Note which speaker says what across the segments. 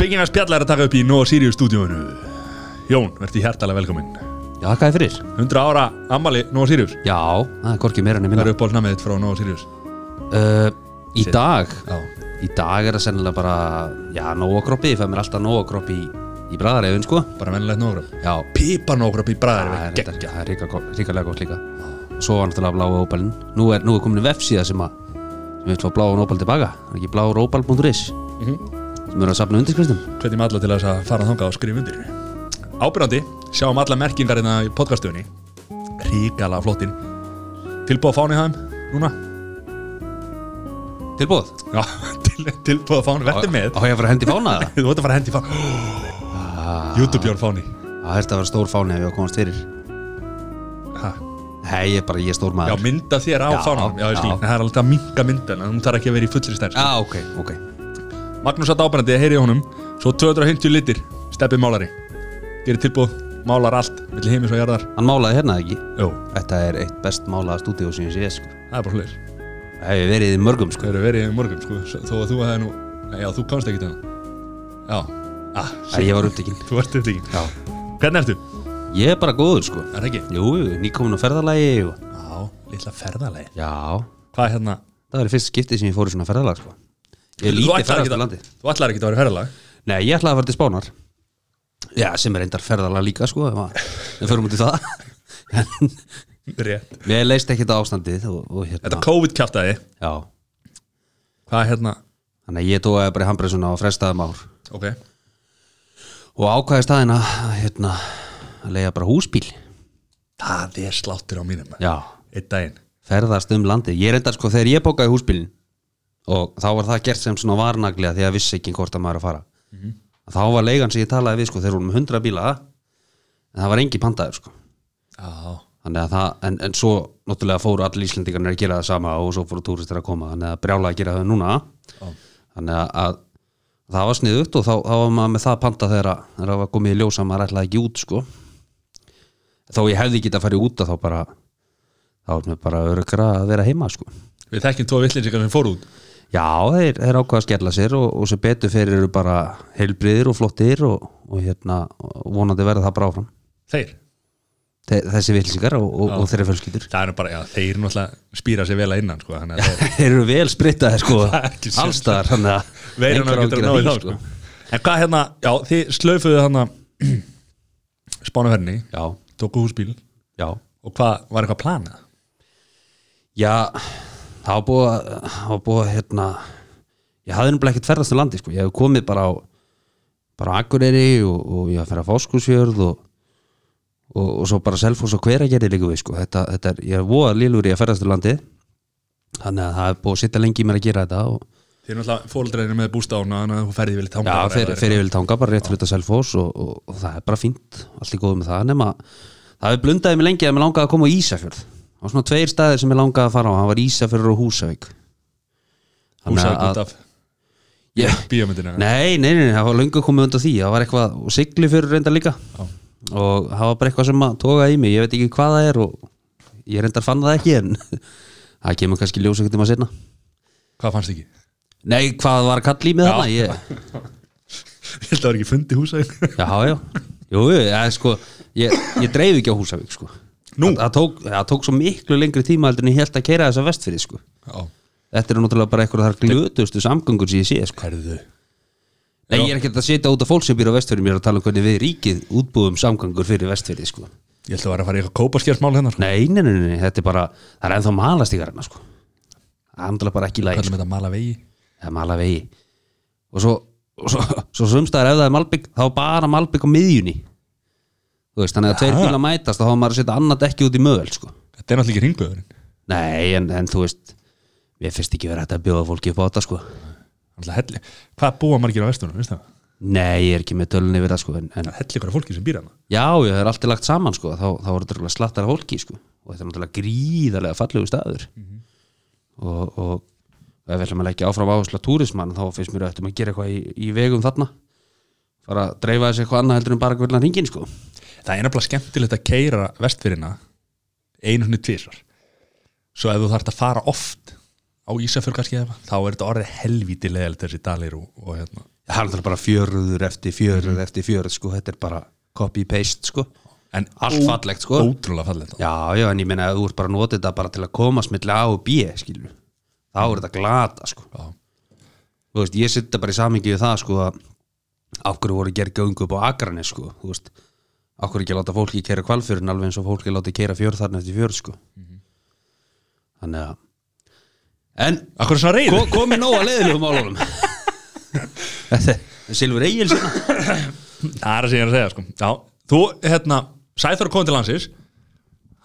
Speaker 1: Byggina spjalla er að taka upp í Nóa Sirius stúdíóinu Jón, verði hjertalega velkominn
Speaker 2: Já, hvað er fyrir?
Speaker 1: 100 ára ammali Nóa Sirius
Speaker 2: Já, það er korkið meira enn ég
Speaker 1: Hvað
Speaker 2: minna
Speaker 1: er uppáhaldsnamið þitt frá Nóa Sirius?
Speaker 2: uh, Í dag
Speaker 1: Já
Speaker 2: Í dag er það sennilega bara Já, nógokroppi, ég fæ mér alltaf nógokroppi í, í bræðareifin, sko
Speaker 1: Bara vennilegt nógraf
Speaker 2: Já,
Speaker 1: Pípar nógraf í bræðar
Speaker 2: það er,
Speaker 1: Gekk
Speaker 2: reyndar- það er ríka, ríkalega gott líka Og svo var náttúrulega bláa óbalinn Nú er, nú er komin vefsíða sem að sem við fá bláa óbal tilbaka Það er ekki bláaróbal.is sem eru að safna undirskriftum
Speaker 1: Hvetjum alla til þess að fara þangað og skrifa undir Ábyrjandi, sjáum alla merkingarina í podcastunni Ríkala flottin Tilbúið að fáni það núna?
Speaker 2: Tilbúð?
Speaker 1: Já, til, tilbúið að fáni, verði með
Speaker 2: Á ég að fara að hendi fána það?
Speaker 1: Þú ert að fara að hendi fáni
Speaker 2: Ah.
Speaker 1: YouTube Jón fáni
Speaker 2: Það er þetta að vera stór fáni ef ég á að komast fyrir
Speaker 1: Ha,
Speaker 2: Hei, ég er bara, ég er stór
Speaker 1: Já,
Speaker 2: maður
Speaker 1: mynda þér á
Speaker 2: Já,
Speaker 1: fánanum Já, ég skil,
Speaker 2: já.
Speaker 1: en það er alltaf að minka myndana Hún þarf ekki að vera í fullri stærst
Speaker 2: Já, Ah, ok, ok
Speaker 1: Magnús að ábærandi, ég heyri í honum Svo 250 litir, steppið málari Gerir tilbúð, málar allt Vill heimis og jarðar
Speaker 2: Hann málaði hérna ekki
Speaker 1: Jó,
Speaker 2: Þetta er eitt best málaða stúdíó sem ég sé sko.
Speaker 1: það er bara hlir
Speaker 2: Það hefur verið í mörgum sko.
Speaker 1: Hvað eru verið í morgun, sko s- Þó að þú hefði nú Nei, já, þú komst ekki til hana Já, ah,
Speaker 2: Æ, Ég var upptekinn
Speaker 1: þú ert þetta ekki
Speaker 2: Já.
Speaker 1: Hvernig ertu?
Speaker 2: Ég er bara góður sko.
Speaker 1: Er það ekki?
Speaker 2: Jú, jú, nýkomin á ferðalagi og...
Speaker 1: Já, litla ferðalegi
Speaker 2: Já,
Speaker 1: Hvað er hérna?
Speaker 2: það er fyrst skiptið sem ég fór í svona ferðalag sko. Ég
Speaker 1: Þú
Speaker 2: er lítið
Speaker 1: ætlar
Speaker 2: ferðast
Speaker 1: ekki
Speaker 2: á
Speaker 1: að-
Speaker 2: landi
Speaker 1: Þú ætlar ekki að vera í ferðalag
Speaker 2: Nei, ég ætlaði að fara til Spánar Já, sem er reyndar ferðalag líka sko, ef að- Við förum út í það En
Speaker 1: Rétt
Speaker 2: Mér leist ekki þetta ástandið og, og
Speaker 1: Þetta
Speaker 2: hérna,
Speaker 1: COVID kjátaði
Speaker 2: Já,
Speaker 1: Hvað er hérna?
Speaker 2: þannig að ég tóði bara í handbreyðsuna og frestaði már
Speaker 1: Ok
Speaker 2: og ákvæði staðina hérna, að leiða bara húsbíl
Speaker 1: Það er sláttur á mínum
Speaker 2: Já,
Speaker 1: Eitt daginn
Speaker 2: ferðast um landið ég reyndar sko þegar ég bókaði húsbílin og þá var það gert sem svona varnaglega því að vissi ekki hvort að maður er að fara þá var leigan sem ég talaði við sko þeir voru með 100 bíla en það var engi pandaður sko
Speaker 1: Já
Speaker 2: þannig að það, en, en svo náttúrulega fóru allir íslendingarnir að gera það sama og svo fóru túristir að koma þannig að brjála að gera það núna þannig að, að það var sniðugt og þá, þá var maður með það panta þegar að- þegar það var komið í ljósa maður ætlaði ekki út sko þó ég hefði getað að fara út að þá bara þá er mér bara örgra að vera heima sko
Speaker 1: Við þekkjum tvo villinsingar sem fór út
Speaker 2: já þeir, þeir ákvaða að skella sér og, og sem betur fyrir eru bara heilbriðir og flottir og, og hérna og vonandi verða það bara áfram
Speaker 1: Þeir?
Speaker 2: Þe- þessi vilsingar og, og, og þeirra fjölskyldur
Speaker 1: Það er nú bara, já, þeir náttúrulega spýra sér vel að innan sko, þannig að þeir
Speaker 2: þeir eru vel sprittaði sko
Speaker 1: Það er ekki séns.
Speaker 2: allstar þannig að
Speaker 1: veirum að
Speaker 2: engar
Speaker 1: getur að
Speaker 2: áhyggjur af
Speaker 1: náði
Speaker 2: því,
Speaker 1: þá sko. En hvað hérna, já, þið slöfuðu hann að spánaferni,
Speaker 2: já,
Speaker 1: tóku húsbíl
Speaker 2: já,
Speaker 1: og hvað, var eitthvað planað?
Speaker 2: já það var búið að- það var búið að, hérna ég hafði nefnilega ekkert ferðast til landi sko ég hef komið bara á bara á Akureyri og, og ég hafði ferð að Fáskursjörð og, og, og svo bara Selfoss og Hveragerði líka við sko þetta, þetta er, ég hef voða lýlur í að ferðast til landi þannig að það er búið að sitta lengi í mér að gera þetta og
Speaker 1: Þið er náttúrulega fóldreinu með bústána þannig að þú ferði vel í tanga
Speaker 2: Já, fyrir, fyrir yfir tanga, bara rétt fyrir þetta selfos og, og, og það er bara fínt, allt í góðu með það nema, það hefur blundaði mig lengi að mér langaði að koma á Ísafjörð það var svona tveir staðir sem ég langaði að fara á, það var Ísafjörður og Húsavík Þannig
Speaker 1: húsavík út
Speaker 2: að-
Speaker 1: af
Speaker 2: Ég-
Speaker 1: bíómyndina
Speaker 2: Nei, nei, nei, nei, það var löngu komið undan því það var eitthvað, og Siglufjörður reyndar líka og það var bara eitthvað sem að toga í mig ég veit ekki hvað það er og ég reyndar fann það ekki en það kemur kannski ljós ekkert um að sinna
Speaker 1: Hvað fannst ekki?
Speaker 2: Nei, hvað var kall í mig þarna? Ég,
Speaker 1: Ég held að það var ekki fundi húsavík
Speaker 2: Já, já, jú, jú, það er sko ég, ég dreif ekki á Húsavík sko
Speaker 1: Nú?
Speaker 2: það, það, tók, það tók svo miklu lengri tíma heldur en ég held að keira þessa vestfyrir sko
Speaker 1: Já,
Speaker 2: Þetta eru náttúrulega bara eitthvað þar glötustu samgöngur sem ég sé sko
Speaker 1: herðu
Speaker 2: Nei, ég er ekkert að setja út af fólk sem býr á vestfyrir mér að tala um hvernig við ríkið útbúum samgöngur fyrir vestfyrir sko
Speaker 1: Ég held að það var að fara í eitthvað kópaskjörsmál hennar sko.
Speaker 2: Nei, nei, nei, nei, þetta er bara það er ennþá malastíkar hennar sko Það er náttúrulega bara ekki læg
Speaker 1: Kallum þetta að mala vegi
Speaker 2: eða mala vegi og svo, og svo, svo sumstaðar ef það er malbygg þá er bara malbygg á miðjunni þú veist, þannig að tveir bíla mætast þá hafa maður að setja annað ekki út í mögul sko.
Speaker 1: Þetta er náttúrulega ekki ringöðurinn
Speaker 2: nei, en, en þú veist við finnst ekki verið hægt að bjóða fólki upp á þetta sko.
Speaker 1: Alltaf helli Hvað búa margir á vestunum, veist það?
Speaker 2: nei, ég er ekki með tölunni við það sko. en, en,
Speaker 1: Það er helli ykkur af fólki sem býr hana
Speaker 2: já, já, það er alltaf lagt saman sko. þá, þá er þetta slattar fólki sko. og þetta er náttúrulega gríðarlega fallegu staður og, og, og ef við ætlum að leggja áfram áherslu á túrismann þá finnst mér að ættum að gera eitthvað í, í vegum þarna fara að dreifa þessi eitthvað annað heldur en bara hvernig hringin sko
Speaker 1: Það er nefnilega skemmtilegt að keira vestfyrina einu svona tvisar Svo ef þú þarft að fara oft á Ísafjörg kannski eða eitthvað, þá er þetta orðið helvíti leðilegt þessi dalir og, og hérna
Speaker 2: hann er náttúrulega bara fjörður eftir fjörður eftir fjörður sko, þetta er bara copy-paste sko
Speaker 1: En
Speaker 2: Allt
Speaker 1: ó-
Speaker 2: fallegt, sko.
Speaker 1: Ótrúlega fallegt
Speaker 2: já, já, en ég meina að þú ert bara að nota þetta bara til að komast milli A og B skilur, þá er þetta glata sko
Speaker 1: Já.
Speaker 2: þú veist, ég setja bara í samingi við það sko að af hverju voru gerð göngu upp á Akranes sko, þú veist af hverju ekki láta fólki keira kvalfjörn alveg eins og fólki láta keira fjörð þarna eftir fjörð sko þannig að en
Speaker 1: Akkur er svona reyður
Speaker 2: Ko, komið nóg að leiðilegum málunum Þetta er Silfur Egil
Speaker 1: Það er að segja að segja sko Já, þú, hérna, Sæþór kom til landsins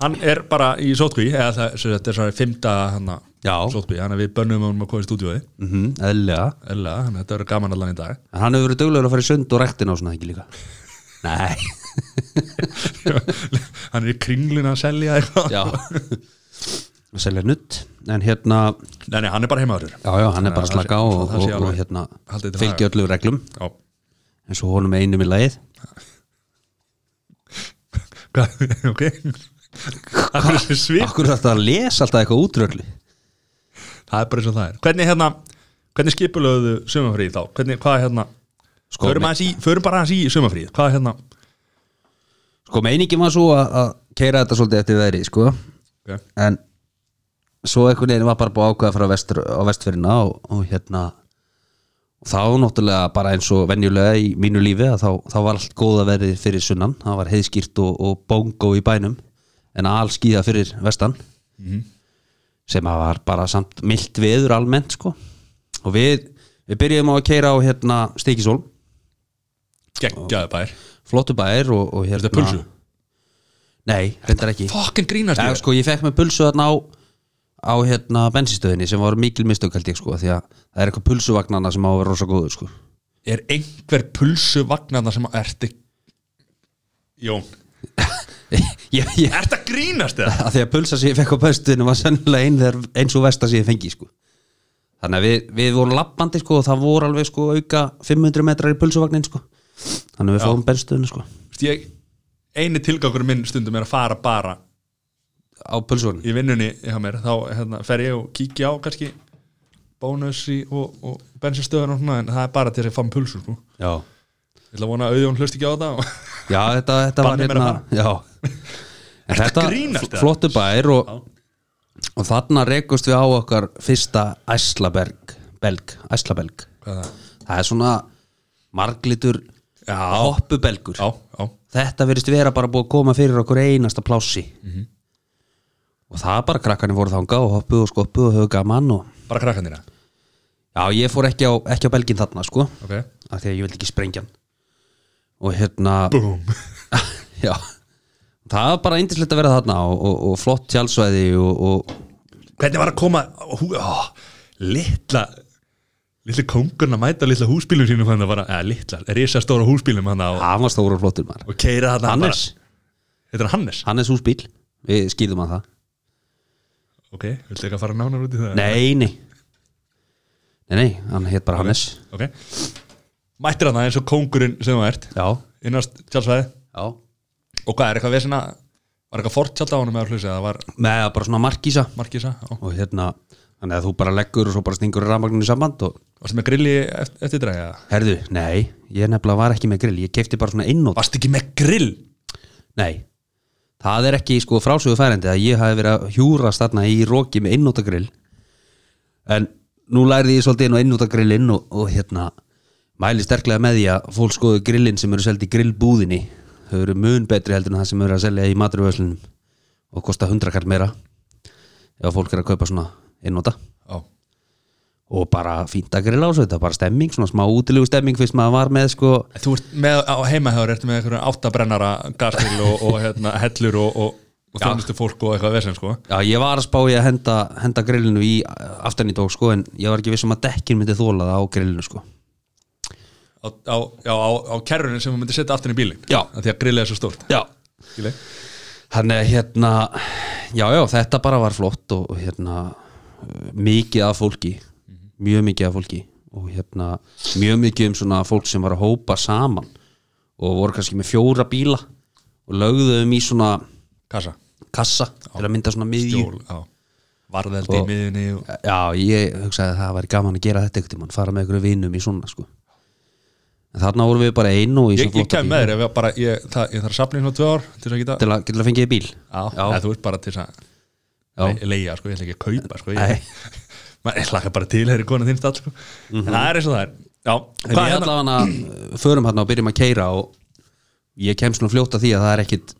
Speaker 1: Hann er bara í sótkví eða það sem sagt, hérna, þetta er svona fymta hana,
Speaker 2: Já,
Speaker 1: sótkví, þannig að við bönnum honum að koma í stúdíói
Speaker 2: mm -hmm, eðlilega
Speaker 1: Eðlilega, þannig að þetta verður gaman allan í dag
Speaker 2: En Hann hefur verið duglegur að fara í sund og rektin á svona ekki líka Nei,
Speaker 1: Hann er í kringlun að selja eitthvað
Speaker 2: já Að Selja nutt En hérna,
Speaker 1: Nei, nei, hann er bara heimaður
Speaker 2: já já, hann er bara
Speaker 1: Það
Speaker 2: að
Speaker 1: sé-
Speaker 2: slaka á og,
Speaker 1: það sé
Speaker 2: og, og
Speaker 1: alveg-
Speaker 2: hérna
Speaker 1: haldið til
Speaker 2: fylgja öllu reglum
Speaker 1: Já,
Speaker 2: eins og honum einum í lagið
Speaker 1: hvað, ok Akkur er þessi svip
Speaker 2: Akkur er þetta að lesa alltaf eitthvað útröllu
Speaker 1: Það er bara eins og það er Hvernig, hérna, hvernig skipulöðu sumafríð þá? Hvernig, hvað, hérna
Speaker 2: Sko,
Speaker 1: Förum, aðeins í, förum bara aðeins í sumafríð Hvað, hérna
Speaker 2: sko meiningin var svo að, að keira þetta svolítið eftir veðri sko.
Speaker 1: okay.
Speaker 2: en svo einhvern veginn var bara búið að ákveða frá vestur, á vestfyrirna og, og hérna og þá náttúrulega bara eins og venjulega í mínu lífi að þá, þá var allt góða verið fyrir sunnan, það var heiðskýrt og, og bongo í bænum en all skýða fyrir vestan sem að var bara samt milt veður almennt sko og við, við byrjuðum á að keira á hérna Stikisól,
Speaker 1: Geggjaðu bær
Speaker 2: flottu bæir og, og hérna
Speaker 1: Þetta er pulsu
Speaker 2: Nei, reyndar ekki
Speaker 1: Fucking grínast
Speaker 2: Já,
Speaker 1: ég
Speaker 2: sko, ég fekk með pulsu þarna á á hérna bensinstöðinni sem var mikil mistök held ég sko, því að það er eitthvað pulsuvagnana sem á að vera rosa góður sko
Speaker 1: er einhver pulsu vagnarna sem að ertu Jón,
Speaker 2: ég, ég,
Speaker 1: ertu að grínast það?
Speaker 2: að því að pulsa sem ég fekk á bensinstöðinni var sennilega ein þegar, eins og versta sem ég fengi sko þannig að við, við vorum lappandi sko og það voru alveg sko auka 500 metrar í pulsuvagnin sko þannig að við fórum bensinstöðinni sko
Speaker 1: Ég, eini tilgangur minn stundum er að fara bara
Speaker 2: á pulsuvagnin
Speaker 1: í vinnunni hjá mér, þá hérna, fer ég og kíkja á kannski bónusi og, og bensinstöðan og svona en það er bara til þess að fá með pulsu sko.
Speaker 2: Já,
Speaker 1: Ég ætla að vona að auðjón hlust ekki á þetta og...
Speaker 2: já þetta, þetta var
Speaker 1: Bannið mér að
Speaker 2: hérna Já En
Speaker 1: Ertu að
Speaker 2: þetta
Speaker 1: grínast, eða?
Speaker 2: flottu bær og, og þarna rekust við á okkar fyrsta æslaberg belg, æslabelg
Speaker 1: Hvað er það?
Speaker 2: það er svona marglitur
Speaker 1: Já.
Speaker 2: hoppubelgur
Speaker 1: Já, já,
Speaker 2: þetta verðist vera bara búið að koma fyrir okkur einasta plássi
Speaker 1: Mhm.
Speaker 2: og það bara krakkarnir voru þanga og hoppuð og skoppuð og höfðu gaman og
Speaker 1: bara krakkan þína
Speaker 2: já ég fór ekki á, ekki á belgin þarna sko
Speaker 1: Ok,
Speaker 2: af því að ég vildi ekki sprengja hann og hérna
Speaker 1: búm
Speaker 2: já það var bara indislegt að vera þarna og, og, og flott tjálsvæði og, og
Speaker 1: Hvernig var að koma hú, ó, litla litli kongurinn að mæta litla húsbílum sínum hann að bara, eða litla, risastóra húsbílum hann að
Speaker 2: hann var stóru og flottur maður
Speaker 1: og keira þarna
Speaker 2: Hannes,
Speaker 1: bara Þetta er Hannes?
Speaker 2: Hannes húsbíl við skýrðum að það
Speaker 1: Ok, viltu ekki að fara nánar út í það?
Speaker 2: nei, nei nei, nei, hann hétt bara Hannes
Speaker 1: Ok Mættir þarna eins og kongurinn sem þú ert
Speaker 2: já,
Speaker 1: innast tjálsvæði
Speaker 2: já
Speaker 1: og hvað er eitthvað vesina var eitthvað fortjald á honum eða hlusi eða var
Speaker 2: með það bara svona markísa
Speaker 1: markísa á
Speaker 2: og hérna, þannig að þú bara leggur og svo bara stingur rafmagninu í samband og
Speaker 1: Varstu með grilli eftir, eftir dræja?
Speaker 2: herðu, nei, ég nefnilega var ekki með grill ég kefti bara svona einnót,
Speaker 1: Varstu ekki með grill?
Speaker 2: nei það er ekki sko frásögu færandi að ég hafi verið að hjúrast þarna í roki með einnótagrill en nú lærði ég svolítið inn á einnótagrillin og, og hérna mæli sterklega með því að fólk skoðu grillin sem eru seldi í grillbúðinni þau eru mun betri heldur en það sem eru að selja í maturvöslunum og kosta hundrakall meira ef fólk er að kaupa svona einnóta
Speaker 1: Á
Speaker 2: og bara fínt að grilla á svo þetta var bara stemming, svona smá útilegu stemming fyrst maður var með sko
Speaker 1: En Þú ert með á heimahjáður, ertu með einhverjum áttabrennara gastil og, og hérna, hellur og, og, og þjónustu fólk og eitthvað vesinn sko.
Speaker 2: Já, ég var að spá ég að henda, henda grillinu í aftan í tók sko en ég var ekki viss um að dekkin myndi þóla það á grillinu sko
Speaker 1: á, á, já, á, á kerrunin sem þú myndir setja aftur í bílinn
Speaker 2: Já.
Speaker 1: Af Því að grillið er svo stórt
Speaker 2: Já
Speaker 1: Skilji.
Speaker 2: Þannig að hérna, já já, þetta bara var flott og og hérna uh, mikið af fólki, mjög mikið af fólki og hérna mjög mikið um svona fólk sem var að hópa saman og voru kannski með fjóra bíla og lögðuðum í svona
Speaker 1: Kassa
Speaker 2: kassa til að mynda svona miðju
Speaker 1: Jól, já Varðeldi í miðinni og...
Speaker 2: Já, ég hugsaði að það væri gaman að gera þetta einhvern tímann, fara með einhverju vinum í svona sko en þarna vorum við bara einu og í
Speaker 1: Ég,
Speaker 2: þessum
Speaker 1: ég
Speaker 2: flotta
Speaker 1: kem
Speaker 2: bíl.
Speaker 1: með þér, ef ég, bara, ég, það, ég þarf að safna í svona tvö ár til þess að geta
Speaker 2: til að, til að fengið bíl
Speaker 1: Já,
Speaker 2: Já.
Speaker 1: eða þú veist bara til þess að
Speaker 2: Já.
Speaker 1: le- leigja, sko, ég ætla ekki að kaupa sko,
Speaker 2: Nei. Mhm.
Speaker 1: ég, maður ég hlaka bara til þeirri konan þinn stall sko. en það er eins og það er Já, hvað
Speaker 2: en við
Speaker 1: er hérna?
Speaker 2: allavega hana, förum hérna og byrjum að keira og ég kem svona fljótt að því að það er ekkit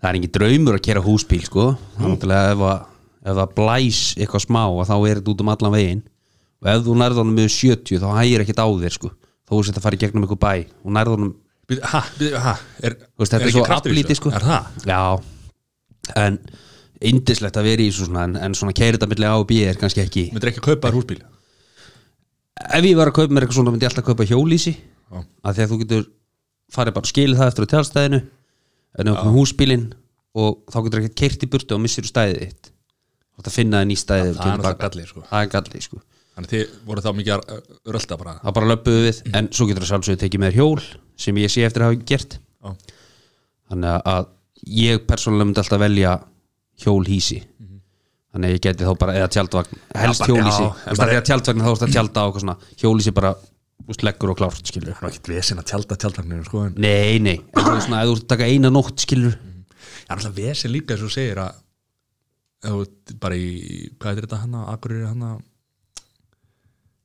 Speaker 2: það er engin draumur að keira húsbíl sko það er náttúrulega ef, að, ef það blæs eitthvað smá að þá er þetta út um allan veginn og ef þú nærð honum með 70 þá hægir ekkit á þér sko þó þú sett að fara í gegnum eitthvað bæ og nærð honum
Speaker 1: Bíddu, Ha, bíddu, ha, er,
Speaker 2: Þú veist, þetta er
Speaker 1: ekki
Speaker 2: svo
Speaker 1: kraftur í þessu?
Speaker 2: aflítið sko
Speaker 1: Er það?
Speaker 2: Já En indislegt að vera í þessu svona En, en svona keirita milli A og B er kannski ekki
Speaker 1: Myndir ekki kaupa þér húsbíl?
Speaker 2: Ef ég var að kaupa mér eitthvað svona myndi ég alltaf kaupa hjólísi
Speaker 1: Já.
Speaker 2: að Því að þú getur farið bara og skilið það eftir á tjálstæðinu En ef með húsbílinn Og þá getur ekkert keirt í burtu og missir úr stæðið þitt Þú ætti að finna það ný stæði ef þú
Speaker 1: það er
Speaker 2: kemur
Speaker 1: náttúrulega
Speaker 2: baka.
Speaker 1: galli, sko.
Speaker 2: Það er galli sko
Speaker 1: Þannig að þið voru þá mikið að uh, rölda bara
Speaker 2: Það bara löpuðu við En svo getur það sjálfsögðu tekið með þér hjól Sem ég sé eftir að hafa gert
Speaker 1: Já,
Speaker 2: þannig að ég persónulega myndi alltaf velja hjólhísi þannig að ég geti þá bara, eða tjaldvagn helst
Speaker 1: bara-
Speaker 2: hjólhísi,
Speaker 1: já,
Speaker 2: þú veist að því að tjaldvagn þá er þetta tjálta á eitthvað svona, hjólhísi bara úst, leggur og klárt skilur
Speaker 1: það er ekki vesinn að tjálta tjáltagninu sko, en
Speaker 2: nei, nei, en þú veist svona, ef þú ert að taka eina nótt skilur
Speaker 1: Það er alltaf vesinn líka eins og þú segir að ef þú ert bara í, hvað er þetta hana, akkur er hana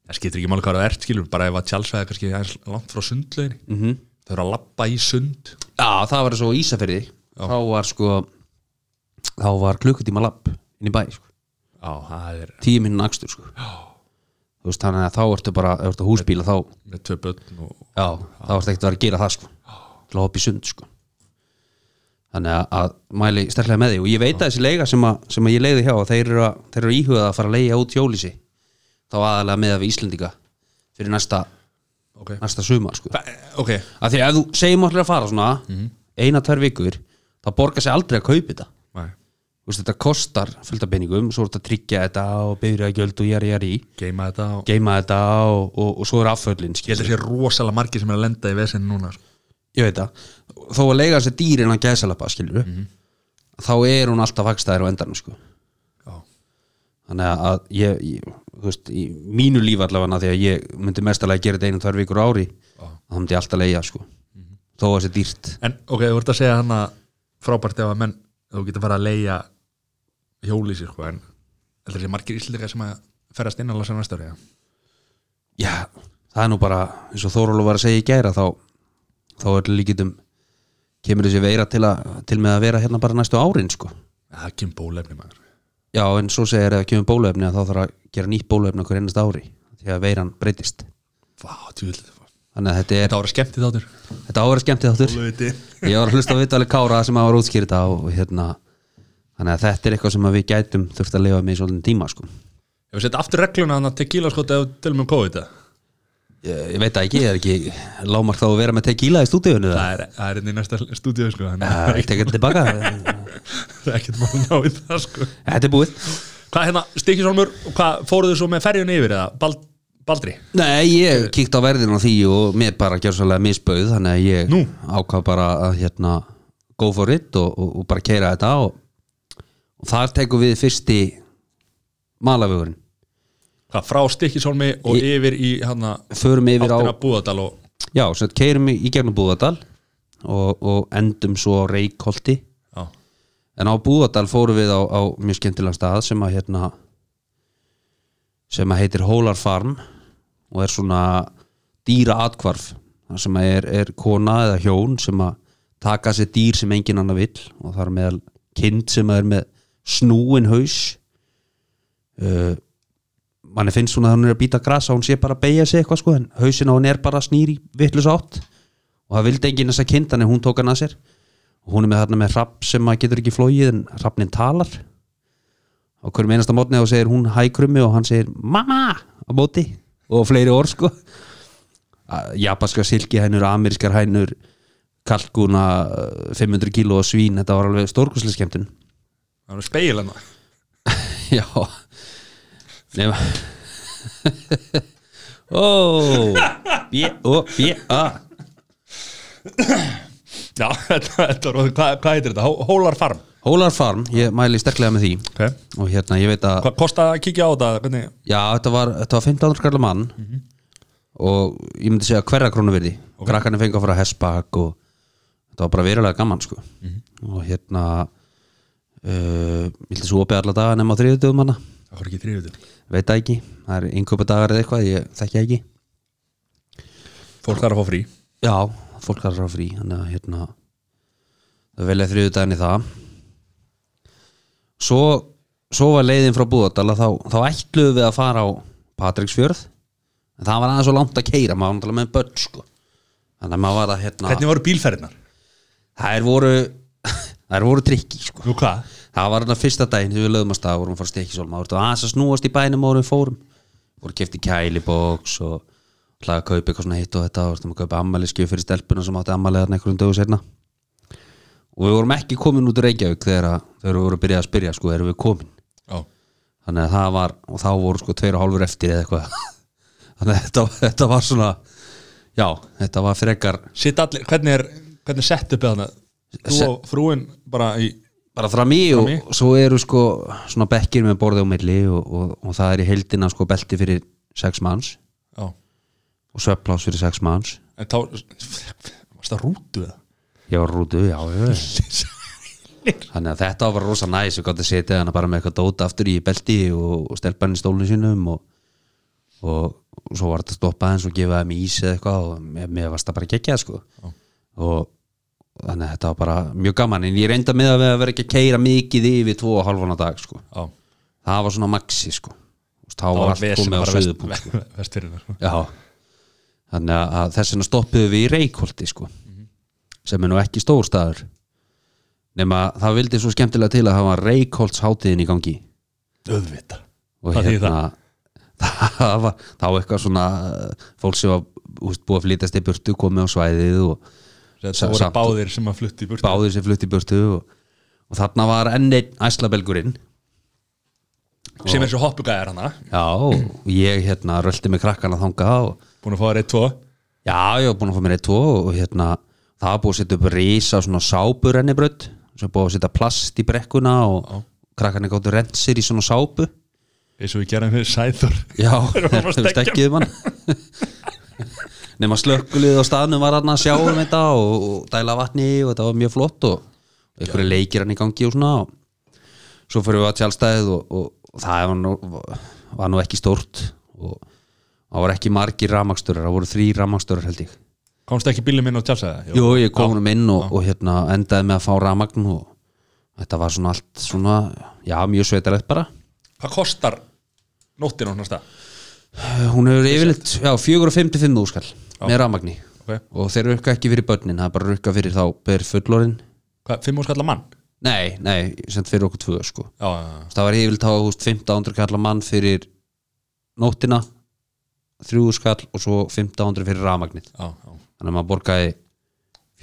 Speaker 1: það skiptir ekki máli hvað það ert skilur, bara ef að tjálsvæði kannski aðeins langt frá sundleginni mm -hmm. þau eru að lappa í sund
Speaker 2: já, það var svo Ísafyrði þá var sko þá var klukkutíma lapp inn í bæ sko.
Speaker 1: Já, það er
Speaker 2: tíu minna akstur sko. þú veist, þannig að þá ertu bara, ef þú ert að húsbíla þá
Speaker 1: með tvö börn og
Speaker 2: Já, þá varst ekkert að vera að gera það sko til að hoppa í sund sko þannig að, að mæli sterklega með því og ég veit að þessi leiga sem, að, sem að ég leiði hjá þeir eru, að, þeir eru íhugað að fara að leiga út hjólísi þá aðalega með að við Íslendinga fyrir næsta,
Speaker 1: ok,
Speaker 2: næsta sumar sko
Speaker 1: ok,
Speaker 2: af því að ef þú segjum allir að fara svona eina, tvær vikur, þá borgar sér aldrei að kaupi þetta
Speaker 1: Nei.
Speaker 2: Þú veist, þetta kostar fullt af peningum, svo er þetta að tryggja þetta og byrja að gjöld og jari jari
Speaker 1: geima þetta og...
Speaker 2: geima þetta og, og, og svo er afföllin
Speaker 1: ég held að sé rosalega margir sem er að lenda í vesinn núna sko.
Speaker 2: ég veit það, þó að leiga sér dýr innan gæsalappa, skilur mm þá er hún alltaf vakstaðir á endanum sko.
Speaker 1: Já.
Speaker 2: þannig að ég, ég þú veist, í mínu líf allavega því að ég myndi mestalega gera þetta einu tvær vikur á ári þá myndi ég alltaf leiga sko. þó að sér dýrt
Speaker 1: en ok, þú ert að segja hana frábært ef að menn, þú getur fara að leia hjólísi sko, en heldur þessi margir íslendingar sem að ferðast inn alveg sem næsta ári eða?
Speaker 2: já, það er nú bara eins og Þórólu var að segja í gæra þá, þá er líkitum kemur þessi veira til, að, til með að vera hérna bara næstu árin sko.
Speaker 1: Ja, það er kemur bólefni maður
Speaker 2: já, en svo segir ef það kemur bóluefni að þá þarf að gera nýtt bóluefni okkur ennast ári því að veiran breytist
Speaker 1: Vá, tjúl,
Speaker 2: þannig að þetta er
Speaker 1: þetta ára skemmti þáttur
Speaker 2: Þetta á að vera skemmtið þáttur
Speaker 1: Bólöfiti
Speaker 2: Ég var að hlusta á vitali Kára sem að var útskýrta og hérna Þannig að þetta er eitthvað sem að við gætum þurft að lifa með í svolítið tíma sko.
Speaker 1: Ef við setja aftur regluna hana tequila sko þegar við tölum um COVID það
Speaker 2: ég, ég veit það ekki, ég er ekki lámark þá að vera með tequila í stúdíunni Það
Speaker 1: er, það er inn í næsta stúdíu sko þannig að
Speaker 2: er ekki ekki tilbaka
Speaker 1: Það er ekkert mál að ná í það sko
Speaker 2: Þetta er búið
Speaker 1: Hvað hérna, Stikisólmur, hvað fóruðu svo með ferjun yfir eða Bald, Baldri?
Speaker 2: Nei, ég kíkt á verðin á því og mér bara gjör svolítið misbauð Þannig að ég
Speaker 1: Nú?
Speaker 2: ákvað bara að hérna go for it og, og, og bara keira þetta og, og þar tekum við fyrsti malavegurinn
Speaker 1: Hvað, frá Stikisólmi og yfir í hana
Speaker 2: Förum yfir á
Speaker 1: áttina Búðardal og
Speaker 2: Já, sem keirum í gegnum Búðardal og, og endum svo á Reykholti
Speaker 1: já,
Speaker 2: en á Búðardal fórum við á, á mjög skemmtilega stað sem að hérna sem að heitir Hólar Farm og er svona dýra atkvarf þar sem að er, er kona eða hjón sem að taka sér dýr sem engin annar vill og þar meðal kind sem að er með snúin haus uh, manni finnst svona að hún er að býta grasa hún sé bara að beigja sig eitthvað sko en hausin á hún er bara snýri vittlus átt og það vildi enginn þessa kind þannig hún tók hann að sér og hún er með þarna með rapp sem að getur ekki flóið en rappnin talar og hverjum einasta mótni þá segir hún hækrummi og hann segir mamma á móti og fleiri orð sko Að japanska silkihænur, amerískar hænur kalkuna 500 kíló og svín, þetta var alveg stórkurslega skemmtun
Speaker 1: það er hérna. speil hana
Speaker 2: Já Nefna Ó B-O-B-A
Speaker 1: Já, þetta, þetta er, hvað, hvað heitir þetta? Hó- Hólar Farm
Speaker 2: Hólar Farm, ég mæli sterklega með því
Speaker 1: okay.
Speaker 2: og hérna, ég veit að
Speaker 1: Hvað kostaði að kíkja á þetta? Hvernig?
Speaker 2: Já, þetta var, þetta var 15 skallar mann og ég myndi segja hverja krónu virði okay. krakkarnir fengu að fara að hessbak og þetta var bara verulega gaman sko. og hérna uh, ég held að svo opið alla daga nema á þriðutöfum hana
Speaker 1: Það var ekki þriðutum
Speaker 2: veit það ekki, það er innkaupa dagar eða eitthvað ég þekki það ekki
Speaker 1: Fólk þarf að fá frí
Speaker 2: já, fólk þarf að fá frí þannig að hérna það velja þriðudaginn í það svo, svo var leiðin frá Búðardala þá, þá ætluðum við að fara á Patricksfjörð en það var aðeins svo langt að keira maður var náttúrulega með börn sko þannig að maður var að hérna
Speaker 1: Hvernig voru bílferðinar?
Speaker 2: þær voru, þær voru trikki sko
Speaker 1: Nú hvað?
Speaker 2: það var þarna fyrsta daginn þegar við lögum að stað vorum að fara stekisólum, það voru aðeins að snúast í bænum og við fórum, voru kefti kæliboks og hlaði að kaupa eitthvað svona hitt og þetta og vorum að kaupa ammæliskjöf fyrir stelpuna sem átti ammæliðarn einhverjum dögu sérna og við vorum ekki komin út úr Reykjavík þegar, að, þegar við vorum að byrja að spyrja sko, erum við komin
Speaker 1: Já,
Speaker 2: þannig að það var, og þá voru sko tveir og hálfur eftir eða eitthvað þannig að þetta, þetta var svona já, þetta var frekar
Speaker 1: Sitt allir, hvernig er, hvernig er sett uppið hana? Þú
Speaker 2: Set-
Speaker 1: og frúin bara í
Speaker 2: bara fram í og
Speaker 1: Fram
Speaker 2: svo eru sko svona bekkir með borðið og milli og, og, og það er í heildina sko belti fyrir sex manns
Speaker 1: Já,
Speaker 2: og svepplás fyrir sex manns
Speaker 1: en þá Varst það rútu það?
Speaker 2: ég var rútu, já, já, já. þannig að þetta var bara rosa næs við gott að setja hana bara með eitthvað dóta aftur í belti og, og stelpa hann í stólinu sínum og, og, og svo var þetta að stoppa hans og gefa þeim ís eða eitthvað og mér, mér varst það bara geggjað sko
Speaker 1: Já.
Speaker 2: og þannig að þetta var bara mjög gaman en ég reynda með að vera ekki að keira mikið yfir tvo og halvan að dag sko
Speaker 1: Já,
Speaker 2: það var svona maxi sko Þú veist, þá var allt komið á sko. söðupúl
Speaker 1: Vestfyrirna
Speaker 2: já þannig að- að þess vegna stoppuðu við í Reykholti sko sem er nú ekki stór staður nema að það vildi svo skemmtilega til að hafa Reykholts hátíðin í gangi
Speaker 1: Öðvita
Speaker 2: og
Speaker 1: Hvað þýðir
Speaker 2: hérna það var þá eitthvað svona uh, fólk sem var úst, búið að flytast í burtu komið á svæðið og
Speaker 1: Það
Speaker 2: Sa-
Speaker 1: voru
Speaker 2: samt-
Speaker 1: báðir sem að flutti í burtu
Speaker 2: báður sem flutti í burtu og, og þarna var enn einn æslabelgurinn
Speaker 1: Sem er svo hoppugæðar hana
Speaker 2: já og ég hérna rölti með krakkana þangað og
Speaker 1: Búin að fá þér eitt tvo
Speaker 2: Já, ég var búin að fá mér eitt tvo og hérna, það var búið að setja upp risa svona sápu rennibraut sem búið að setja plast í brekkuna og
Speaker 1: Já.
Speaker 2: krakkarnir gáttu rensir í svona sápu
Speaker 1: Eins og við gerum fyrir Sæþór
Speaker 2: Já,
Speaker 1: Þeir voru að
Speaker 2: þeir
Speaker 1: stekkja.
Speaker 2: stekkiðu mann Nefna slökkulið á staðnum var hann að sjá um þetta og, og dæla vatni í og þetta var mjög flott og einhverju leikir hann í gangi og svona og svo fyrir við að tjálstæðið og, og, og það var nú, var nú ekki stórt og það var ekki margir rafmakstörar, það voru þrý rafmakstörar held ég
Speaker 1: Komst ekki bílum minn og tjálsaði
Speaker 2: Jú, ég kom húnum inn og, og hérna, endaði með að fá rafmagn og þetta var svona allt svona, já, mjög sveitarlegt bara
Speaker 1: Hvað kostar nóttin á svona stað?
Speaker 2: Eh, Hún hefur yfirleitt, já, 455 úrskall með rafmagni
Speaker 1: Ok.
Speaker 2: og þeir rukka ekki fyrir börnin, það er bara rukka fyrir þá ber fullorinn,
Speaker 1: Hvað, fimm úr skalla mann?
Speaker 2: nei, nei, sem fyrir okkur tvö, sko,
Speaker 1: Já, já, já.
Speaker 2: það var yfirleitt þá, þú veist, 1500 kallar mann fyrir nóttina, 3 úrskall og svo 1500 fyrir rafmagnið,
Speaker 1: já, já.
Speaker 2: þannig að maður borgaði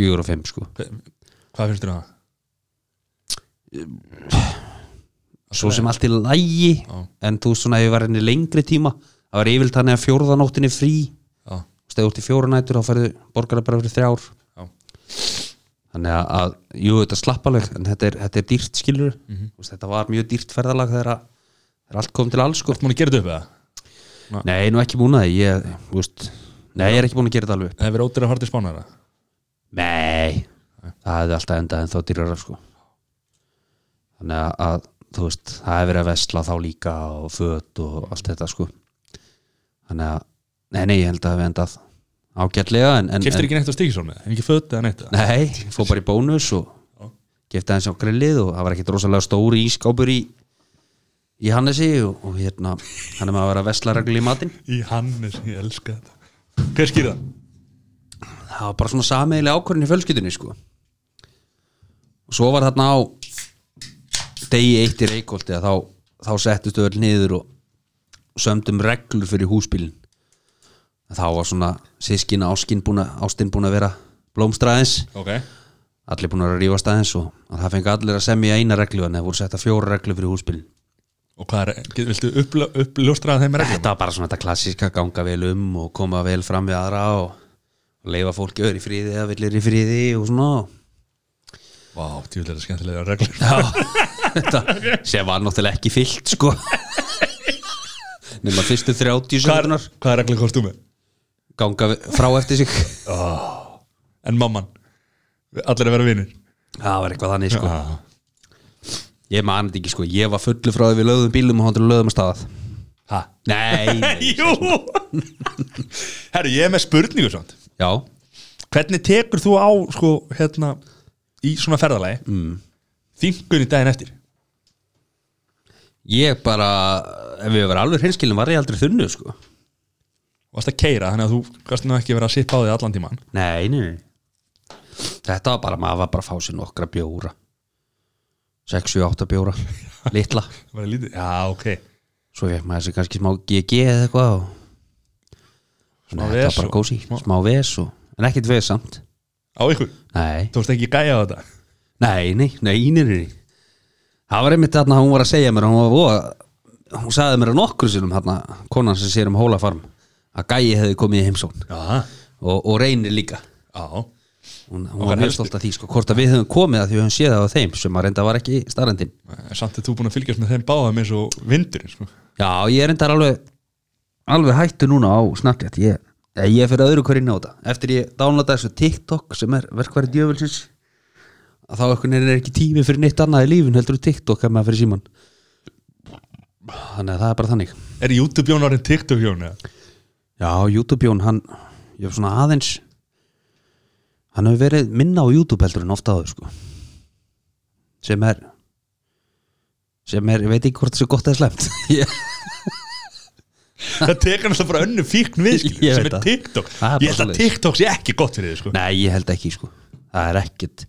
Speaker 2: 4 og 5, sko
Speaker 1: Hva- Hvað finnst þér um það?
Speaker 2: svo sem allt í lægi
Speaker 1: Já.
Speaker 2: en þú veist svona ef ég var henni lengri tíma það var yfirlt þannig að fjórðanóttinni frí
Speaker 1: Já,
Speaker 2: stegu út í fjórðanætur þá færðu borgara bara fyrir þrjár
Speaker 1: já,
Speaker 2: þannig að, að jú þetta er slappaleg en þetta er, þetta er dýrt skilur mm þetta var mjög dýrt ferðalag þegar, að, þegar allt kom til alls sko.
Speaker 1: Hvort múin að gera þetta upp eða?
Speaker 2: nei, nú ekki búin að því ég, þú veist, nei, ég er ekki búin að gera þetta alveg upp.
Speaker 1: Það hefur ótir að fara til spánar eða?
Speaker 2: nei, það hefði alltaf endað en þá dýrara sko þannig að, að þú veist, það hefði verið að vesla þá líka og föt og allt þetta sko þannig að, nei, nei, ég held að við endað ágætlega en, en,
Speaker 1: Keftir
Speaker 2: en
Speaker 1: ekki neitt á stíkisólmi? En ekki föt eða neitt eða?
Speaker 2: nei, ég fór bara í bónus og gefti aðeins á grillið og það var ekkit rosalega stóri ískápur í í Hannesi og, og hérna hann er maður að vera að vesla regl í matinn
Speaker 1: Í Hannes, ég elska þetta Hver skýr það?
Speaker 2: það var bara svona sameiglega ákvörðin í fjölskyldinni sko og svo var þarna á degi eitt í Reykjóldi að þá, þá settust öll niður og sömdum reglur fyrir húsbílin þá var svona sískina ástin búin að, ástin búin að vera blómstraðins
Speaker 1: Ok,
Speaker 2: allir búin að rífast aðeins og að það fengi allir að semja eina reglu en það voru setta fjóra reglu fyrir húsbílin
Speaker 1: og hvað er, get- viltu uppl- uppljóstra þeim reglum?
Speaker 2: þetta var bara svona þetta klassíska ganga vel um og koma vel fram við aðra og, og leifa fólki öðru í friði að villir í friði og svona
Speaker 1: Vá, tjúlega skemmtilega reglur
Speaker 2: þetta, sem var náttúrulega ekki fyllt sko nema fyrstu 30
Speaker 1: Hvað er,
Speaker 2: sekundunar
Speaker 1: hvað er reglur komst þú með?
Speaker 2: ganga við- frá eftir sig
Speaker 1: en mamman, allir að vera vinur
Speaker 2: það var eitthvað þannig sko
Speaker 1: Já.
Speaker 2: ég man þetta ekki sko, ég var fullu frá því við löðum bílum og hann til löðum að staðað
Speaker 1: Ha?
Speaker 2: nei, nei.
Speaker 1: Jú Herru, ég er með spurningu samt
Speaker 2: já,
Speaker 1: Hvernig tekur þú á sko, hérna, í svona ferðalagi mm. þingunni daginn eftir
Speaker 2: ég bara ef við verðum alveg hreinskilin var ég aldrei þunnu sko
Speaker 1: varst að keira þannig að þú gast nú ekki verið að sippa á því allan tíman
Speaker 2: Nei, nei, nei Þetta var bara, maður var bara að fá sér nokkra bjóra 6-7-8 bjóra Litla,
Speaker 1: bara lítið, já ok
Speaker 2: svo fekk maður sér kannski smá GG eða eitthvað og...
Speaker 1: Smá
Speaker 2: Nei, Þetta
Speaker 1: ves
Speaker 2: var bara
Speaker 1: og-
Speaker 2: gósi,
Speaker 1: smá-
Speaker 2: smá ves og... En ekkert ves samt
Speaker 1: á ykkur,
Speaker 2: Nei,
Speaker 1: þú varst ekki gæja á þetta
Speaker 2: nei, nei, nei, nei, nei. Það var einmitt þarna, hún var að segja mér Hún var voða Hún sagði mér að nokkur sinnum þarna Konan sem sér um hólafarm Að gæi hefði komið í heimsón
Speaker 1: já,
Speaker 2: Og, og reynir líka
Speaker 1: já
Speaker 2: hún, hún
Speaker 1: Okkar
Speaker 2: var mjög
Speaker 1: helstu.
Speaker 2: stolt af því sko, hvort að við höfum komið að því við höfum séð það á þeim sem að reynda var ekki starrendin
Speaker 1: Eh, samt er þú búin að fylgjast með þeim báðum eins og vindur sko.
Speaker 2: já, ég reyndar alveg alveg hættu núna á Snapchat ég, eh, ég er fyrir öðru hverju nota eftir ég downloada þessu TikTok sem er verkværi djöfulsins að þá einhvern veginn er ekki tími fyrir neitt annað í lífin heldur en TikTok að maður fyrir síman þannig að það er bara þannig
Speaker 1: er YouTube jón orðin TikTok jón eða?
Speaker 2: já, YouTube Jón, hann ég hef svona aðeins hann hefur verið minna á YouTube heldur en ofta áður sko sem er sem er, ég veit ekki hvort þessu gott eða slæmt ég,
Speaker 1: það tekur náttúrulega bara önnu fíkn við skilur,
Speaker 2: Ég
Speaker 1: sem
Speaker 2: veit
Speaker 1: er
Speaker 2: það.
Speaker 1: TikTok
Speaker 2: Það er bara
Speaker 1: ég held að
Speaker 2: svoleiðis.
Speaker 1: TikTok sé ekki gott fyrir þið sko.
Speaker 2: nei, ég held ekki sko það er ekkert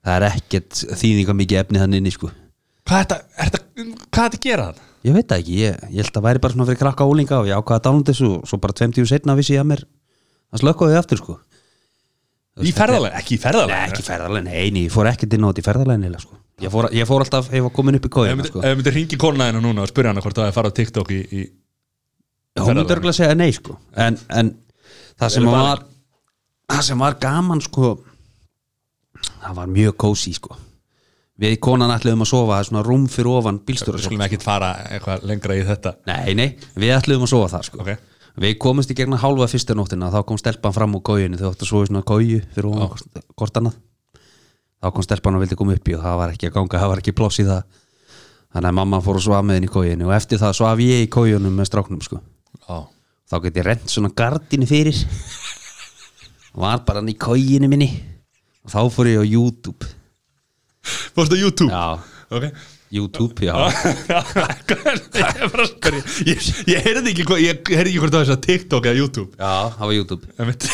Speaker 2: það er ekkert þýðinga mikið efni hann inni sko
Speaker 1: hvað er þetta, er þetta, hvað er þetta að gera það?
Speaker 2: ég veit það ekki, ég, ég held að væri bara svona fyrir krakka ólinga og ég ákvaða að dálunda þessu og svo bara 20 setna vissi ég að mér það slökkaði aftur sko
Speaker 1: Í ferðalega, ekki í ferðalega
Speaker 2: Nei, ekki ferðarlegin, eini, ég fór ekkert inn á þetta í ferðarlegin eiginlega, sko. ég, fór, ég fór alltaf, ég var komin upp í
Speaker 1: Ef
Speaker 2: kóðina
Speaker 1: myndi-
Speaker 2: sko.
Speaker 1: ef myndir ringi konaðina núna og spyrja hana hvort það er að fara á TikTok í, í
Speaker 2: hún myndi örgulega segja nei sko. en, en það sem
Speaker 1: Verður
Speaker 2: var það sem var gaman sko, það var mjög kósi sko. við konan ætluðum að sofa það er svona rúm fyrir ofan
Speaker 1: Við
Speaker 2: bílstjóra sko.
Speaker 1: skulum ekkit fara eitthvað lengra í þetta
Speaker 2: nei, nei, við ætluðum að sofa það sko.
Speaker 1: Ok.
Speaker 2: við komumst í gegna hálfa fyrsta nóttina þá kom stelpan fram úr kóinu þau áttu að sofa í svona kóju fyrir ofan hvort- hvort annað þá kom stelpan og vildi koma upp í og það var ekki að ganga, það var ekki pláss í það þannig að mamma fór að svafa með henni í kóinu og eftir það svaf ég í kójunum með stráknum sko.
Speaker 1: Já,
Speaker 2: þá get ég rent svona gardinu fyrir var bara hann í kóginu minni og þá fór ég á YouTube
Speaker 1: fórstu á YouTube
Speaker 2: já,
Speaker 1: Ok
Speaker 2: YouTube, já
Speaker 1: Ég er bara að spyrja. Ég, ég heyrði ekki, hvað- ég heyrði ekki hvort það er að TikTok eða YouTube
Speaker 2: já, það var YouTube
Speaker 1: Ég veit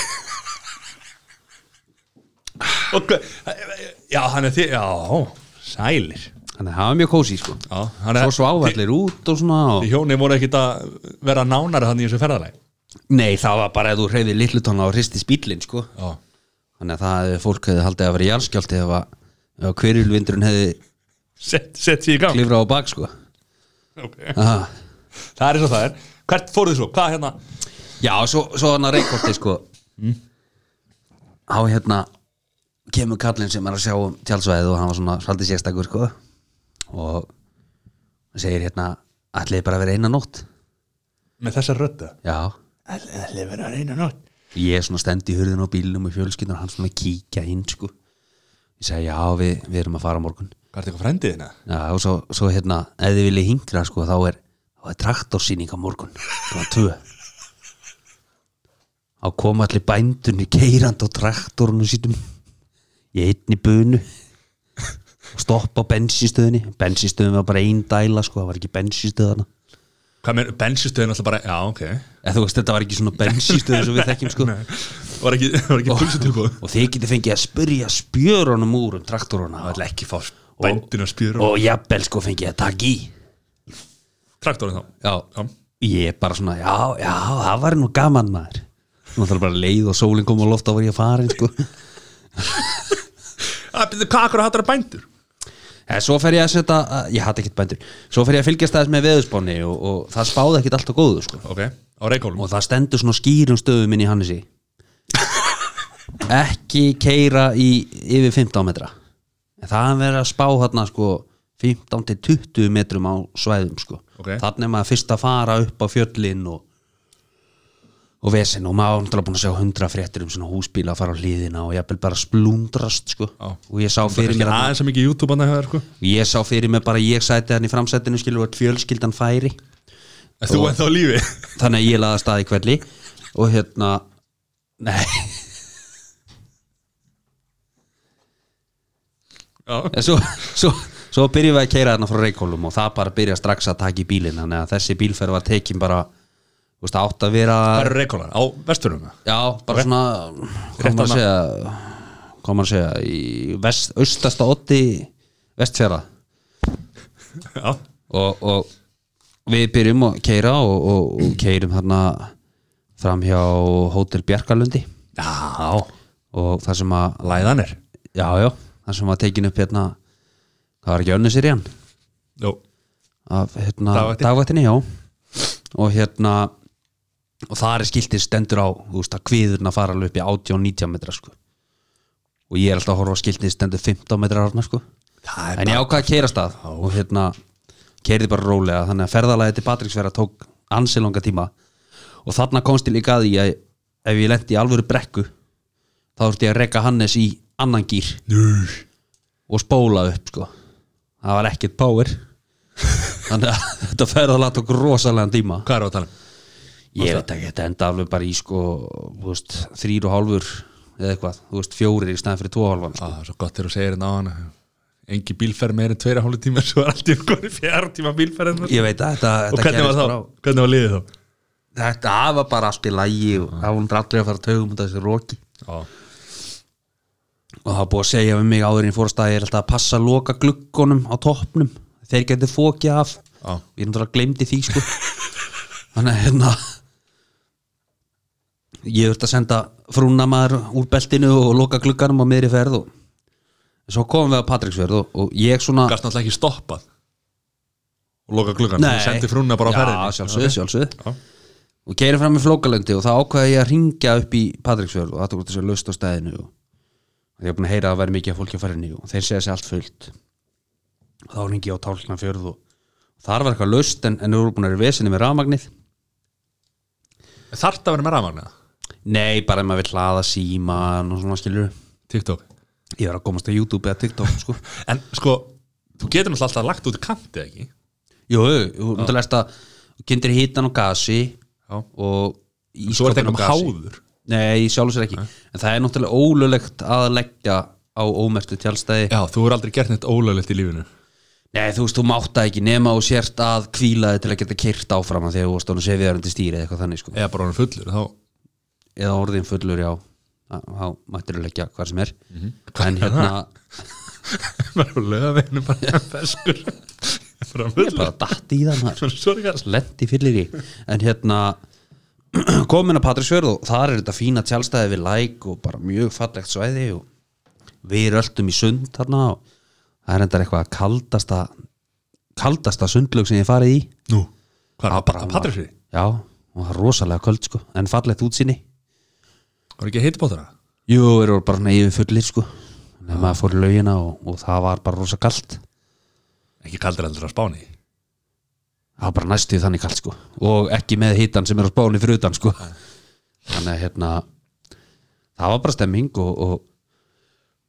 Speaker 1: Og hvað Já, hann er því, já, sælir
Speaker 2: þannig að það var mjög kósi sko
Speaker 1: Já, hann
Speaker 2: svo sváf allir út og svona og...
Speaker 1: Hjóni voru ekkit að vera nánari hann í þessu ferðalega
Speaker 2: nei, það var bara að þú hreyfið lillutónna og hristi spýtlinn sko
Speaker 1: Já
Speaker 2: þannig að það hefði fólk hefði haldið að vera jarðskjálti ef að, ef að hverjulvindurinn hefði
Speaker 1: Sett, sett sér í gang
Speaker 2: klifrað á bak sko
Speaker 1: okay.
Speaker 2: Aha.
Speaker 1: Það er eins og það er Hvert fóruð þið svo? Hvað hérna?
Speaker 2: Já, svo, svo hann að reykvorti sko Há hérna kemur kallinn sem er að sjá um tjálsvæðið og hann var svona svolítið sérstakur sko og hann segir hérna ætliði bara að vera eina nótt
Speaker 1: Með þessa rödda
Speaker 2: Já,
Speaker 1: Það er verið að reyna nátt
Speaker 2: ég svona stend í hurðin á bílnum og fjölskyldur og hann svona kíkja inn sko Ég segi já, við, við erum að fara á morgun
Speaker 1: Hvað er þetta frændið hérna?
Speaker 2: Já, og svo, svo hérna, ef þið viljið hingra sko, þá er, þá er traktorsýning á morgun klukkan tvö á koma allir bændunni keirand á traktorinu sínum í einni bunu og stoppa á bensinstöðinni bensinstöðin var bara ein dæla sko, það var ekki bensinstöðana
Speaker 1: Hvað með bensinstöðin alltaf bara Já, ok
Speaker 2: eða þú veist, þetta var ekki svona bensinstöð eins og við þekkjum sko
Speaker 1: Var ekki, var ekki pulsutöku
Speaker 2: og þið getið fengið að spyrja spjörunum úr um traktoruna
Speaker 1: Það er ekki fá Bændin að spýra
Speaker 2: og jafnvel sko fengið að taka í
Speaker 1: Traktorinn þá
Speaker 2: Já,
Speaker 1: Já.
Speaker 2: ég er bara svona, já, já, það var nú gaman maður Nú þarf bara leið og sólin kom á loft og var ég að fara sko.
Speaker 1: Að byrja kakar Ah, og hattar að bændur
Speaker 2: en Svo fer ég að setja, ég hatt ekkert bændur Svo fer ég að fylgjast aðeins með veðurspáni og, og það spáði ekkert alltaf góðu sko.
Speaker 1: Ok Á reikólum
Speaker 2: Og það stendur svona skýrum stöðum inn í Hannesi Ekki keira í yfir 15 metra En það er verið að spá þarna sko 15 til 20 metrum á svæðum sko
Speaker 1: Ok.
Speaker 2: Þarna er maður fyrst að fara upp á fjöllin og, og vesinn og maður náttúrulega búin að sjá hundra fréttir um svona húsbíla að fara á hliðina og jafnvel bara splundrast sko
Speaker 1: Já.
Speaker 2: og ég sá
Speaker 1: Það er
Speaker 2: fyrir mér
Speaker 1: kannski
Speaker 2: að
Speaker 1: aðeins að mikið YouTube hann að hafa sko.
Speaker 2: ég sá fyrir mér bara ég sæti hann í framsætinu skilur að fjölskyldan færi
Speaker 1: Er Þú ennþá á lífi
Speaker 2: þannig að ég laði að staði kvelli og hérna nei,
Speaker 1: Já,
Speaker 2: en svo, svo, svo byrjum við að keira þarna frá Reykjólum og það bara byrja strax að taka í bílinn þannig að þessi bílferð var tekin bara þú veist, átt að vera
Speaker 1: það eru reikólar á vesturum
Speaker 2: já, bara svona hvað maður að
Speaker 1: annað.
Speaker 2: segja hvað maður að segja í vest, austasta otti vestfjara
Speaker 1: Já,
Speaker 2: og, og við byrjum að keira og, og, og keirum þarna fram hjá Hótel Bjarkalundi
Speaker 1: já
Speaker 2: og það sem að
Speaker 1: læðanir
Speaker 2: já, já, það sem að tekin upp hérna það var ekki önnu sér í hann
Speaker 1: Jó,
Speaker 2: af hérna,
Speaker 1: Dagvaktin?
Speaker 2: dagvættinni, já og hérna og það er skiltið stendur á þú veist að kviðurna fara alveg upp í 80 og 90 metra sko og ég er alltaf að horfa á skiltið stendur 15 metra hérna sko
Speaker 1: það er
Speaker 2: en ég ákvað að keira stað og hérna keirði bara rólega þannig að ferðalagið til Patricksverða tók ansi langa tíma og þarna komst ég líka að því að ef ég lendi í alvöru brekku þá þurfti ég að rekka Hannes í annan gýr
Speaker 1: Nú,
Speaker 2: og spóla upp sko. það var ekkert power þannig að þetta ferðalag tók rosalega tíma
Speaker 1: Hvað er það að tala um?
Speaker 2: ég veit ekki, þetta enda alveg bara í sko, þú veist, þrýr og hálfur eða eitthvað, þú veist, fjórir í stæðan fyrir tvo og hálfan
Speaker 1: Á, Ah, það er svo gott þegar þú segir hérna þetta á hana Engi bílferð meir en tveira hólu tíma Svo er allt í hverju fjara tíma bílferð Og
Speaker 2: ég veit að þetta, þetta
Speaker 1: hvernig var
Speaker 2: gerðist
Speaker 1: þá?
Speaker 2: bara á-
Speaker 1: Hvernig var liðið þá?
Speaker 2: þetta það var bara allt í lægi og það var hún aldrei að fara að taugum út af þessu roki
Speaker 1: Já,
Speaker 2: og það var búið að segja við mig áður en ég fórst að ég er alltaf að passa að loka gluggunum á toppnum þeir getur fókið af
Speaker 1: já,
Speaker 2: ég náttúrulega glemdi því sko þannig að hérna ég þurfti að senda frúna maður úr beltinu og loka glugganum á miðri ferð og svo komum við að Patricksferð og, og ég svona
Speaker 1: gast náttúrulega ekki stoppað Og loka klukkan Þú sendi frúnna bara á ferðinni.
Speaker 2: já, sjálfsögð, sjálfsögð
Speaker 1: Já.
Speaker 2: og keirir fram í flókalöndi og það ákvaði ég að ringja upp í Patricksfjörð og þetta voru þessi löst á stæðinu og ég er búin að heyra að það væri mikið af fólki að fara inn í og þeir segja sér allt fullt og þá ringi ég á tálkna fjörð og þar var eitthvað löst en, en þau voru búin að vera í vesinni með rafmagnið
Speaker 1: Þarft að vera með rafmagna
Speaker 2: nei, bara ef maður vill hlaða síman og svona skilur
Speaker 1: TikTok
Speaker 2: ég var að komast á YouTube eða TikTok sko.
Speaker 1: En sko, þú getur náttúrulega alltaf lagt út í kanti ekki
Speaker 2: jú, jú, þú lest að kynntir hítan og gasi
Speaker 1: Já.
Speaker 2: og
Speaker 1: Svo er þetta
Speaker 2: ísskápnum
Speaker 1: eitthvað
Speaker 2: gasi.
Speaker 1: háður
Speaker 2: Nei, sjálf sér ekki En það er náttúrulega ólulegt að leggja á ómertu tjálstæði
Speaker 1: Já, þú er aldrei gert neitt ólöglegt í lífinu
Speaker 2: Nei, þú veist, þú mátt það ekki nema og sért að kvíla þig til að geta kyrt áfram af því að þú varst stóðan sefiðarandi stýri eða eitthvað þannig sko.
Speaker 1: Eða bara hann fullur, þá
Speaker 2: Eða orðin fullur, já Þá- Þá mættir þú leggja hvað sem er En
Speaker 1: Mhm. er
Speaker 2: hérna,
Speaker 1: Bara löfinu, bara feskur Bara hann
Speaker 2: ég er
Speaker 1: fullur
Speaker 2: bara datt í það maður
Speaker 1: Sorry, guys.
Speaker 2: Lendi fyllir í En hérna, komin að Patrísjörð og þar er þetta fína tjálstæði við læk og bara mjög fallegt svæði og við röltum í sund þarna og það er endar eitthvað kaldasta kaldasta sundlög sem ég hef farið í
Speaker 1: Nú, hvað er
Speaker 2: bara-
Speaker 1: það? Patrísfriði?
Speaker 2: já, og það er rosalega köld sko en fallegt útsýni
Speaker 1: Var ekki heiti bóttana?
Speaker 2: jú, þeir eru bara svona yfir fullir sko en maður fór í laugina og, og það var bara rosa kalt
Speaker 1: Ekki kaldir heldur á Spáni
Speaker 2: það var bara næstu þannig kalt sko og ekki með hitan sem er á spáni fyrir utan sko þannig að hérna það var bara stemming og, og,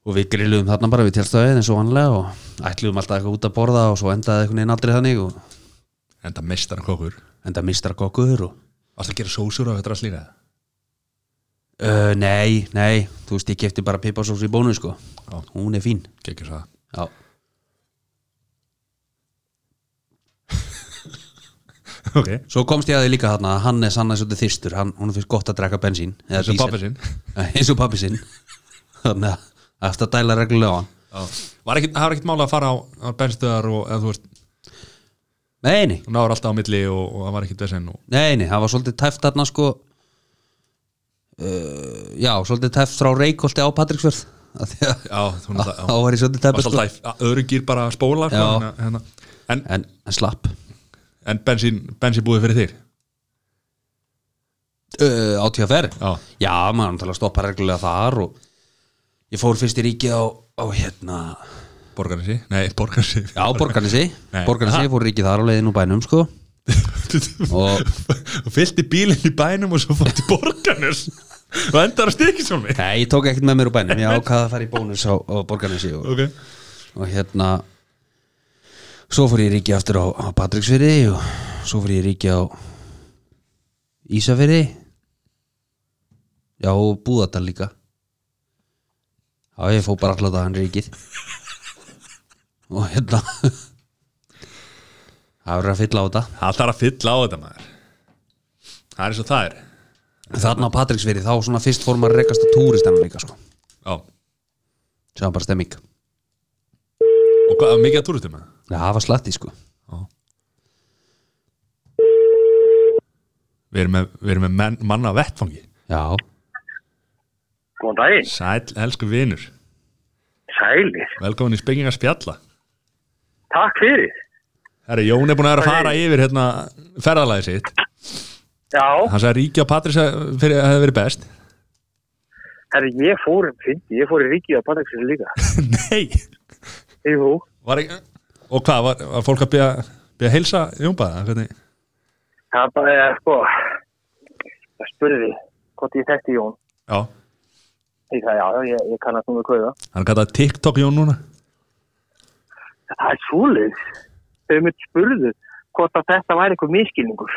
Speaker 2: og við grilluðum þarna bara við tjálstöðið eins og vanlega og ætluðum alltaf eitthvað út að borða og svo endaði eitthvað neinn aldrei þannig og
Speaker 1: Enda mestar en kokkur
Speaker 2: enda mistra kokkuður og
Speaker 1: Varst að gera sósur á þetta rast líka?
Speaker 2: Uh, nei, nei, þú veist ég kefti bara piparsós í bónu sko
Speaker 1: Já.
Speaker 2: Hún er fín
Speaker 1: Gekkur það
Speaker 2: Já.
Speaker 1: Ok
Speaker 2: Svo komst ég að því líka þarna að Hannes, hann er svolítið þyrstur hann, Hún finnst gott að drekka bensín eða
Speaker 1: Þessu
Speaker 2: dísel.
Speaker 1: pappi sinn
Speaker 2: Eh, Eins og pappi sinn Þannig að eftir að dæla reglulega á hann
Speaker 1: Var ekkit, það var ekkit mála að fara á, á benstöðar og eða þú veist,
Speaker 2: Nei, nei,
Speaker 1: þú náður alltaf á milli og, og það var ekkit vesinn og
Speaker 2: nei, nei, það var svolítið tæft þarna sko uh, Já, svolítið tæft frá Reykholti á Patricksfjörð Af því að-
Speaker 1: Já, þú náttúrulega
Speaker 2: Þá var ég svolítið
Speaker 1: Það
Speaker 2: tæft
Speaker 1: var
Speaker 2: sko.
Speaker 1: alltaf öðru gýr bara að spóla sko,
Speaker 2: Já.
Speaker 1: en, hérna. en,
Speaker 2: en, en slapp
Speaker 1: en bensín, bensín búið fyrir þig
Speaker 2: uh, á TFR
Speaker 1: Já.
Speaker 2: já maður náttúrulega stoppa reglulega þar og ég fór fyrst í ríkið á, á hérna
Speaker 1: Borgarnesi, nei, Borgarnesi
Speaker 2: já, Borgarnesi
Speaker 1: Nei.
Speaker 2: Borgarnesi, ég fór í ríkið þar á leiðin úr bænum sko og
Speaker 1: og fyllti bílinn í bænum og svo fór til borganes og endar að stikið svo mig
Speaker 2: Nei, ég tók ekkert með mér úr bænum, ég ákvaða að fara í bónus á, á Borgarnesi og,
Speaker 1: ok,
Speaker 2: og hérna svo fór ég ríki aftur á, á Patricksfyrði og svo fór ég ríki á Ísafyrði Já, og Búðardal líka Já, ég fór bara alltaf að hann ríkið og hérna Það verður að fylla á þetta
Speaker 1: það þarf að fylla á þetta maður það er eins og það er
Speaker 2: Þarna á Patricksfyrði þá svona fyrst fór maður að rekast á túristemma líka sko
Speaker 1: já, og
Speaker 2: sem bara stemming Já,
Speaker 1: hvað, mikið að túrutum það?
Speaker 2: það var slatti sko
Speaker 1: við erum með, við erum með menn, manna á vettfangi
Speaker 2: Já,
Speaker 3: Góðan daginn,
Speaker 1: sæl, elsku vinur
Speaker 3: sælir,
Speaker 1: velkomin í spengingar spjalla
Speaker 3: takk fyrir.
Speaker 1: Herri, Jón er búin að vera að fara yfir hérna, ferðalagi sitt
Speaker 3: Já,
Speaker 1: hann sagði að Ríki og Patrís hefði verið best
Speaker 3: herri, ég fór, fyndi, ég fór í Ríkið á Bandagsins líka.
Speaker 1: nei
Speaker 3: Jú,
Speaker 1: var ekki, og hvað, var, var fólk að byrja, byrja að heilsa Jónbaða hvernig
Speaker 3: það er bara, eh, sko, það spurði hvort ég þekkti Jón.
Speaker 1: Já,
Speaker 3: Ég sagði, já, já, ég, ég kannast nú með kauða.
Speaker 1: hann er kallað TikTok Jón núna
Speaker 3: Það er svoleiðis. Þau mitt spurðu hvort að þetta væri eitthvað miskilningur.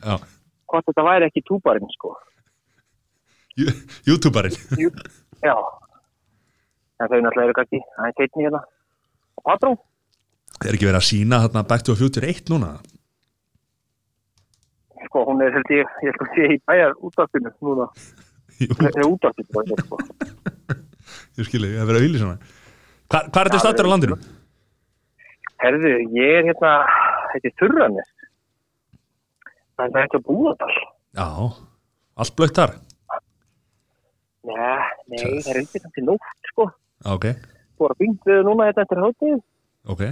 Speaker 1: Já,
Speaker 3: Hvort þetta væri ekki túbarinn, sko.
Speaker 1: Jú- YouTuberinn
Speaker 3: Jú, já. En þau náttúrulega eru kannski, það er teitni hérna. Patrón?
Speaker 1: Er ekki verið að sína þarna Back to the Future 1 núna?
Speaker 3: Sko, hún er, held ég, ég held að sé í bæjar útvarpinu núna.
Speaker 1: Jú,
Speaker 3: Það er útvarpinu, það er sko.
Speaker 1: ég skilja, ég hef verið að vilja svona Hvar, hvar er þetta stattur á landinu?
Speaker 3: Herðu, ég er hérna, þetta er Þurranes. Það er ekki að búa þetta.
Speaker 1: Já, allt blökt þar
Speaker 3: Nei, nei, það er ekki samt í nótt, sko.
Speaker 1: Já, Ok,
Speaker 3: Búið að byngt við núna þetta eftir hátíð.
Speaker 1: ok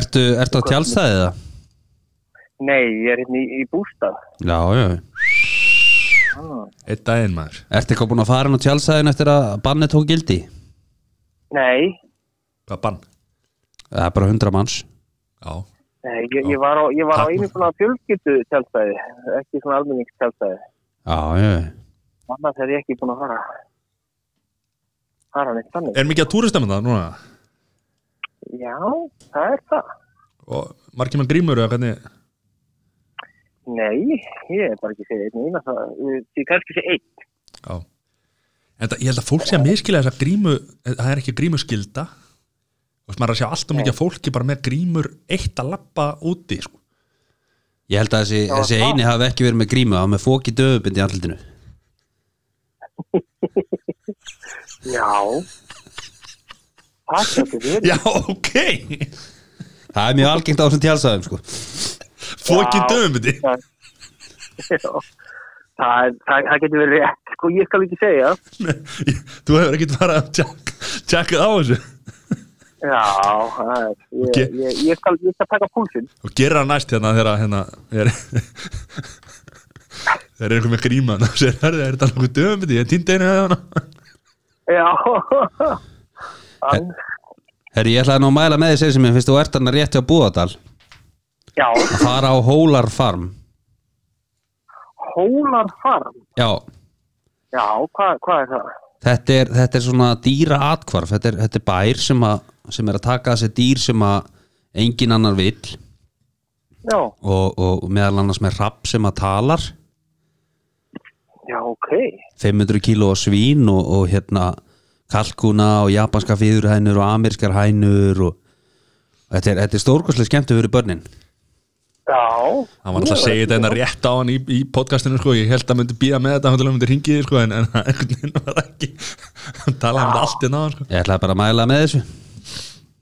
Speaker 2: Ertu, ertu að tjálstæði það?
Speaker 3: Nei, ég er hérna í, í bústað.
Speaker 2: Já, já, já
Speaker 3: Ah.
Speaker 1: Eitt daginn maður
Speaker 2: Ertu eitthvað búin að fara inn á tjálsæðin eftir að banni tók gildi?
Speaker 3: Nei,
Speaker 1: Hvað bann?
Speaker 2: Það er bara 100 manns
Speaker 1: Já,
Speaker 3: nei, ég, ég var á, ég var á
Speaker 1: Takk.
Speaker 3: einu svona fjölskyttu tjálstæði, ekki svona almenningstjálstæði.
Speaker 2: Já, já, já.
Speaker 3: Annars er ég ekki búin að fara. Fara neitt þannig.
Speaker 1: er mikið að túristum það núna?
Speaker 3: Já, það er það.
Speaker 1: Og margir mann grímur eða hvernig?
Speaker 3: Nei, ég er bara ekki segið einn eina það. Ég kannski segið einn.
Speaker 1: Já En það, ég held að fólk sé að miskilja þess að grímu það er ekki grímuskylda og maður er að sjá allt og mikið af fólki bara með grímur eitt að lappa úti sko.
Speaker 2: Ég held að þessi, þessi
Speaker 3: það.
Speaker 2: eini hafi ekki verið með grímu Það var með fóki döfubind í andlitinu
Speaker 3: Já. Takk fyrir þér.
Speaker 1: Já, ok
Speaker 2: Það er mjög algengt á þessum tjálsæðum sko.
Speaker 1: Fókin
Speaker 3: Já.
Speaker 1: döfumbyndi
Speaker 3: Það, það, það getur verið rétt, sko, ég skal ekki segja.
Speaker 1: Þú hefur ekkert farað að tjekk- tjekkað á þessu
Speaker 3: Já, það er- ég,
Speaker 1: Ok.
Speaker 3: ég, ég, skal, ég skal taka púlsinn.
Speaker 1: og gera það næst hérna þegar að, hérna er þegar er einhver með gríma og sér herði, er þetta nokkuð döfumbyndi ég týndi einu hérna. að hana
Speaker 3: Já. Hann,
Speaker 2: Herri, ég ætlaði nú að mæla með því sem ég finnst þú ert hann að rétti á Búðardal
Speaker 3: já,
Speaker 2: að fara á Hólar Farm
Speaker 3: Hólar farm.
Speaker 2: Já,
Speaker 3: Já, hvað hva er það?
Speaker 2: þetta er, þetta er svona dýra atkvarf þetta er, þetta er bær sem, að, sem er að taka þessi dýr sem að engin annar vill
Speaker 3: Já,
Speaker 2: og, og meðal annars með rapp sem að talar
Speaker 3: já, ok.
Speaker 2: 500 kíló af svín og, og hérna kalkuna og japanska fíðurhænur og amerskar hænur og þetta er, þetta er stórkoslega skemmt að vera börnin
Speaker 3: Já.
Speaker 1: hann var alltaf að segja þetta hérna rétt á hann í, í podcastinu sko. ég held að hann myndi býja með þetta hann til að hann myndi ringið sko, en, en hann einhvern veginn var ekki hann talaði um þetta allt hérna á hann sko.
Speaker 2: ég ætlaði bara að mæla með þessu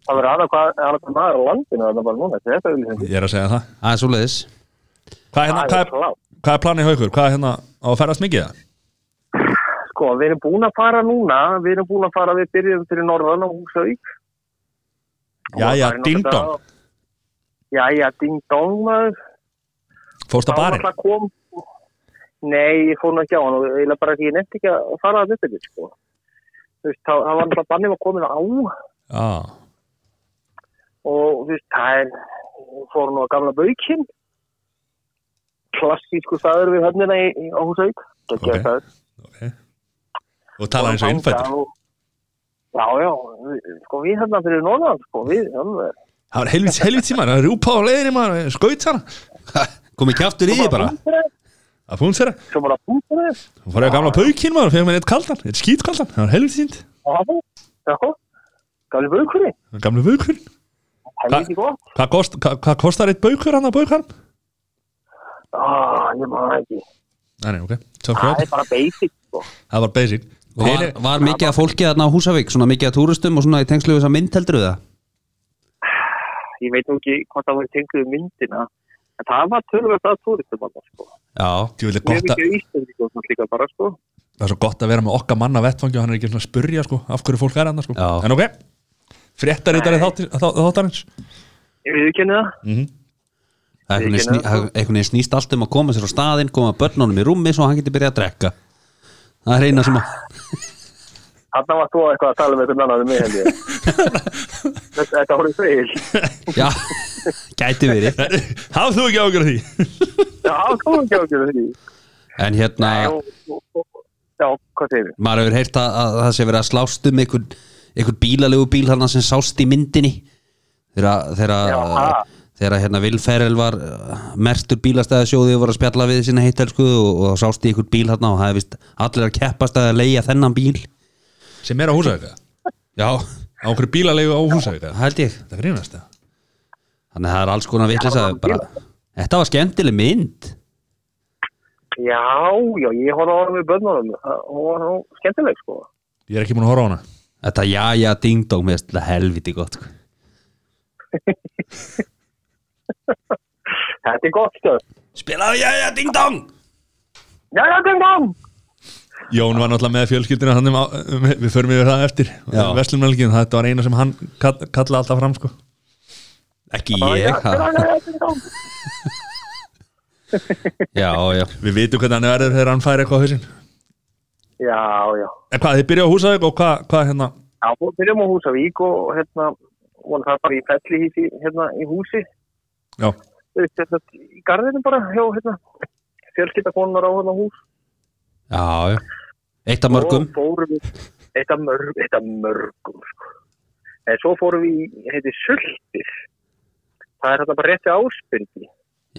Speaker 3: Það verður annað hvað, annað hvað maður á landinu, það er bara núna, þetta er auðvitað.
Speaker 1: ég er að segja það
Speaker 2: aðeins og leiðis
Speaker 1: hvað er, hérna,
Speaker 3: Það er
Speaker 1: hvað er,
Speaker 3: klárt.
Speaker 1: hvað er planið hjá ykkur? hvað er hérna á að ferðast mikið? eða?
Speaker 3: Sko, við erum búin að fara núna, við erum búin að fara, við byrjum fyrir norðan á Húsavík.
Speaker 1: Jæja, ding dong.
Speaker 3: Jæja, ding dong, maður.
Speaker 1: fórst á
Speaker 3: Þá
Speaker 1: barinn?
Speaker 3: náttúrulega kom... Nei, ég fór nú ekki á hann og eiginlega bara því ég nefndi ekki að fara að þetta, sko. Þú veist, það var náttúrulega bannið að komin á og
Speaker 1: já,
Speaker 3: þú veist, það er, fór nú að gamla baukinn klassísku staður við höfnina í, í Óhúsauk
Speaker 1: Ok. okay. og
Speaker 3: sko.
Speaker 1: tala eins og innfættur
Speaker 3: Já, já, við- sko við hérna fyrir norðan, sko við, alveg
Speaker 1: það var helvits, helvits tíma, það er rúpa á leiðinni maður, skaut hana
Speaker 2: komið kjaftur í því bara
Speaker 1: að fún þeirra,
Speaker 3: Svo bara búið þér,
Speaker 1: hún fór ég að gamla paukinn maður, fyrir mér eitt kaldan, eitt skítkaldan það var helvits tínd,
Speaker 3: já, já, gæli baukurinn,
Speaker 1: gamla baukur
Speaker 3: helviti gott
Speaker 1: hvað, kost, hvað, hvað kostar eitt baukur hann á baukarm?
Speaker 3: Ah, ég maður það ekki,
Speaker 1: Nei, nei, ok, tough
Speaker 3: það
Speaker 1: crowd,
Speaker 3: er bara basic, sko
Speaker 1: það var basic
Speaker 2: Og var,
Speaker 1: Heyri-
Speaker 2: var mikið af fólki þarna á Húsavík svona mikið af túristum og svona í tengslu við þess að mynd heldur við það
Speaker 3: Ég veit nú ekki hvort það var tenguð myndina En það var tölvægt að túristum annars, sko
Speaker 2: Já,
Speaker 1: Djú, þetta er
Speaker 3: Mjög
Speaker 1: gott að-
Speaker 3: mikið íslendingum, svona líka bara, sko
Speaker 1: það er svo gott að vera með okkar manna vettfangi og hann er ekki svona að spurja sko, af hverju fólk er hann sko.
Speaker 2: Já.
Speaker 1: en ok, fréttarítari þáttir- þá- þáttarins
Speaker 3: Ég við kynni það
Speaker 1: mm -hmm.
Speaker 2: það er einhvern veginn
Speaker 3: Ekki
Speaker 2: sný- það er einhvern veginn snýst allt um að koma sér á staðinn koma börnunum í rúmi svo hann getur byrjað að drekka Það er eina sem að
Speaker 3: Þarna var þú eitthvað að tala með einhvern annan en mig, held ég Þetta- Þetta voru feil
Speaker 2: Já, gæti verið
Speaker 1: hafðu þú ekki ágjörð því
Speaker 3: Já, þú ekki okkur því
Speaker 2: En hérna,
Speaker 3: Og- og- og- Já, hvað segir við?
Speaker 2: maður hefur heyrt að, að það sé verið að slást um einhvern, einhvern bílalegu bíl hann sem sást í myndinni þegar
Speaker 3: Já, ha.
Speaker 2: þegar- þegar hérna Vilferrel var mertur bílastæðasjóði og voru að spjalla við sína heitelsku og, og sást í einhvern bíl hann og það hefði vist allir að keppast að leigja þennan bíl
Speaker 1: sem er á húsavíka
Speaker 2: Já,
Speaker 1: á okkur bílalegu á húsavíka
Speaker 2: held ég
Speaker 1: þetta grínast það
Speaker 2: Þannig að það er alls konar vitlis að bara, þetta var skemmtileg mynd
Speaker 3: Já, já, ég horfði á hann með börnunum Hún var nú skemmtileg, sko
Speaker 1: ég er ekki múin að horfa á hana
Speaker 2: Þetta já já ding dong mér stila helviti gott sko.
Speaker 3: Þetta er gott stöð
Speaker 1: spilaðu já já ding dong
Speaker 3: Já, já, ding dong
Speaker 1: Jón var náttúrulega með fjölskyldina hann um, á- um, við förum yfir það eftir
Speaker 2: Já.
Speaker 1: Vestlumvelgin, þetta var eina sem hann kall, kallaði alltaf fram sko
Speaker 2: Ekki ég
Speaker 3: Já, já,
Speaker 2: ha.
Speaker 3: já, ding dong
Speaker 2: Já já
Speaker 1: við vitum hvernig hann verður þegar hann fær eitthvað á hausinn
Speaker 3: Já, já
Speaker 1: en hvað, þið byrjaðu á húsavík og hvað, hvað hérna
Speaker 3: Já, við byrjum á Húsavík og hérna, voru það bara í fellihísi hérna í húsi,
Speaker 1: já,
Speaker 3: þú veist, hérna, í garðinu bara, hjá hérna, fjölskyldakonunar á hérna hús.
Speaker 2: Já já Eitt af mörgum
Speaker 3: Og fórum við, þetta mörg, þetta mörgum, sko. En svo fórum við í, heiti, Sultir. Það er hérna bara rétti áspyrgi.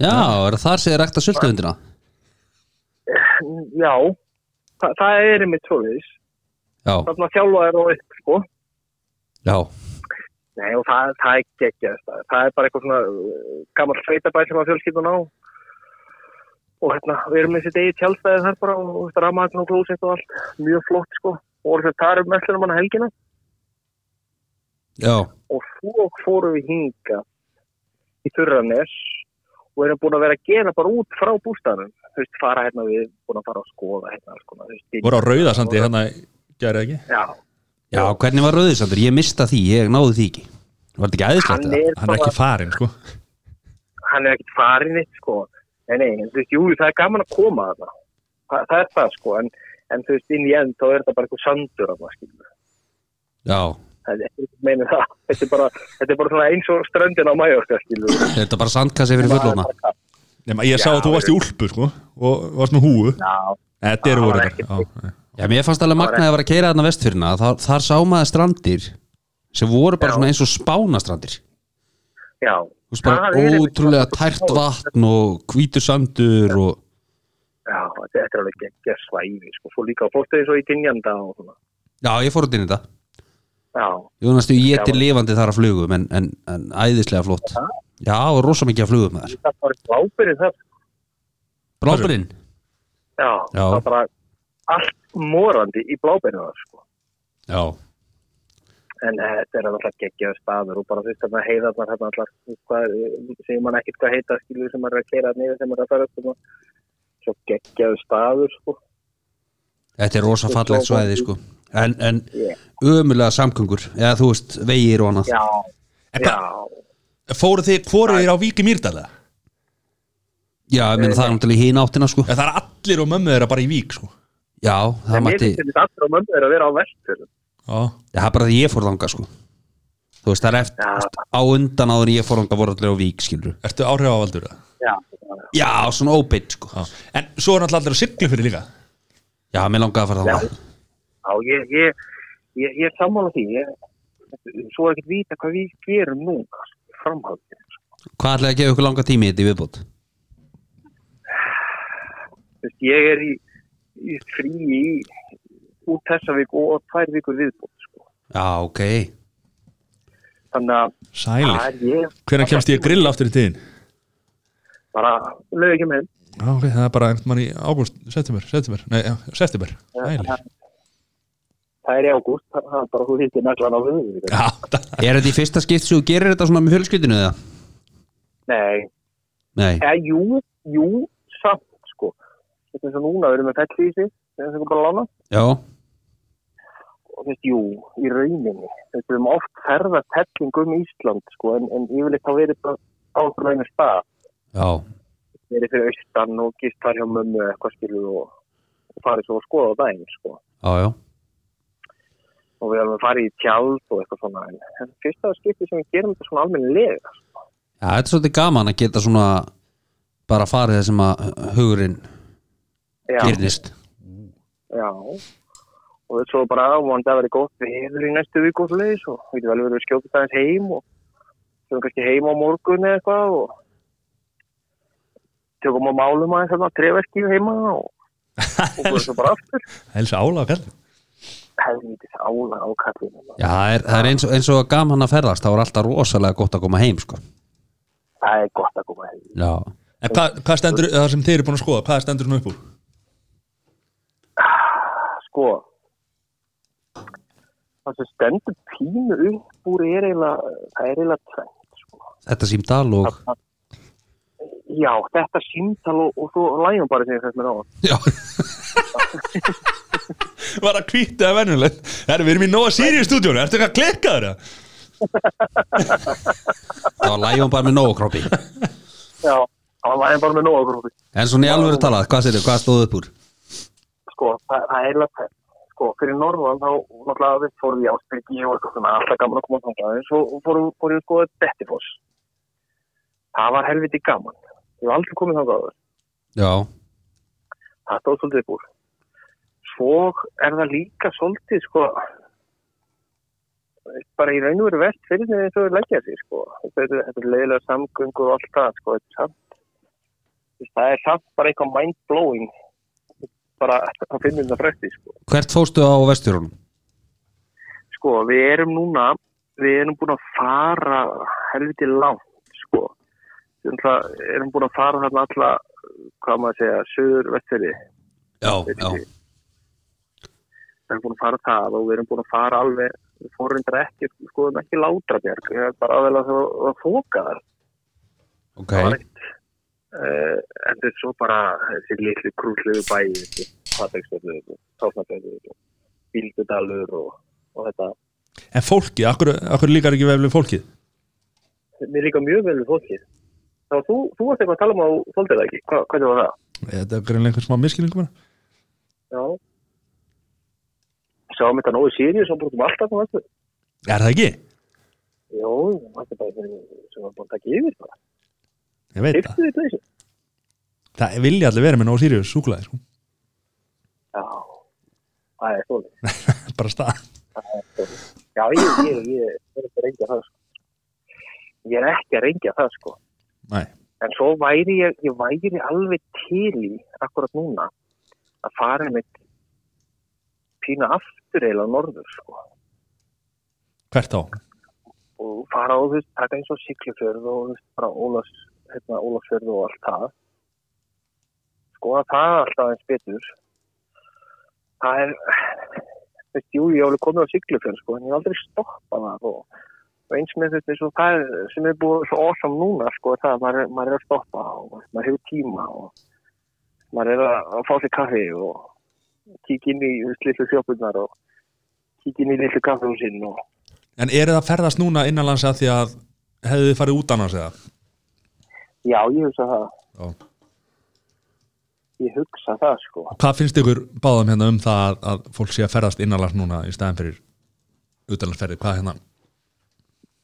Speaker 2: Já, er það þar sem er rækta sultuhundina?
Speaker 3: Já, það, það er einmitt svoleiðis.
Speaker 2: Já,
Speaker 3: Þarna þjálfa er á upp, sko.
Speaker 2: já,
Speaker 3: Nei, og það, það er geggjast. Það, það er bara eitthvað svona uh, gammal sveitabæl sem að fjölskyldun á. Og hérna, við erum með þessi degi tjálstæði þar bara og þetta rammaðin og klósett og allt. Mjög flott, sko. Og voru þetta þar um mellunum hann helgina.
Speaker 2: já,
Speaker 3: Og svo fórum við hinga í Þurranes og erum búin að vera að gera bara út frá bústæðanum. Þú veist, fara hérna við, búin að fara að skoða hérna alls konar. þú veist,
Speaker 1: voru á rauðasandi hérna gerði ekki
Speaker 3: Já,
Speaker 2: já, hvernig var rauðisandur? Ég mista því, ég náði því ekki Var þetta ekki
Speaker 3: hann
Speaker 2: æðislegt? eða?
Speaker 3: er,
Speaker 1: hann er
Speaker 3: bara-
Speaker 1: ekki farin sko
Speaker 3: hann er ekkert farin eitt sko en nei, en þú veist, jú, það er gaman að koma þarna Þa, það er það sko en, en þú veist, inn í end, þá er þetta bara eitthvað sandur þarna, skilur
Speaker 2: Já,
Speaker 3: það er ekki meina það þetta er bara, þetta er bara svona eins og ströndin á Mallorca skilur
Speaker 2: er þetta bara sandkassi fyrir fullóna?
Speaker 1: Nefna, ég sá
Speaker 3: Já,
Speaker 1: að þú varst í úlpu sko og varst með húu
Speaker 3: já,
Speaker 1: Þetta eru
Speaker 3: Það
Speaker 1: voru
Speaker 3: var ekki
Speaker 1: þetta
Speaker 2: Já, mér fannst alveg magnaði að vera að keira þarna vestfyrna þar, þar sá maður strandir sem voru bara
Speaker 3: Já.
Speaker 2: svona eins og spánastrandir
Speaker 3: já
Speaker 2: Þú veist bara
Speaker 3: Það er einmitt
Speaker 2: ótrúlega
Speaker 3: svona-
Speaker 2: tært vatn og hvítur sandur og
Speaker 3: já, þetta þetta er alveg geggja svæði sko, svo líka fórstu þið svo í Dinjanda og svona,
Speaker 2: Já, ég fór út inn í þetta
Speaker 3: já,
Speaker 2: Ég vannast ég
Speaker 3: Já.
Speaker 2: geti lifandi þar að flugum en, en, en æðislega flott Já, og rosa mikið að flugum þar
Speaker 3: það var ábyrðið það,
Speaker 2: Blábyrinn
Speaker 3: já,
Speaker 2: Já.
Speaker 3: það var bara allt morandi í blábyrðið það sko
Speaker 2: Já,
Speaker 3: en eh, þetta er alltaf geggjaður staður og bara þú veist þarna heiðarnar þarna allar þú veist, hvað er- segir mann ekkert hvað heita skilur sem maður er að keira niður sem maður er að fara upp þarna. svo geggjaður staður sko.
Speaker 2: þetta er rosa fallegt
Speaker 3: svo-
Speaker 2: svæði sko En, en
Speaker 3: Já.
Speaker 2: ömulega samgöngur eða þú veist, vegir og annað
Speaker 3: já,
Speaker 1: En
Speaker 3: já,
Speaker 1: hvað, fóru þið, hvoru þið á Vík í Mýrdal eða?
Speaker 2: Já, ég meina það er náttúrulega í hín áttina sko
Speaker 1: Eða Það er allir og mömmu þeirra bara í Vík sko
Speaker 2: Já, það
Speaker 3: en mér
Speaker 2: mætti,
Speaker 3: finnst þetta allra mömmu er að vera á vestur
Speaker 1: Já,
Speaker 2: Já, það er bara því ég fór þanga sko þú veist, það er eftir
Speaker 3: Já.
Speaker 2: á undan áður en ég fór þangað voru allir á vík, skilur
Speaker 1: Ertu áhrifavaldur? eða?
Speaker 3: já,
Speaker 2: já, svona óbeitt, sko
Speaker 1: Já. En svo er náttúrulega allir að siglu fyrir líka
Speaker 2: já, mér langaði að fara
Speaker 3: Já.
Speaker 2: þangað
Speaker 3: já ég, ég, ég, ég er sammála því ég, svo er ekkert vita hvað við gerum núna framhaldið
Speaker 2: hvað ætlaði að gefa ykkur langa tími í þetta í viðbútt
Speaker 3: Þú veist, ég er í, í frí í út þessa viku og tvær vikur viðbútt sko.
Speaker 2: já, ok,
Speaker 3: þannig að
Speaker 1: Sæli
Speaker 3: það er ég
Speaker 1: Hvernig kemst ég að grilla aftur í tíðin?
Speaker 3: bara lög ekki með
Speaker 1: Já, ok, það er bara einhvern mann í ágúst, september, september, nei, já, september, æli.
Speaker 3: það er í ágúst, það það er bara þú hittir naglan á höfuðu
Speaker 1: Já, það-
Speaker 2: er þetta í fyrsta skipt sem þú gerir þetta svona með fjölskyldinu eða?
Speaker 3: nei,
Speaker 2: nei,
Speaker 3: eða jú, jú samt sko, þetta er svo núna við erum með fellísi, það er það bara að lána
Speaker 2: já,
Speaker 3: og þú veist, jú, í rauninni Þú veist, við erum oft ferðast helling um Ísland sko, en, en yfirleitt þá verið bara á okkur einu stað
Speaker 2: já,
Speaker 3: verið fyrir austan og gist þar hjá mömmu eða eitthvað skilu og, og farið svo að skoða á daginn sko.
Speaker 2: já, já
Speaker 3: og við erum að fara í tjald og eitthvað svona en en fyrsta skipti sem við gerum þetta svona almennilega
Speaker 2: Já, þetta er svolítið gaman að geta svona bara farið það sem að hugurinn
Speaker 3: já,
Speaker 2: gerðist
Speaker 3: já og við svo bara vonandi að vera gott viður í næstu viku og svoleiðis og við getum vel verið að skjóta það eins heim og þurfum kannski heim á morgun eða eitthvað og tökum á málum aðeins þarna treverki heima og, og búum svo bara aftur
Speaker 1: helsa álaga kallið.
Speaker 3: helvitis álag á kallinu maður.
Speaker 2: Já, það er, það er eins, og, eins og gaman að ferðast þá er alltaf rosalega gott að koma heim sko.
Speaker 3: það er gott að koma heim
Speaker 2: Já,
Speaker 1: En hvað, hvað stendur, það sem þeir eru búin að skoða, hvað stendur svona upp úr?
Speaker 3: sko það sem stendur pínu upp úr er eiginlega það er eiginlega tvennt sko.
Speaker 2: þetta símdal og
Speaker 3: Það- já, þetta símtal og, og svo lægum bara sem ég þess með ráðan
Speaker 2: Já,
Speaker 1: Var að kvítið að venjulegt. Herru, við erum í Nova Sirius stúdíónu, ertu eitthvað að klikka þeirra?
Speaker 2: það var lægjum bara með nóg á kroppi
Speaker 3: já, það lægum bara með nóg okkur úti.
Speaker 2: En svona í alvöru talað, hvað sér þau, hvað stóð upp úr?
Speaker 3: sko, það, það er eiginlega tvennt sko, fyrir norðan þá náttúrulega við fórum í Ásbyrgi og eitthvað svona alltaf gaman að koma þangað en svo fórum fór við sko Dettifoss það var helviti gaman ég var aldrei komið þangað áður.
Speaker 2: Já,
Speaker 3: það stóð svolítið upp úr svo er það líka svolítið sko bara í raun og veru vest fyrir því eins og við leggja sig sko þetta er, þetta er leiðilega samgöngu og allt það sko þetta er samt þú veist, það er samt bara eitthvað mind blowing bara að finna þetta frætti sko.
Speaker 2: hvert fórstu á vesturunum?
Speaker 3: sko við erum núna við erum búin að fara helviti langt sko við erum náttúrulega- erum búin að fara þarna alltaf hvað á maður að segja, söður vestfyrir
Speaker 2: Já, já,
Speaker 3: við erum búin að fara það og við erum búin að fara alveg við fórundar ekki, skoðum ekki Látrabjörg við erum bara aðeins að, að fóka þar
Speaker 2: ok
Speaker 3: það var eitt uh, en þetta er svo bara þessi litlu krúsluðu bæði Patræksfjörðu, Tásnafjörðu Bíldudalur og, og þetta
Speaker 1: En fólkið, akkur, akkur líkar ekki vel við fólkið?
Speaker 3: mér líka mjög vel við fólkið þá þú, þú varst eitthvað að tala um að þú þóldið það ekki Hva, hvað var það?
Speaker 1: Þetta er greinlega einhvern smá miskilningum hérna.
Speaker 3: Já Sáum þetta nógu sírið sem brútum alltaf um þessu
Speaker 1: Er það ekki?
Speaker 3: Jó, þetta er bara fyrir sem var búin að taka yfir bara.
Speaker 1: Ég veit það.
Speaker 3: Hyrtu þið þessu?
Speaker 1: Það vilja allir vera með Nova Sirius súklaði, sko.
Speaker 3: Já, það er svolítið.
Speaker 1: Bara stað.
Speaker 3: Já, ég, ég, ég, ég er ekki að reyngja það sko. Ég er ekki að reyngja það sko.
Speaker 1: Nei.
Speaker 3: En svo væri ég, ég væri alveg til í akkurat núna að fara með pína aftur eiginlega norður sko.
Speaker 1: Hvert á?
Speaker 3: Og fara og þú veist, taka eins og siklufjörð og þú veist, bara Ólafs, hérna, Ólafsfjörð og allt það. Sko að það alltaf eins betur. Það er, þú veist, jú, ég hef alveg komið á Siglufjörn, sko, en ég hef aldrei stoppað það og, og eins með þetta, svo, það er, sem er búið svo awesome núna, sko, er það að maður, er- maður er að stoppa og maður hefur tíma og maður er að, að fá sér kaffi og kíkja inn í þú veist, litlu sjópunar og kíkja inn í litlu kaffehúsinn og
Speaker 1: En eru það að ferðast núna innanlands að því að hefðu þið farið út annars eða?
Speaker 3: já, ég hugsa það,
Speaker 1: Já.
Speaker 3: ég hugsa það, sko.
Speaker 1: Hvað finnst ykkur báðum hérna um það að, að fólk sé að ferðast innanlands núna í staðan fyrir utanlandsferði? Hvað hérna?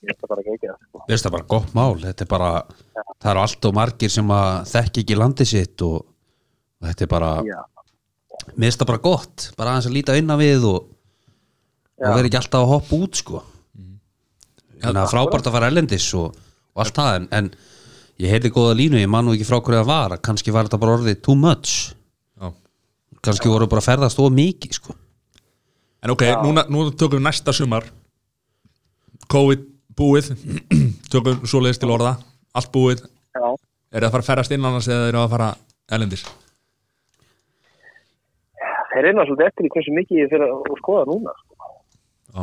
Speaker 3: ég ætla bara að gegja það sko.
Speaker 2: veist það bara gott mál þetta er bara, það eru allt og margir sem að þekki ekki landi sitt og, og þetta er bara,
Speaker 3: Já,
Speaker 2: mér finnst það bara gott bara aðeins að líta innan við og, og
Speaker 3: Já.
Speaker 2: vera ekki alltaf að hoppa út sko þannig að frábært að fara erlendis og, og allt það en, en ég heyrði góða línu, ég man nú ekki frá hverju það var að kannski var þetta bara orðið too much
Speaker 1: Já.
Speaker 2: kannski voru bara að ferðast of mikið sko.
Speaker 1: En ok, núna, nú tökum við næsta sumar COVID búið tökum svoleiðis til orða allt búið,
Speaker 3: já.
Speaker 1: er það að fara að ferðast innanast eða er það að fara erlendis
Speaker 3: Þeir reyna svolítið eftir í hversu mikið ég fyrir að skoða núna sko.
Speaker 1: Já.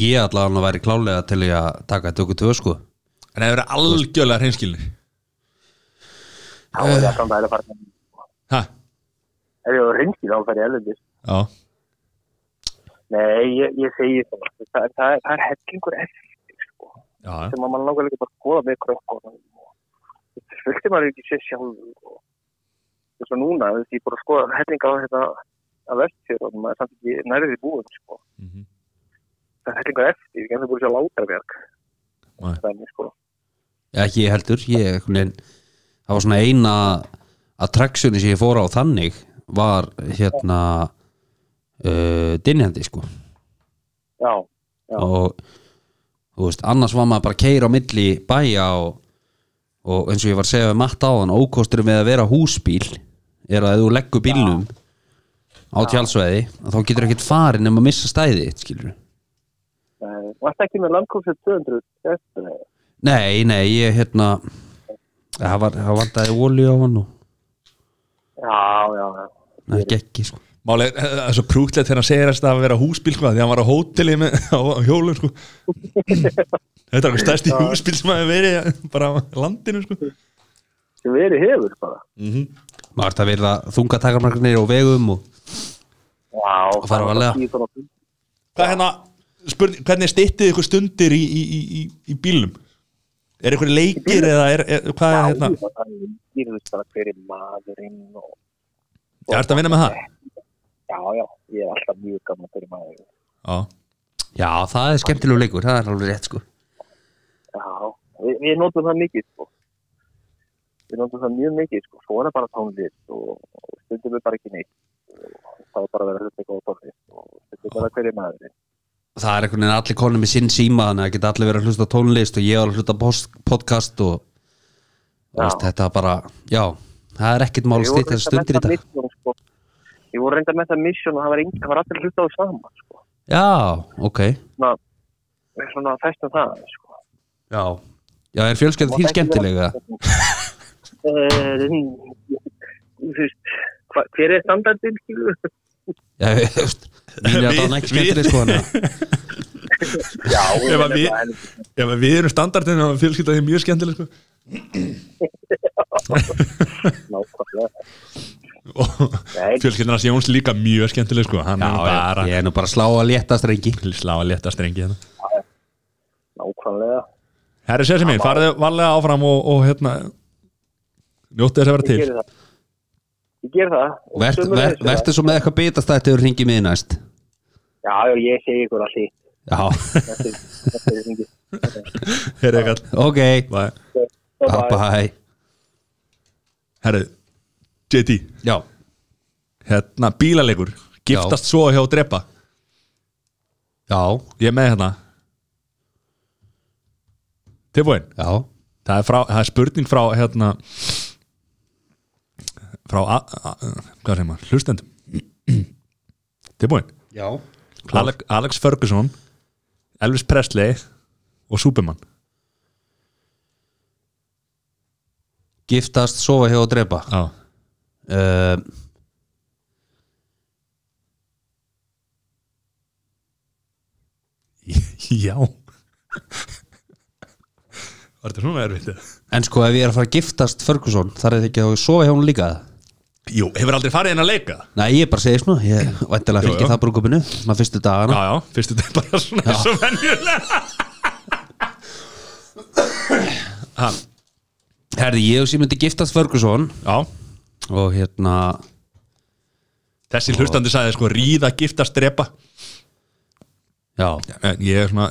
Speaker 2: ég allavega væri klálega til í að taka þetta okkur tvö sko.
Speaker 1: En það eru algjörlega hreinskilni
Speaker 3: Þá er það samt að það er að fara
Speaker 1: Hæ?
Speaker 3: Ef ég var reynskil þá fær ég erlendis
Speaker 1: Já,
Speaker 3: Nei, ég, ég segi það. Það, það, það er hellingur eftir sko,
Speaker 1: já, já.
Speaker 3: sem að mann langar líka bara að skoða með krökkunum. Fylgti maður ekki sér sjálfur. og- Þú veist og núna, þú veist, ég er bara að skoða helling á þetta að vestfjör og maður er samt ekki nærðið í búin. Sko.
Speaker 1: Mm -hmm.
Speaker 3: Það er hellingur eftir, ég er ennþá búin að sjá látarverk.
Speaker 1: Nei.
Speaker 3: Þannig, sko.
Speaker 2: Já, ekki ég heldur ég, einhvern veginn, það var svona eina attractioni sem ég fór á þannig var hérna uh, dinjandi sko
Speaker 3: Já,
Speaker 2: og þú veist, annars var maður bara að keira á milli bæja og, og eins og ég var að segja við matta á þann, ókostur með að vera húsbíl er að ef þú leggur bílnum á tjálsveiði þá getur ekkert farin nema að missa stæði þitt, skilur
Speaker 3: það varst ekki með landkómsið 200 eftir það.
Speaker 2: nei, nei, ég hérna það var, það vantaði olíu á hann og
Speaker 3: Já, já, já.
Speaker 2: það gekk í sko
Speaker 1: Máli, það er svo krútlegt þegar hann segir þess að vera húsbíl sko, því hann var á hóteli með, á, á hjólum sko. Þetta er eitthvað stærsti húsbíl sem hafi verið eh, bara á landinu sko.
Speaker 3: Sem verið hefur bara.
Speaker 1: Mhm.
Speaker 2: maður þetta verið að þunga takamarknir og vegum og
Speaker 3: Já,
Speaker 2: Og fara varlega.
Speaker 3: Tíu tonn á bíl.
Speaker 1: Hvað er hérna, spurning, hvernig styttið ykkur stundir í, í, í, í, í bílum? Er ykkur leikir eða er, er, hvað er
Speaker 3: Já,
Speaker 1: hérna?
Speaker 3: ég veist bara hver er maðurinn og
Speaker 1: Já, ertu að vinna með það?
Speaker 3: Já, já, ég er alltaf mjög gaman fyrir maður.
Speaker 1: Já,
Speaker 2: já það er skemmtilegu leikur, það er alveg rétt sko
Speaker 3: Já, við, við notum það mikið, sko. Við notum það mjög mikið, sko. Svo er það bara tónlist og, og stundum við bara ekki neitt. Og Það er bara að vera hlusta góð tónlist og stundum bara hverju maður.
Speaker 2: það er einhvern veginn allir konum með sinn síma þannig að geta allir verið að hlusta á tónlist og ég var að hlusta á post, podcast og
Speaker 3: Já.
Speaker 2: veist, þetta er bara, já það er ekkert mál að stýta stundir í dag
Speaker 3: Sko. Ég voru reynda með það mission og það var, engin, það var allir hlusta á saman, sko.
Speaker 2: já, ok
Speaker 3: Svona, við erum svona að festa það, sko.
Speaker 2: já, já er fjölskeið þín skemmtilega
Speaker 3: Eh, Þú veist, hva- hver er standardin, skilu?
Speaker 2: já, ég veist, mín er
Speaker 1: Við-
Speaker 2: þetta ekki
Speaker 1: við-
Speaker 2: skemmtileg sko þannig að-
Speaker 3: Já,
Speaker 1: Ef að við-
Speaker 3: en-
Speaker 1: Já, men við erum standardin og fjölskylda því mjög skemmtileg sko.
Speaker 3: nákvæmlega.
Speaker 1: og
Speaker 3: Nei,
Speaker 1: fjölskyldan hans Jóns líka mjög skemmtileg sko. hann er nú
Speaker 2: já,
Speaker 1: bara
Speaker 2: ég, ég er nú bara að slá að léttast reyngi
Speaker 1: til slá að leta strengi hérna.
Speaker 3: nákvæmlega.
Speaker 1: Herri sér sem mín, farið varlega áfram og, og hérna njóttu þess að vera til
Speaker 3: Ég gerir það. Ég gerir það. Og
Speaker 2: Vert,
Speaker 3: sömuleiðis,
Speaker 2: ver,
Speaker 3: já.
Speaker 2: vertu svo með eitthvað bitast að þetta eru hringið mið næst
Speaker 3: Já, já, ég segi ykkur allir.
Speaker 2: já,
Speaker 3: Þetta er þingi.
Speaker 1: Herri ekkert
Speaker 2: ok,
Speaker 1: Bye.
Speaker 2: bye bye
Speaker 1: Herri, JT
Speaker 2: já,
Speaker 1: hérna, bílalegur, giftast svo hjá drepa
Speaker 2: já,
Speaker 1: ég er með hérna tilbúin
Speaker 2: já
Speaker 1: það er, frá, það er spurning frá hérna frá a, a, hvað segir maður, hlustendum tilbúin
Speaker 2: Já
Speaker 1: Alex, Alex Ferguson Elvis Presley og Superman
Speaker 2: Giftast, sofa hjá og drepa
Speaker 1: já,
Speaker 2: uh,
Speaker 1: já. var þetta svona erfitt eða?
Speaker 2: En sko ef ég er að fara að giftast Ferguson þar er þetta ekki að sofa hjá hún líka
Speaker 1: jú, hefur aldrei farið inn að leika
Speaker 2: Nei, ég bara segi svona Ég væntilega
Speaker 1: Jú,
Speaker 2: fylgir
Speaker 1: jú.
Speaker 2: það brúkupinu Svona fyrstu
Speaker 1: já,
Speaker 2: dagana
Speaker 1: já, fyrst þetta er bara svona svo venjulega ha,
Speaker 2: Herði, ég og sér myndi giftast Ferguson
Speaker 1: já
Speaker 2: Og hérna
Speaker 1: Þessi hlustandi sagði sko ríða, giftast, drepa
Speaker 2: Já,
Speaker 1: En Ég er svona,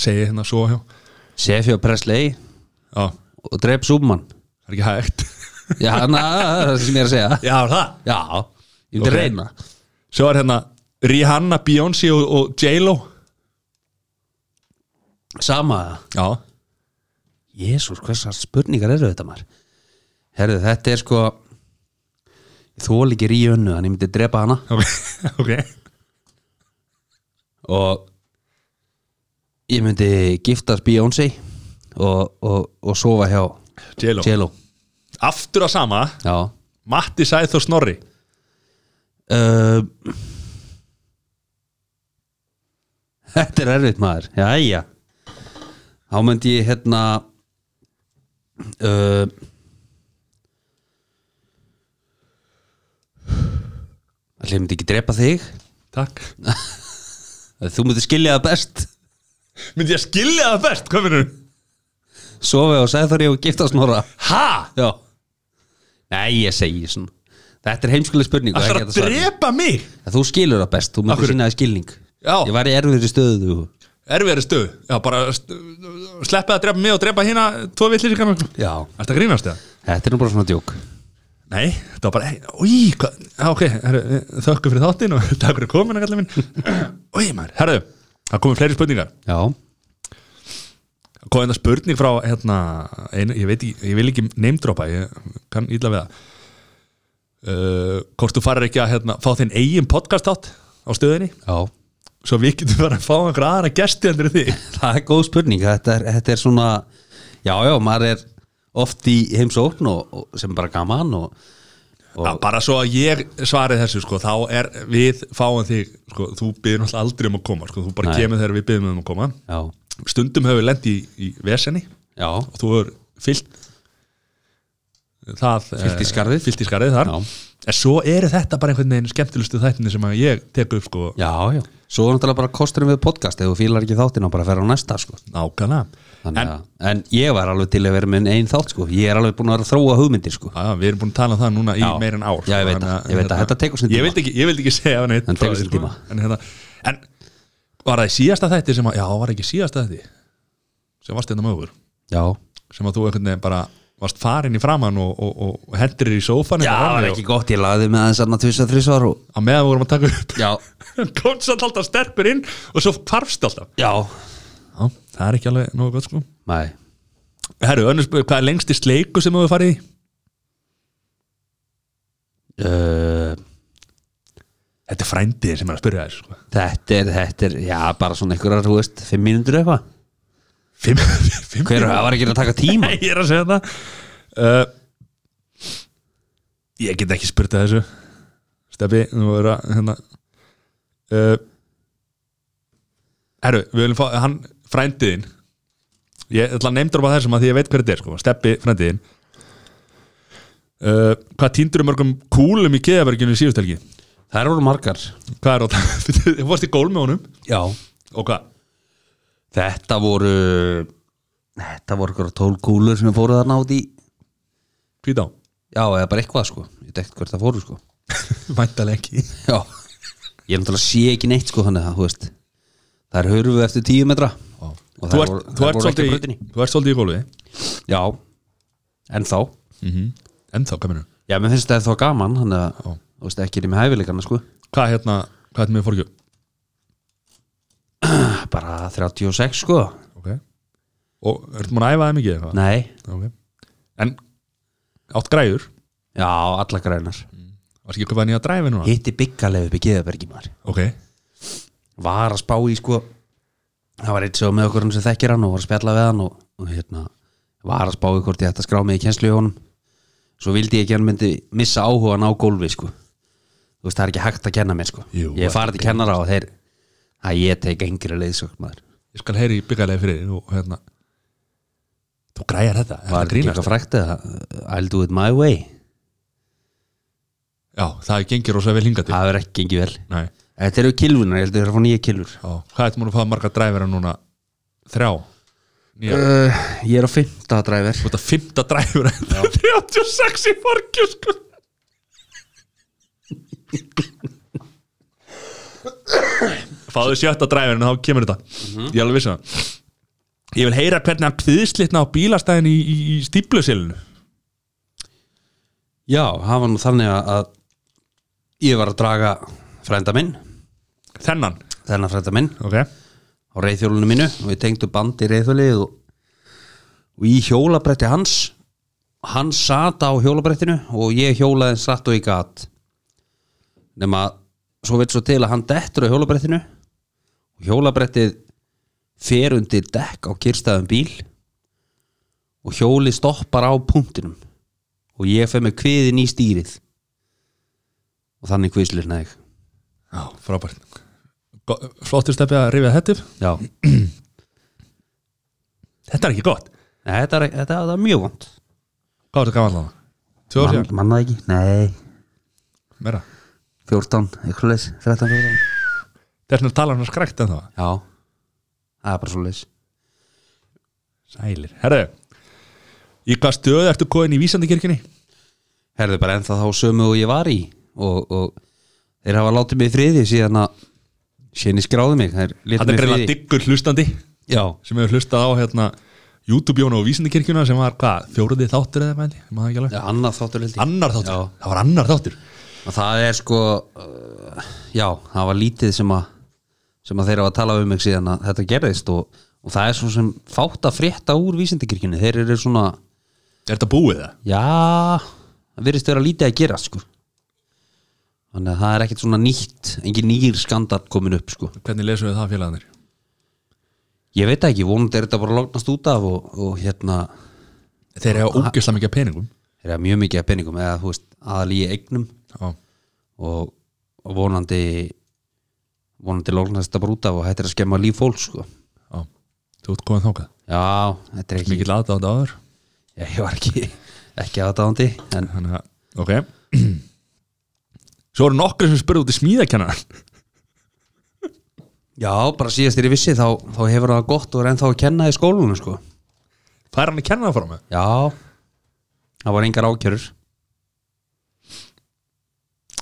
Speaker 1: segi hérna svo hjá
Speaker 2: Sefi og Presley
Speaker 1: Já, það
Speaker 2: og dref Súbmann
Speaker 1: er ekki hægt
Speaker 2: Já, na, það er það sem ég er að segja
Speaker 1: Já, það
Speaker 2: Já, ég myndi
Speaker 1: Ok.
Speaker 2: reyna
Speaker 1: Svo er hérna Rihanna, Beyoncé og, og J-Lo
Speaker 2: Sama það
Speaker 1: Já,
Speaker 2: Jésús, hversa spurningar eru þetta maður Herðu, þetta er sko Ég þól ekki ríunnu Þannig ég myndi drepa hana
Speaker 1: ok, ok
Speaker 2: Og ég myndi giftast Beyoncé og, og, og sofa hjá
Speaker 1: J-Lo
Speaker 2: Jello
Speaker 1: Aftur að sama
Speaker 2: Já
Speaker 1: Matti Sæþór Snorri
Speaker 2: uh, Þetta er erfitt maður Jæja Þá myndi ég hérna uh, Allir myndi ekki drepa þig
Speaker 1: Takk
Speaker 2: Þú myndi skilja það best
Speaker 1: Myndi ég skilja það best, hvað finnur
Speaker 2: Sofi og sæðþóri og gifta snorra
Speaker 1: Ha?
Speaker 2: Já Nei, ég segi svona Þetta er heimskuleg spurning og
Speaker 1: Það
Speaker 2: ekki
Speaker 1: er að
Speaker 2: svara.
Speaker 1: drepa mig
Speaker 2: Þú skilur það best, þú
Speaker 1: Af
Speaker 2: myndir
Speaker 1: hverju?
Speaker 2: sína það skilning
Speaker 1: Já.
Speaker 2: Ég var í erfiðri stöðu þú.
Speaker 1: Erfiðari stöð Já, bara st- sleppa að drepa mig og drepa hérna Tvo villir sig kannar
Speaker 2: Já
Speaker 1: Ertu að grínast það?
Speaker 2: Þetta er nú bara svona djók
Speaker 1: Nei, þetta var bara hey, Í, hvað Já, ok, herru, þökkum fyrir þáttinn og takk fyrir komuna, kallar minn Í, maður, herru Það komið fleiri spurningar
Speaker 2: Já
Speaker 1: komið þetta spurning frá hérna, ein, ég veit ekki, ég vil ekki neymdropa ég kann ítla við það uh, hvort þú farir ekki að hérna, fá þinn eigin podcast átt á stöðinni
Speaker 2: Já
Speaker 1: svo við getum bara að fá einhver aðra gesti heldur en þig
Speaker 2: Það er góð spurning, þetta er, þetta er svona Já, já, maður er oft í heimsókn og, og sem er bara gaman og, og
Speaker 1: Já, bara svo að ég svari þessu sko, þá er við fáum þig sko, þú byrðum alltaf aldrei um að koma sko, þú bara
Speaker 2: Nei.
Speaker 1: kemur þegar við byrðum um að koma
Speaker 2: Já,
Speaker 1: stundum hefur við lendi í, í vesenni
Speaker 2: já,
Speaker 1: og þú hefur fyllt það, eh,
Speaker 2: Fyllt í skarðið.
Speaker 1: fyllt í skarðið þar
Speaker 2: Já.
Speaker 1: en svo eru þetta bara einhvern veginn skemmtilustu þættinni sem að ég tek upp sko
Speaker 2: já, já Svo er náttúrulega bara kosturinn við podcast ef þú fílar ekki þáttinn og bara fer á næsta sko.
Speaker 1: nákvæmlega
Speaker 2: en,
Speaker 1: en
Speaker 2: en ég var alveg til að vera með einn þátt sko. Ég er alveg búin að vera að þróa hugmyndir sko.
Speaker 1: já, við erum búin að tala um það núna í
Speaker 2: Já.
Speaker 1: meir en ár
Speaker 2: Já, ég veit
Speaker 1: þannig
Speaker 2: það, ég veit það.
Speaker 1: hérna,
Speaker 2: Þetta tekur sinn
Speaker 1: ég
Speaker 2: tíma.
Speaker 1: vildi ekki, ég vildi ekki segja neitt
Speaker 2: En
Speaker 1: frá
Speaker 2: tekur
Speaker 1: því,
Speaker 2: sinn
Speaker 1: sko.
Speaker 2: tíma.
Speaker 1: en, hérna, en var það í síðasta þætti sem að já, var ekki í síðasta þætti sem varst þetta með okkur
Speaker 2: Já,
Speaker 1: sem að þú einhvern veginn bara varst farin í framann og, og, og, og hendur í sófan
Speaker 2: Já, það var ekki gott, ég lagði með þess aðna tvisar, þrisvar og
Speaker 1: að meðan við vorum að taka upp
Speaker 2: Já,
Speaker 1: komst samt alltaf sterkur inn og svo farfst alltaf
Speaker 2: já
Speaker 1: Já, það er ekki alveg nógu gott sko
Speaker 2: Nei,
Speaker 1: Herru, önnur spurning, hvað er lengsti sleiku sem þú hefur farið í?
Speaker 2: uh,
Speaker 1: Þetta er frændiðir sem er að spyrja þér sko
Speaker 2: þetta er, þetta er, já, bara svona einhverjar, þú veist, fimm mínútur eitthvað
Speaker 1: Fimm, fimm
Speaker 2: Hver, það var ekki að taka tíma
Speaker 1: Nei, ég er að segja það uh, Ég get ekki spurt að þessu Steppi, þú verður að hérna uh, Herru, við viljum fá hann frændiðin Ég ætla að neymdur á þessum að því ég veit hver þetta er sko Steppi, frændiðin uh, Hvað týndur um mörgum kúlum í keðaberginu í síðustelgi?
Speaker 2: Það eru margar
Speaker 1: Hvað er á það? Þú fórst í gól með honum
Speaker 2: Já
Speaker 1: Og hvað?
Speaker 2: Þetta voru, þetta voru einhverjar tól kúlur sem fóru þarna út í
Speaker 1: Hvít á?
Speaker 2: Já, eða bara eitthvað, sko, ég dekkt hvert það fóru, sko
Speaker 1: Væntalega ekki
Speaker 2: Já Ég náttúrulega sé ekki neitt, sko, þannig að, þú veist Það er hörfu eftir tíu metra Og
Speaker 1: Þú
Speaker 2: þær
Speaker 1: ert,
Speaker 2: voru-
Speaker 1: þú, ert
Speaker 2: þær voru ekki á
Speaker 1: svolítið í,
Speaker 2: brautinni.
Speaker 1: þú ert svolítið í gólfi
Speaker 2: Já, en þá
Speaker 1: mm -hmm. En þá kamerun
Speaker 2: Já, mér finnst þetta þá gaman þannig að
Speaker 1: Já.
Speaker 2: þú veist ekki er ég með hæfileikana sko
Speaker 1: Hvað hérna, hvað hérna með fórgjöf?
Speaker 2: bara 36 sko
Speaker 1: Ok Og ertu múin að æfa það mikið eitthvað?
Speaker 2: Nei,
Speaker 1: Ok En átt græður
Speaker 2: já, alla grænar
Speaker 1: Varst ekki að köpa nýja dræfi núna?
Speaker 2: Hitti byggaleg upp í Geðabergi maður
Speaker 1: Ok
Speaker 2: Var að spá í sko það var eitt svo með okkur hann sem þekkir hann og var að spjalla við hann og, og hérna var að spá í hvort ég ætti að skrá mig í kjenslu í honum svo vildi ég ekki að hann myndi missa áhugan á gólfi sko þú veist það er ekki hægt að kenna mér sko
Speaker 1: Jú,
Speaker 2: ég er farið til kennara og þeir að ég teik engri leiðsögn maður
Speaker 1: Ég skal heyri í byggalegi fyrir þig og hérna Þú græjar þetta Er
Speaker 2: var
Speaker 1: þetta
Speaker 2: ekki
Speaker 1: grínast?
Speaker 2: eitthvað frækt eða I'll do it my way
Speaker 1: Já, það gengir rosa vel hingað til
Speaker 2: það verður ekki gengið vel
Speaker 1: Nei
Speaker 2: Þetta eru kilvunar, ég held að það er að fá nýja kilvur
Speaker 1: Já Hvað ertu múin að fá marga dræfira núna? Þrjá Nýja
Speaker 2: uh, Ég er á fimmta dræver
Speaker 1: Þú ert að fymta dræfira 36 í fórgjöf sko Fáðu sjötta dræfirinn þá kemur þetta Ég er alveg vissi það um Ég vil heyra hvernig hann kviðslitna á bílastæðin í, í, í stíplusilinu
Speaker 2: Já, það var nú þannig að- að ég var að draga frænda minn,
Speaker 1: Þennan
Speaker 2: þennan frænda minn
Speaker 1: Ok
Speaker 2: á reyðhjólunum mínu og ég tengdu bandi í reyðhjólið og, og í hjólabretti hans hann sat á hjólabrettinu og ég hjólaði eins satt og ég gat nema svo veit svo til að hann dettur á hjólabrettinu og hjólabrettið fer undir dekk á kyrstaðum bíl og hjóli stoppar á punktinum og ég fer með kviðin í stýrið og þannig kviðslirna ég
Speaker 1: Já, frábært Go- Flottur steppi að rifja þetta upp
Speaker 2: já,
Speaker 1: Þetta er ekki gott
Speaker 2: Nei, þetta er, þetta þetta er mjög vond
Speaker 1: Hvað er þetta gaman allan? Tvö ár síðan?
Speaker 2: manna ekki, nei
Speaker 1: Meira
Speaker 2: 14, eitthvað leys, 13, 14
Speaker 1: Þess vegna talar hann um skrækt en það
Speaker 2: Já, það er bara svo leys
Speaker 1: Sælir Herðu Í hvað stöðu ertu kóðin í vísandikirkjunni?
Speaker 2: Herðu bara ennþá þá sömu og ég var í og, og þeir hafa látið mig í friði síðan að síðan ég skráði mig þeir létu
Speaker 1: Þetta er
Speaker 2: mig í friði.
Speaker 1: greinlega diggur hlustandi
Speaker 2: Já,
Speaker 1: sem hefur hlustað á hérna YouTube-jónu og vísindikirkjuna sem var hvað, fjóruði þáttur eða mæli, maður ekki alveg
Speaker 2: já, annað þáttur held ég
Speaker 1: annar þáttur,
Speaker 2: Já.
Speaker 1: það var annar þáttur
Speaker 2: Og það er sko uh, já, það var lítið sem að sem að þeir hafa talað um mig síðan að þetta gerðist og, og það er svo sem fátt að frétta úr vísindikirkjunni þeir eru svona,
Speaker 1: Er þetta búið það?
Speaker 2: já það virðist vera lítið að gera sko þannig að það er ekkert svona nýtt engin nýr skandal komin upp sko
Speaker 1: Hvernig lesum við það félagarnir?
Speaker 2: Ég veit það ekki, vonandi er þetta bara að lognast út af og, og hérna
Speaker 1: Þeir eru ógislega mikið af peningum
Speaker 2: er það mjög mikið að penningum eða þú veist aðal í eignum
Speaker 1: Já,
Speaker 2: og, og vonandi vonandi lognast þetta bara út af og hættir að skemma líf fólk sko
Speaker 1: já, þú ert komið þákað
Speaker 2: Já, þetta er ekki
Speaker 1: Mikið lata á þetta áður
Speaker 2: Já, ég var ekki, ekki aðdáðandi en
Speaker 1: Þannig að, ok Svo eru nokkur sem spurði út í smíðakennar
Speaker 2: já, bara síðast þegar ég vissi þá, þá hefur það gott og er ennþá að kenna í skólunum sko
Speaker 1: Hvað er hann að kenna það frá mig?
Speaker 2: Já, það var engar ákjörur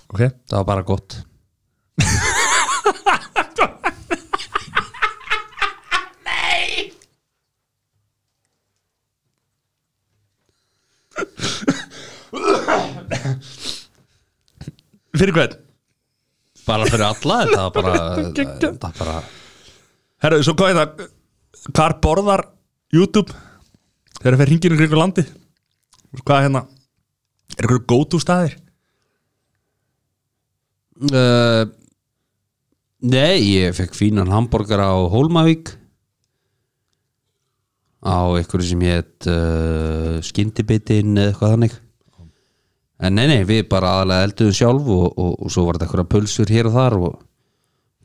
Speaker 1: Ok,
Speaker 2: það var bara gott
Speaker 1: fyrir hvern?
Speaker 2: Bara fyrir alla, þetta var bara, þetta var bara
Speaker 1: Herru, svo hvað er það? Hvar borðar YouTube? Þeir eru fyrir hringinu kringu landi Hvað er hérna? Er ykkur gótu staðir?
Speaker 2: Uh, nei, ég fekk fínan hambúrgara á Hólmavík á einhverju sem hétt uh, skyndibitinn eða eitthvað þannig en nei, nei, við bara aðalega elduðum sjálf og, og, og svo var þetta einhverja pulsur hér og þar og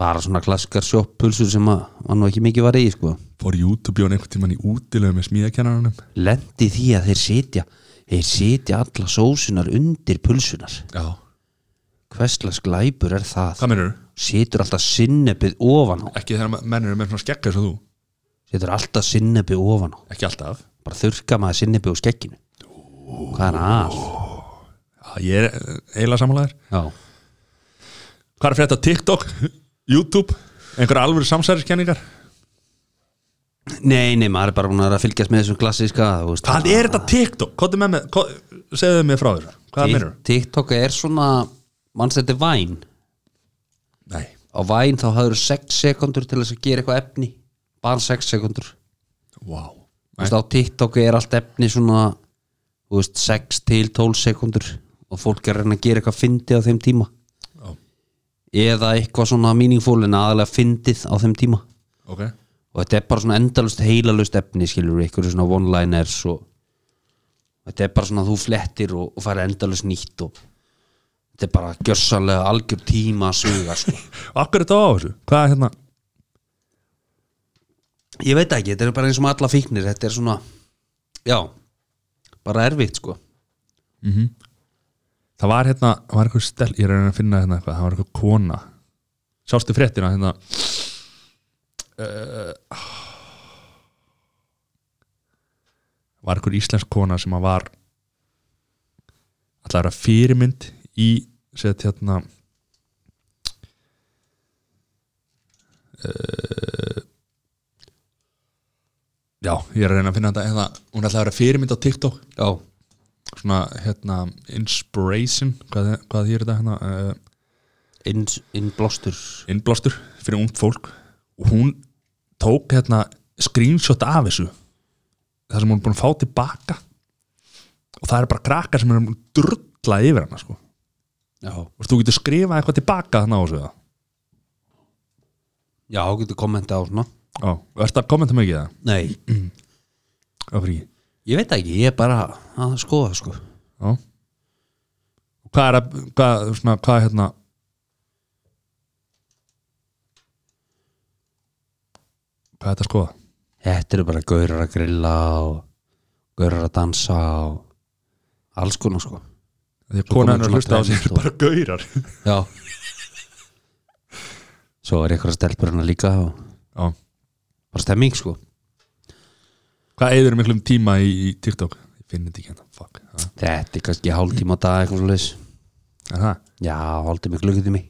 Speaker 2: bara svona klaskar sjopp pulsur sem að var nú ekki mikið var í sko.
Speaker 1: Fór YouTube jón einhvern tímann í útilegu með smíðakennarunum
Speaker 2: lendi því að þeir sitja þeir sitja alla sósunar undir pulsunar
Speaker 1: Já
Speaker 2: hverslas glæpur er það
Speaker 1: Hvað mennur?
Speaker 2: situr alltaf sinnebið ofan á
Speaker 1: Ekki þegar menn eru með svona skekka eins og þú
Speaker 2: setur alltaf sinnebi ofan á
Speaker 1: Ekki alltaf
Speaker 2: bara þurrka maður sinnebi úr skekkinu hvað er að
Speaker 1: Já, ég er eiginlega samanlegaður
Speaker 2: já.
Speaker 1: Hvað er fyrir þetta TikTok, YouTube einhverja alvöru samsæriskenningar
Speaker 2: nei, nei, maður er bara búin að vera að fylgjast með þessum klassíska þú veist,
Speaker 1: Hvað er þetta TikTok? Hvað er með með, hvað, segðu mig frá þessu Hvað mennur?
Speaker 2: TikTok er svona manns þetta er væn
Speaker 1: Nei,
Speaker 2: á væn þá hafður 6 sekundur til þess að gera eitthvað efni bara 6 sekundur
Speaker 1: wow
Speaker 2: Þú veist, á TikTok er allt efni svona þú veist, 6 til 12 sekundur og fólk er að reyna að gera eitthvað fyndi á þeim tíma
Speaker 1: Já,
Speaker 2: eða eitthvað svona meaningful en aðalega fyndið á þeim tíma
Speaker 1: ok
Speaker 2: og þetta er bara svona endalust heilalust efni skilur við ykkur svona one-liners og þetta er bara svona þú flettir og, og fara endalust nýtt og þetta er bara gjörsanlega algjör tíma að suga sko.
Speaker 1: Akkur er þetta á þessu? Hvað er hérna?
Speaker 2: ég veit ekki, þetta er bara eins og með alla fíknir þetta er svona, já bara erfitt sko
Speaker 1: Það var hérna, var eitthvað stel Ég er að reyna að finna hérna eitthvað, það var eitthvað kona Sástu fréttina hérna Eh, uh, Var eitthvað íslensk kona sem að var Alltaf að vera fyrirmynd í Sett hérna uh, eh, já, ég er að reyna að finna þetta hérna, hún ætlaði að vera fyrirmynd á TikTok
Speaker 2: já,
Speaker 1: svona, hérna, inspiration hvað, hvað þýr þetta, hérna uh,
Speaker 2: inn, innblástur
Speaker 1: innblástur fyrir ungt fólk og hún tók, hérna screenshot af þessu það sem hún er búin að fá tilbaka og það er bara krakkar sem er drulla yfir hana, sko
Speaker 2: já,
Speaker 1: og þú getur skrifað eitthvað tilbaka þannig á þessu það
Speaker 2: já, getur kommenta á svona
Speaker 1: Já, ertu að kommenta mikið það?
Speaker 2: nei,
Speaker 1: Af hverju ekki?
Speaker 2: ég veit það ekki, ég er bara að skoða sko
Speaker 1: Já Hvað er að, hvað, svona, hvað er hérna Hvað er þetta að skoða?
Speaker 2: þetta eru bara gaurar að grilla og gaurar að dansa og alls konar sko
Speaker 1: Því að
Speaker 2: Svo
Speaker 1: konan er
Speaker 2: kom
Speaker 1: að
Speaker 2: svona
Speaker 1: hlusta á sig
Speaker 2: trend og-
Speaker 1: bara gaurar
Speaker 2: já svo er eitthvað stelpur hana líka og
Speaker 1: Já
Speaker 2: bara stemming sko
Speaker 1: Hvað eigður miklum tíma í, í TikTok? Ég finn þetta ekki hérna, fuck Já.
Speaker 2: þetta er kannski hálftíma á dag eitthvað svo leis
Speaker 1: Er það?
Speaker 2: já, hálftíma gluggutími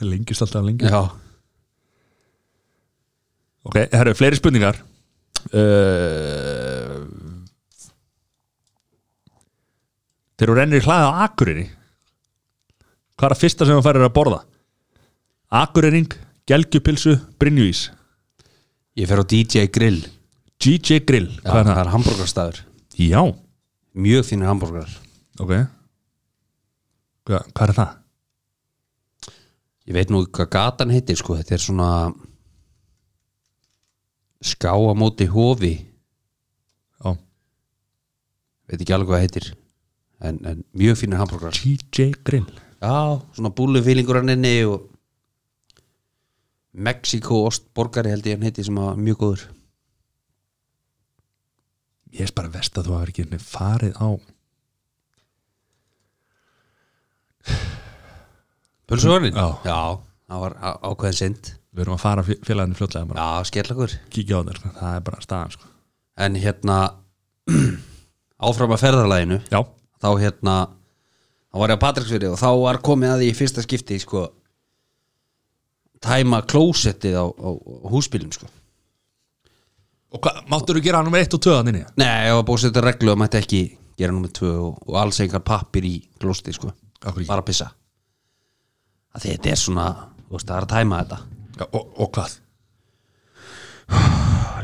Speaker 1: Lengist alltaf lengi
Speaker 2: já,
Speaker 1: Ok, það eru fleiri spurningar uh, Þegar þú rennir í hlaðið á Akureyri Hvað er að fyrsta sem þú færir að borða? Akureyring, gelgjupilsu, brinjuvís
Speaker 2: ég fer á DJ Grill
Speaker 1: GJ Grill,
Speaker 2: já,
Speaker 1: hvað er
Speaker 2: það
Speaker 1: það?
Speaker 2: er hambúrgarstaður
Speaker 1: Já,
Speaker 2: mjög fínir hambúrgar
Speaker 1: ok Hva, Hvað er það?
Speaker 2: ég veit nú ekki hvað gatan heitir sko þetta er svona ská á móti hofi
Speaker 1: Já.
Speaker 2: veit ekki alveg hvað það heitir en, en mjög fínir hambúrgar
Speaker 1: GJ Grill
Speaker 2: já, svona búlufýlingur hann inni og Mexiko ostborgari held ég hann heiti sem var mjög góður
Speaker 1: Ég er bara vest að þú hafir ekki einu sinni farið á
Speaker 2: Pulsuvarinn?
Speaker 1: Já.
Speaker 2: já, það var á- ákveðin sind
Speaker 1: Við erum að fara fé- félaginu fljótlega bara
Speaker 2: já, skellakur
Speaker 1: kíkja á þér, sko. það er bara staðan sko.
Speaker 2: en hérna áfram að ferðarlæginu
Speaker 1: Já,
Speaker 2: þá hérna þá var ég á Patricksfyrir og þá var komið að því í fyrsta skipti sko tæma klósettið á, á, á húsbílum sko
Speaker 1: og hvað, máttur þú gera nummer 1 og 2 þannig?
Speaker 2: Nei, ég var búið að setja reglu að mætti ekki gera nummer tvö og, og alls engar pappir í klósettið sko
Speaker 1: Akkur ekki
Speaker 2: bara að pissa að þetta er svona, þú veist, það er að tæma þetta
Speaker 1: Já, og, og hvað?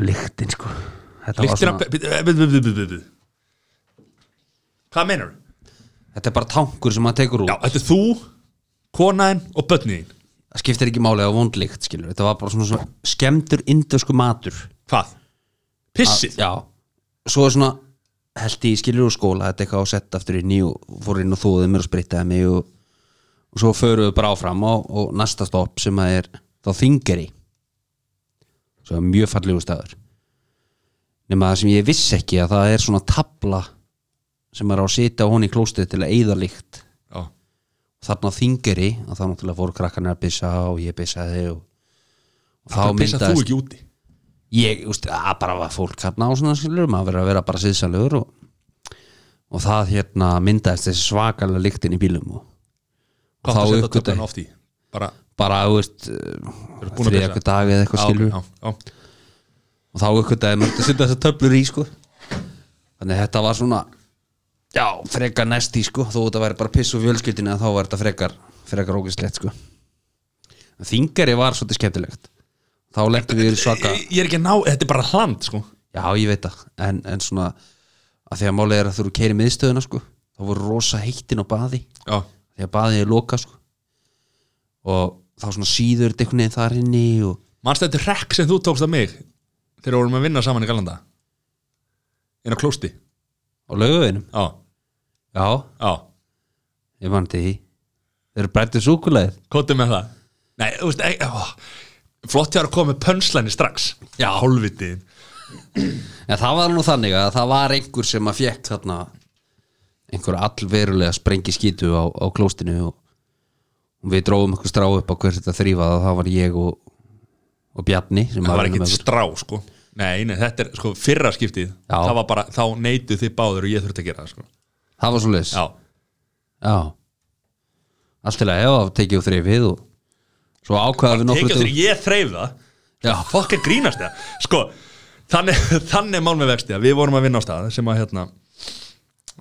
Speaker 2: lyktin sko þetta, var
Speaker 1: Líktir að
Speaker 2: svona,
Speaker 1: Hvað meinar?
Speaker 2: þetta er bara tankur sem maður tekur út
Speaker 1: Já, þetta er þú, konaðinn og börniðinn
Speaker 2: það skiptir ekki máli á vondlykt skilur þetta var bara svona, svona skemmtur indösku matur
Speaker 1: Hvað? Pissið?
Speaker 2: Já, svo er svona held ég skilur úr skóla þetta er eitthvað á sett aftur inn í og fór inn og þóðið mér og sprittaði mig og, og svo förum við bara áfram og, og næsta stopp sem að er þá þingeri svo er mjög fallegu staður nema það sem ég vissi ekki að það er svona tabla sem er á að sitja á hún í klóstið til að eyða líkt
Speaker 1: Já,
Speaker 2: þarna á þingeri að það náttúrulega fóru krakkarnir að byssa og ég byssaði og, og
Speaker 1: það pissað þú ekki úti
Speaker 2: ég, úst, að bara var fólk hérna á svona skilur maður verið að vera bara síðsalögur og, og það hérna myndaðist þessi svakalega lyktin í bílum og
Speaker 1: Hvað
Speaker 2: Þá
Speaker 1: það setja
Speaker 2: uppgötvaði-
Speaker 1: töflan oft í? Bara,
Speaker 2: bara, þú veist
Speaker 1: eru búin að pissa?
Speaker 2: þrið
Speaker 1: Ah,
Speaker 2: eitthvað dag eða eitthvað
Speaker 1: Já,
Speaker 2: skilur
Speaker 1: já, já,
Speaker 2: og þá uppkvitaði maður að setja þessar töflur í sko þannig að þetta var svona já, frekar næst í sko þó þetta væri bara piss og fjölskyldinu þá var þetta frekar, frekar ógislegt sko En þingari var svolítið skemmtilegt þá lentum við í svaka
Speaker 1: Ég, ég er ekki að ná, þetta er bara hland sko
Speaker 2: Já, ég veit það, en, en svona að því að málið er að þú eru keiri miðstöðuna sko, þá voru rosa heittin á baði
Speaker 1: Já,
Speaker 2: því að baðið er loka sko og þá svona síður þetta einhvern veginn þar inni og
Speaker 1: manstu þetta rekk sem þú tókst af mig þegar við vorum að vinna saman í Galanda inn á klósti Já,
Speaker 2: á laugavinum Já,
Speaker 1: já,
Speaker 2: ég mann til því Þeir eru brættið súkulegð
Speaker 1: kótið með það Nei, þú veist, ei, ó, flott ég var að koma með pönslæni strax Já, hálfvitið
Speaker 2: En það var nú þannig að það var einhver sem að fjekk þarna einhver allverulega sprengi skítu á, á klóstinu og, og við drófum einhver strá upp á hver þetta þrýfað og það var ég og, og Bjarni sem
Speaker 1: það
Speaker 2: var
Speaker 1: var
Speaker 2: vinur með
Speaker 1: ekkert
Speaker 2: okkur.
Speaker 1: strá sko nei, nei, þetta er sko fyrra skiptið
Speaker 2: Já.
Speaker 1: það var bara, þá neytu þið báður og ég þurfti að gera það sko
Speaker 2: Það var svo leis
Speaker 1: já,
Speaker 2: Já Allt til að hefa tekið úr þrifið og svo ákvaða við
Speaker 1: tekið
Speaker 2: nokkur
Speaker 1: þegar ég þreif það
Speaker 2: Já,
Speaker 1: fokk Ah, er grínast það sko, þannig, þannig er mál með vexti að við vorum að vinna á stað sem að hérna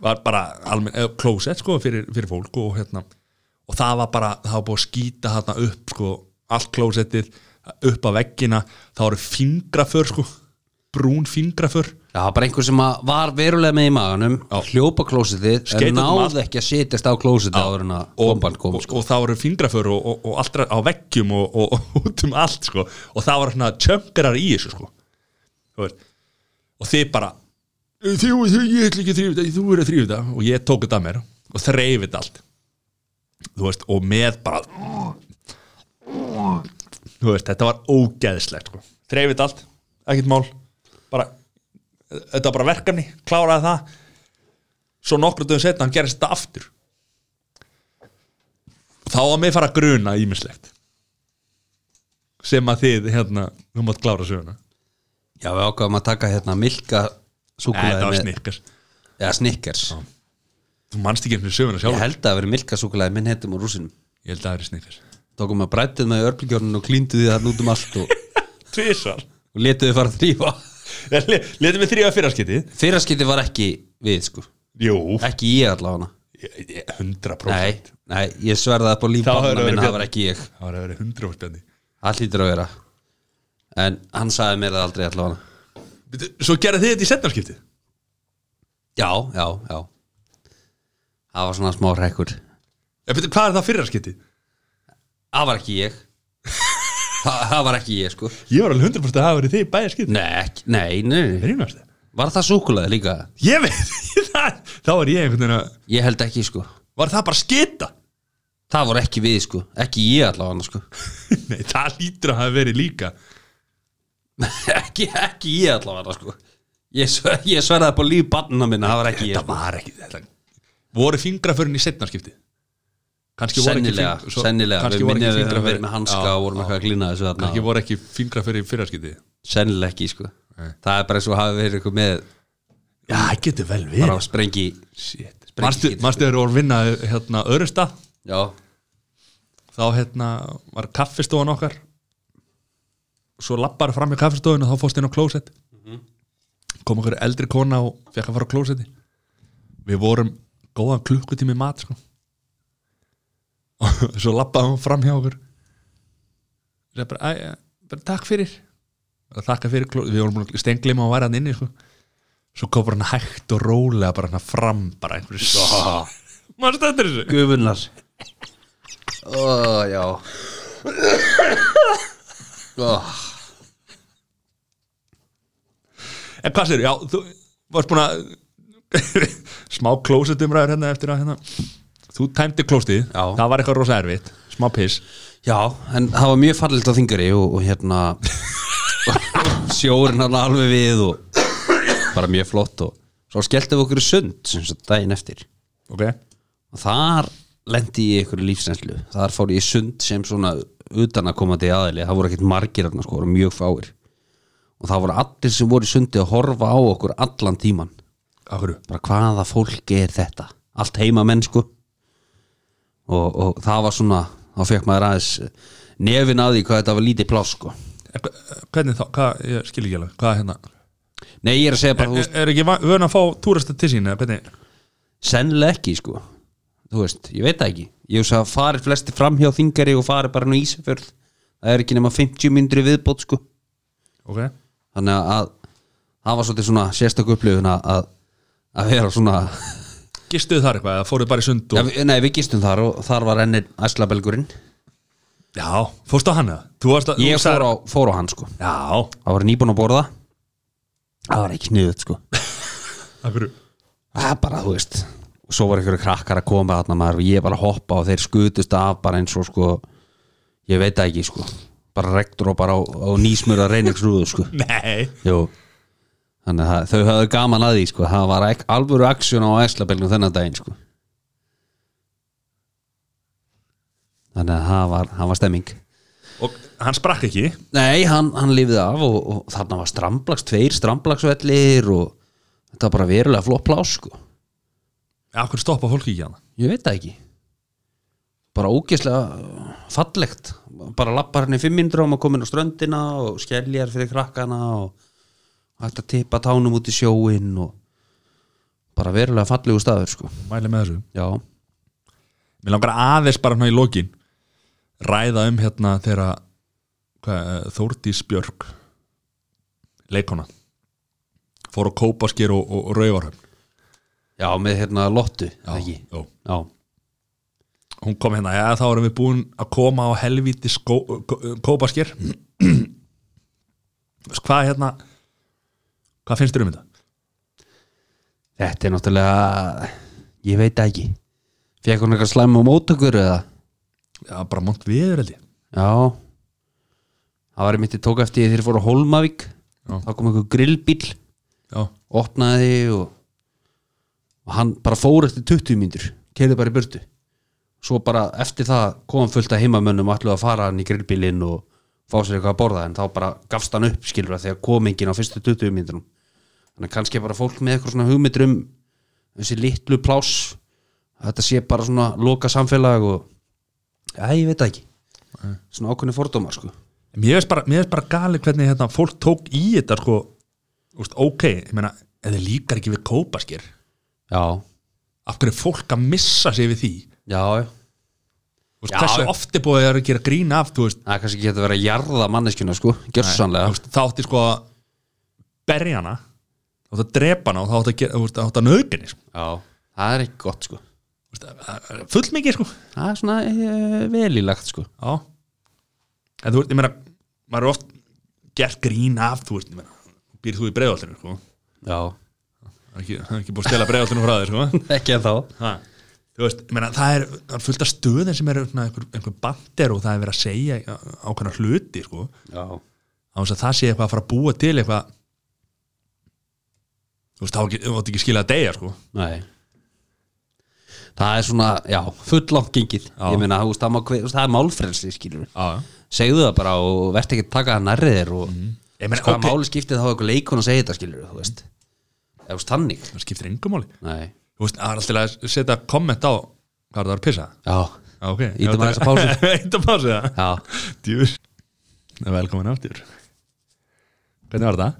Speaker 1: var bara almenn, eh, closet sko fyrir, fyrir fólk og hérna og það var bara, það var búið að skýta hérna upp sko, allt closetið upp á veggina, það voru fingraför sko, brún fingraför
Speaker 2: Já, bara einhver sem að var verulega með í maganum
Speaker 1: Já.
Speaker 2: hljópa klósitið
Speaker 1: Skeyti
Speaker 2: en
Speaker 1: út um
Speaker 2: náði
Speaker 1: allt.
Speaker 2: ekki að setjast á klósitið áður en að
Speaker 1: og,
Speaker 2: bomban kom
Speaker 1: og, og það voru fingraför og, og, og allra á veggjum og, og, og út um allt sko. og það voru svona tjöngarar í þessu sko. Þú veist. og þið bara þú, þú, ég ætla ekki að þrýfa þetta þú eru að þrýfa þetta og ég tók þetta að mér og þreif þetta allt Þú veist, og með bara Þú veist, þetta var ógeðslegt sko. þreif þetta allt, ekkert mál bara, þetta var bara verkefni kláraði það svo nokkru dögum setna hann gerist þetta aftur þá að mig fara að gruna ímislegt sem að þið hérna, þú mátt klára söguna
Speaker 2: Já, við ákvaðum að taka hérna milka
Speaker 1: Nei, þetta var
Speaker 2: súkulaði
Speaker 1: snikkars
Speaker 2: eða snikkers
Speaker 1: þú manst ekki eftir söguna
Speaker 2: Ég
Speaker 1: sjálf
Speaker 2: held að það verið milka súkulaði minn heitum úr rúsinum
Speaker 1: ég held að það er snikkars
Speaker 2: Tókum að brættið með örplugjónun og klíndið því þarna út um allt og,
Speaker 1: tvísvar,
Speaker 2: og letuði fara að þrýfa
Speaker 1: letum við þrýja fyrir skiti
Speaker 2: Fyrraskitið var ekki við sko
Speaker 1: jú,
Speaker 2: Ekki ég allavega
Speaker 1: Ég- ég- 100%
Speaker 2: Nei, nei, ég sverða upp á líf
Speaker 1: Þá hefur
Speaker 2: barnanna
Speaker 1: verið
Speaker 2: minna, það
Speaker 1: Björn.
Speaker 2: var ekki ég
Speaker 1: það var að vera 100% spjarni
Speaker 2: Það hlýtur að vera En hann sagði mér það aldrei allavega
Speaker 1: Bíddu, svo gerði þið þetta í setnarskipti
Speaker 2: Já, já, já Það var svona smá rekkur
Speaker 1: hvað er það fyrir skiti?
Speaker 2: Það var ekki ég Það, það var ekki ég sko
Speaker 1: ég var alveg 100% að hafa verið þið í bæði skiti
Speaker 2: Nei, ekki- nei, nei, nei. Var það súkulaði líka?
Speaker 1: ég veit það, þá var ég einhvern veginn að
Speaker 2: Ég held ekki sko
Speaker 1: var það bara skita?
Speaker 2: Það voru ekki við sko, ekki ég allavega sko.
Speaker 1: nei, það lítur að hafa verið líka
Speaker 2: ekki, ekki ég allavega sko. Ég, sver, ég sverðaði upp á líf barnina minna, það var ekki ég
Speaker 1: þetta
Speaker 2: sko.
Speaker 1: var ekki þetta. voru fingraförin í setnarskipti kannski voru ekki
Speaker 2: Sennilega,
Speaker 1: fing- svo-
Speaker 2: sennilega
Speaker 1: kannski
Speaker 2: Við
Speaker 1: voru
Speaker 2: minnum
Speaker 1: ekki
Speaker 2: að við höfum verið
Speaker 1: fingraförin
Speaker 2: með hanska og vorum eitthvað að glína þessu þarna
Speaker 1: kannski voru ekki fingraförin í fyrarskipti
Speaker 2: Sennilega ekki sko
Speaker 1: Nei.
Speaker 2: Það er bara svo hafið verið eitthvað með
Speaker 1: já, það getur vel
Speaker 2: bara að sprengi
Speaker 1: verið
Speaker 2: sprengi-
Speaker 1: marstu þegar voru vinna hérna örusta
Speaker 2: Já,
Speaker 1: þá hérna var kaffistofan okkar svo lappar fram í kaffistofun og þá fórst inn á klósett kom okkur eldri kona og fekk að fara á klósetti við vorum góðan klukkutími í mat sko. og svo lappaði hún fram hjá okkur það bara, æ, æ, bara takk fyrir bara þakka fyrir klósetti, við vorum búin að stenglima og væri hann inni sko. svo kom bara hann hægt og rólega bara hann fram bara einhverju maður stöndur þessu
Speaker 2: gufunnar Ó, já Ó,
Speaker 1: En hvað sér, já, þú varst búin að smá klósetumræður hérna eftir að hérna þú tæmdi klóstið,
Speaker 2: Já.
Speaker 1: það var eitthvað rosa erfitt smá piss,
Speaker 2: Já, en það var mjög fallilt á þingari og, og hérna sjórin hann alveg við og bara mjög flott og svo skelltum við okkur í sund sem svo daginn eftir
Speaker 1: ok
Speaker 2: og þar lendi ég í einhverju lífsreynslu þar fór ég í sund sem svona utan að koma til aðili, það voru ekkert margir þarna sko, voru mjög fáir og það voru allir sem voru í sundi að horfa á okkur allan tíman,
Speaker 1: Akkur,
Speaker 2: bara hvaða fólk er þetta, allt heima menn sko og, og það var svona þá fekk maður aðeins nefin að því hvað þetta var lítið pláss sko
Speaker 1: hvernig þá, hvað, ég skil ekki alveg hvað hérna,
Speaker 2: nei ég er að segja bara,
Speaker 1: er,
Speaker 2: þú veist,
Speaker 1: er- er ekki va- vön að fá túrasta til sín, eða hvernig
Speaker 2: sennilega ekki sko þú veist, ég veit það ekki ég veist að farið flesti fram hjá þingari og farið bara nú Ísafjörð það er ekki nema 50 myndri viðbót sko
Speaker 1: ok,
Speaker 2: þannig að það var svolítið svona sérstök upplifun að- að, að vera svona
Speaker 1: gistuðu þar eitthvað, eða fóruðu bara í sund
Speaker 2: já,
Speaker 1: og,
Speaker 2: við- nei við gistum þar og þar var ennir æslabelgurinn
Speaker 1: já, fórstu á hana þú varst að,
Speaker 2: ég
Speaker 1: þú sagðir-
Speaker 2: fór á, fór á hann sko
Speaker 1: já,
Speaker 2: það var nýbúin að borða það var ekki sniðut sko
Speaker 1: akkur,
Speaker 2: það er bara, þú veist og svo var einhverju krakkar að koma þarna maður og ég var að hoppa og þeir skutust af bara eins og sko ég veit það ekki sko bara rektur og bara á, á nýsmur að reyna sko
Speaker 1: nei
Speaker 2: Jú. þannig að það- þau höfðu gaman að því sko það var ek, alvöru aksjón á æslabelnum þennan daginn sko þannig að það var, það var stemming
Speaker 1: og hann sprakk ekki,
Speaker 2: Nei, hann, hann lifið af og, og þarna var stramblags, tveir stramblagsvellir og þetta var bara verulega flott plás sko
Speaker 1: hérna? akkur stoppa fólki ekki hana
Speaker 2: Ég veit það ekki bara ógeðslega fallegt bara lappar hann í fimm mínútur og maður komin á um ströndina og skelljar fyrir krakkana og hægt að tippa tánum út í sjóin og bara verulega fallegu staður sko
Speaker 1: mæli með þessu
Speaker 2: já,
Speaker 1: Mér langar aðeins bara hann í lokin ræða um hérna þegar hvað, eh, Þórdís Björk leikona fór að kópa sker og, og, og rauvarhöfn
Speaker 2: já með hérna lottu já, ekki
Speaker 1: Jó.
Speaker 2: já,
Speaker 1: hún kom hérna, já þá erum við búin að koma á helvíti kópa sker hvað hérna hvað finnst þér um þetta?
Speaker 2: þetta er náttúrulega ég veit það ekki fekk hún eitthvað slæma á mótökur eða
Speaker 1: Já, bara mont viður held ég
Speaker 2: já það var einmitt ég tók eftir því þegar ég fór á Holmavík
Speaker 1: Já.
Speaker 2: þá kom einhver grillbíl
Speaker 1: Já,
Speaker 2: opnaði og, og hann bara fór eftir 20 mínútur keirði bara í burtu svo bara eftir það kom fullt af heimamönnum og ætluðu að fara hann í grillbílinn og fá sér eitthvað að borða en þá bara gafst hann upp skilur að þegar kom enginn á fyrstu 20 mínúturum þannig að kannski er bara fólk með eitthvað svona hugmyndur um þessi litlu pláss að þetta sé bara svona loka samfélag og já, ég veit það ekki svona ákveðni fordómar sko
Speaker 1: Mér finnst bara, mér finnst bara gali hvernig hérna, fólk tók í þetta sko, úst, ok, ég meina eða líkar ekki við kópaskir
Speaker 2: já,
Speaker 1: af hverju er fólk að missa sig við því
Speaker 2: já, já
Speaker 1: úst,
Speaker 2: Já,
Speaker 1: hversu
Speaker 2: já.
Speaker 1: oft er búið að vera að gera grín af þú veist,
Speaker 2: það er kannski getur verið að jarða manneskjuna sko, gjörsanlega
Speaker 1: úst, þá átti sko að berja hana þá átti að drepa hana og þá átti að, gera, úst, átti að nöðginni sko.
Speaker 2: Já, það er ekki gott sko
Speaker 1: Úst, það er full mikið sko
Speaker 2: Það er svona e, velílagt sko
Speaker 1: já. en þú veist, ég meina maður er oft gert grín af þú veist, ég meina, býr þú í breiðoltinu sko
Speaker 2: Já,
Speaker 1: það er ekki, það er ekki búið að stela breiðoltinu frá þér sko
Speaker 2: ekki en þá
Speaker 1: Ha. Þú veist, ég meina, það er það er fullt af stöðin sem er svona, einhver, einhver bandir og það er verið að segja ákveðna hluti sko.
Speaker 2: Já,
Speaker 1: á þess að það sé eitthvað að fara að búa til eitthvað þú veist, þá ekki- þú átt ekki skilja að deyja sko.
Speaker 2: nei Það er svona, já, fulllangt gengið
Speaker 1: Já.
Speaker 2: Ég meina, þú veist, það, má hver- þú veist, það er málfrelsi skilur við.
Speaker 1: Já, já.
Speaker 2: Segðu það bara og verðt ekki að taka það nærri þér og mm.
Speaker 1: Ég meina,
Speaker 2: Hvað
Speaker 1: ok.
Speaker 2: máli skiptið þá eitthvað leikun að segja þetta skilur við, þú veist Ef þú veist tannig
Speaker 1: það skiptir engum máli
Speaker 2: Nei,
Speaker 1: þú veist, það er alltaf að setja komment á hvað er það að pissa
Speaker 2: já,
Speaker 1: Já, ok.
Speaker 2: Ítum aðeins á pásu.
Speaker 1: Ítum pásu, það
Speaker 2: já
Speaker 1: Djúr Velkomin aftur Hvernig var það?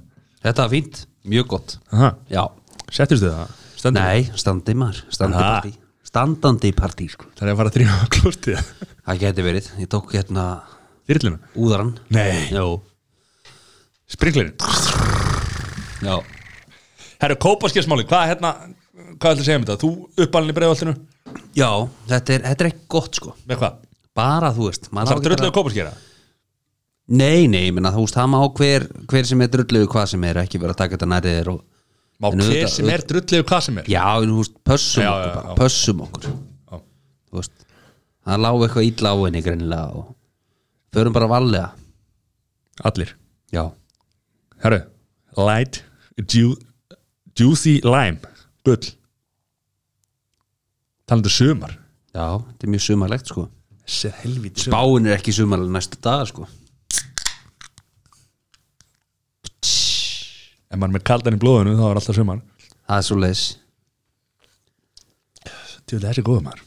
Speaker 2: Þetta er fínt, mjög gott
Speaker 1: Aha.
Speaker 2: Já,
Speaker 1: Settistu það? Stendur
Speaker 2: nei, standi maður, standi
Speaker 1: Ha.
Speaker 2: partí Standandi partí sko
Speaker 1: Það er að fara að þrýfa klústið
Speaker 2: Það geti verið, ég tók hérna
Speaker 1: Þyrluna?
Speaker 2: úðaran
Speaker 1: Nei
Speaker 2: Jó,
Speaker 1: Sprinklerinn
Speaker 2: já
Speaker 1: Herru, kópaskjöfsmáli, hvað hérna hvað ætlaðu að segja um þetta? Þú uppalinn í breiðoltinu
Speaker 2: Já, þetta er, þetta er ekki gott sko
Speaker 1: með hvað?
Speaker 2: Bara þú veist maður
Speaker 1: Það er
Speaker 2: á ekki
Speaker 1: drulluðu kópaskjöra?
Speaker 2: bara- Nei, nei, ég menna þú veist, það má hver, hver sem er drulluðu hvað sem er ekki vera að taka þetta nærið þér og
Speaker 1: Má
Speaker 2: En
Speaker 1: hver
Speaker 2: auðvitað-
Speaker 1: sem er drulluðu hvað sem er?
Speaker 2: Já, en þú veist, pössum
Speaker 1: Já, já,
Speaker 2: okkur
Speaker 1: já,
Speaker 2: bara,
Speaker 1: já.
Speaker 2: pössum okkur
Speaker 1: Já.
Speaker 2: Þú veist, það lág eitthvað ítla á henni greinilega og förum bara varlega
Speaker 1: Allir
Speaker 2: Já,
Speaker 1: Herru, light, ju, juicy lime gull Talandu sumar
Speaker 2: já, þetta er mjög sumarlegt sko
Speaker 1: Þessi helvít sumar
Speaker 2: Báin er ekki sumarlega næstu dag sko
Speaker 1: Ef maður er með kaldan í blóðinu þá er alltaf sumar
Speaker 2: Það er svo leis
Speaker 1: Tjóðlega þessi góðum maður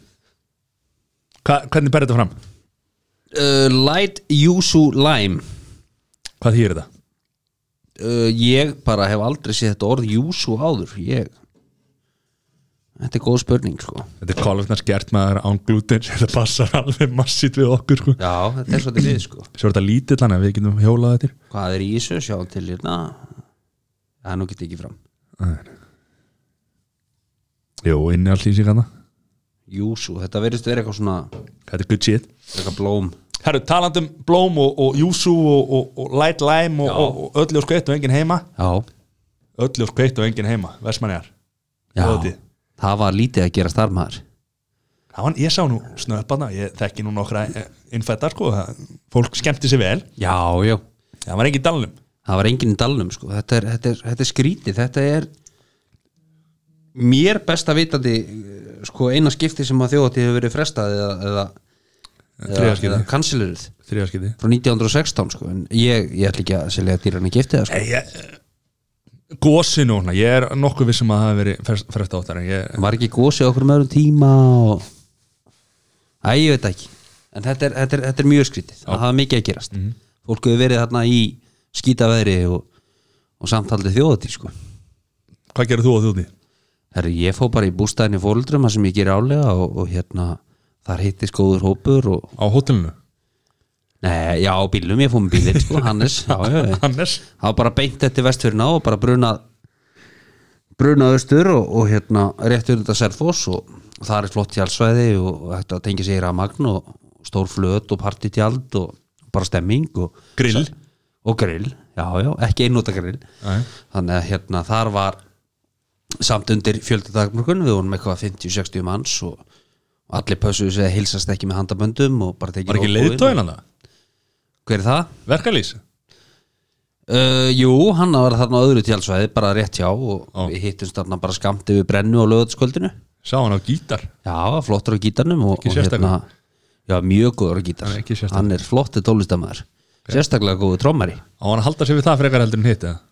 Speaker 1: Hva, Hvernig berði þetta fram?
Speaker 2: uh, Light Yuzu Lime
Speaker 1: Hvað þýr þetta?
Speaker 2: uh, ég bara hef aldrei séð þetta orð júsu áður ég þetta er góð spurning sko
Speaker 1: Þetta er kólefna skert maður án glútin þetta passar alveg massít við okkur sko.
Speaker 2: já, þetta er svo til við sko
Speaker 1: Svo er þetta lítill hann að við getum hjólað þetta
Speaker 2: hvað er í þessu, sjá til hérna það nú get ég ekki fram
Speaker 1: Jú, inni allt í sig hana
Speaker 2: júsu, þetta verðist verið eitthvað svona
Speaker 1: Þetta er good shit
Speaker 2: eitthvað blóm
Speaker 1: Herru, talandum blóm og, og júsú og, og, og light lime og,
Speaker 2: Já.
Speaker 1: og, og öllu og skveitt og enginn heima
Speaker 2: já,
Speaker 1: Öllu og skveitt og enginn heima, versmanniðar
Speaker 2: já
Speaker 1: Góði.
Speaker 2: það var lítið að gera starfmaður
Speaker 1: Það var, ég sá nú snöppana, ég þekki nú nokkra eh, innfættar sko, það, fólk skemmti sér vel
Speaker 2: já, já
Speaker 1: Það var engin dalnum
Speaker 2: það var enginn í dalnum sko. þetta, er, þetta, er, þetta er skrítið þetta er mér besta vitandi eh, sko, eina skipti sem að þjóðatíð hefur verið frestað eða, eða, eða,
Speaker 1: Þriðja skipti.
Speaker 2: eða kansiluruð
Speaker 1: Þriðaskiti
Speaker 2: frá 1916 sko. en ég, ég ætla ekki að selja dýran í giftið sko.
Speaker 1: Gósi núna, hérna, ég er nokkuð um vissum að það hafi verið fresta áttar en ég,
Speaker 2: var ekki gósið okkur með öðrum tíma og Æ, ég veit það ekki En þetta er, þetta er, þetta er mjög skrítið Það hafa mikið að gerast
Speaker 1: Mhm.
Speaker 2: Fólk hefur verið þarna í skítaveðri og, og samtaldið þjóðatí sko.
Speaker 1: Hvað gerir þú á þjóðni?
Speaker 2: Herru, ég fó bara í bústæðinni fóruldrum Það sem ég ger álega og, og hérna Þar hittist góður hópur og,
Speaker 1: Á hótelinu?
Speaker 2: Nei, já, á bílum, ég fór með bílinn sko, Hannes já, já, já.
Speaker 1: Hannes?
Speaker 2: Það var bara beint eftir vestfyrna og bara brunað brunað austur og, og hérna rétt við þetta Selfoss og, og það er flott tjálsvæði og þetta tengið sér að magn og stór flöt og partitjald og bara stemming og,
Speaker 1: Grill?
Speaker 2: og grill, já, já, ekki einnóta grill
Speaker 1: Nei.
Speaker 2: þannig að hérna þar var samt undir fjöldadagmörkun við vorum eitthvað 50-60 manns og og allir pössuðu sig að hilsast ekki með handaböndum og bara tekið
Speaker 1: Var ekki hérna?
Speaker 2: róbóinn og-
Speaker 1: leiðtóin hann það?
Speaker 2: Hver er það?
Speaker 1: Verkalýs?
Speaker 2: Uh, jú, hann var þarna á öðru tjálsvæði bara rétt hjá og
Speaker 1: Ó.
Speaker 2: við hittumst þarna bara skamt yfir brennu á lögataskvöldinu Já,
Speaker 1: Sá hann á gítar?
Speaker 2: var flottur á gítarnum og,
Speaker 1: Ekki
Speaker 2: og hérna
Speaker 1: sérstakur?
Speaker 2: Já, mjög góður á gítar
Speaker 1: Hann er ekki sérstakur.
Speaker 2: Hann er flotti tólistamæður Sérstaklega góður trommari
Speaker 1: Á hann að halda sig við það frekar heldur en hitt eða?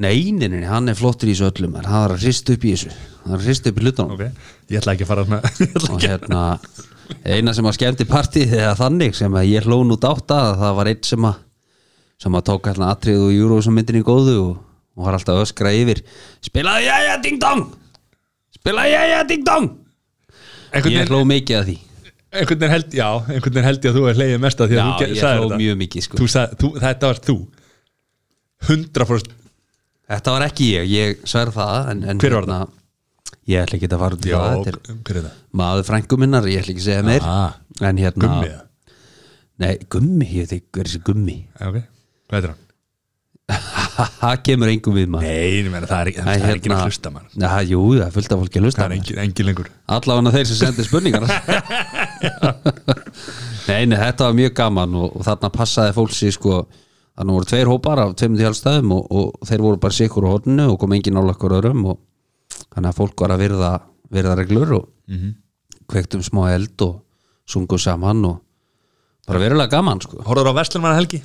Speaker 2: Nei, nei, nei, hann er flottur í þessu öllum maður. Hann er að hrista upp í þessu Hann er að hrista upp í hlutunum
Speaker 1: Ok, ég ætla ekki að fara svona Ég ætla
Speaker 2: og
Speaker 1: ekki
Speaker 2: hérna eina sem að skemmti partíð eða þannig sem að ég hlóð út átta að það var einn sem að sem að tók hérna atrið og júru sem myndin í góðu og, og var alltaf að öskra yfir spilaði jæja ding dong spilaði jæja ding dong
Speaker 1: Einhvern
Speaker 2: ég
Speaker 1: veginn-
Speaker 2: hlóð mikið að því
Speaker 1: einhvern veginn held, já, einhvern veginn held ég að þú er leiðið mest að því að
Speaker 2: Já,
Speaker 1: þú ge-
Speaker 2: ég
Speaker 1: sagðir
Speaker 2: hló
Speaker 1: þetta.
Speaker 2: mjög mikið, sko.
Speaker 1: Þú sagði, þú, þetta var þú 100%
Speaker 2: þetta var ekki ég, ég sver það en, en
Speaker 1: Hver var það?
Speaker 2: það? ég ætla ekki að fara út í
Speaker 1: já,
Speaker 2: það
Speaker 1: ok,
Speaker 2: þetta er
Speaker 1: hver er það?
Speaker 2: maður frængu minnar, ég ætla ekki að segja meir
Speaker 1: Ah,
Speaker 2: en hérna
Speaker 1: gummi eða?
Speaker 2: nei, gummi, ég veit ekki hver er þessi gummi
Speaker 1: Já, ok, hvað er það?
Speaker 2: það kemur engum við maður
Speaker 1: Nei, ég meina, það er ekki,
Speaker 2: hérna-
Speaker 1: það er ekki að hlusta mann
Speaker 2: ja, Jú, það er fullt af fólki að hlusta
Speaker 1: Það er engin, engin lengur
Speaker 2: Allavega þeir sem sendir spurningar Nei, nei, þetta var mjög gaman og, og þarna passaði fólk sér sko Þannig voru tveir hópar af tveimur tjálstæðum og, og þeir voru bara sikur á horninu og kom engin nála okkur öðrum og þannig að fólk var að virða, virða reglur og
Speaker 1: Mhm.
Speaker 2: kveiktum smá eld og sungu saman og bara verulega gaman sko
Speaker 1: Horður á Vestlunmanna helgi?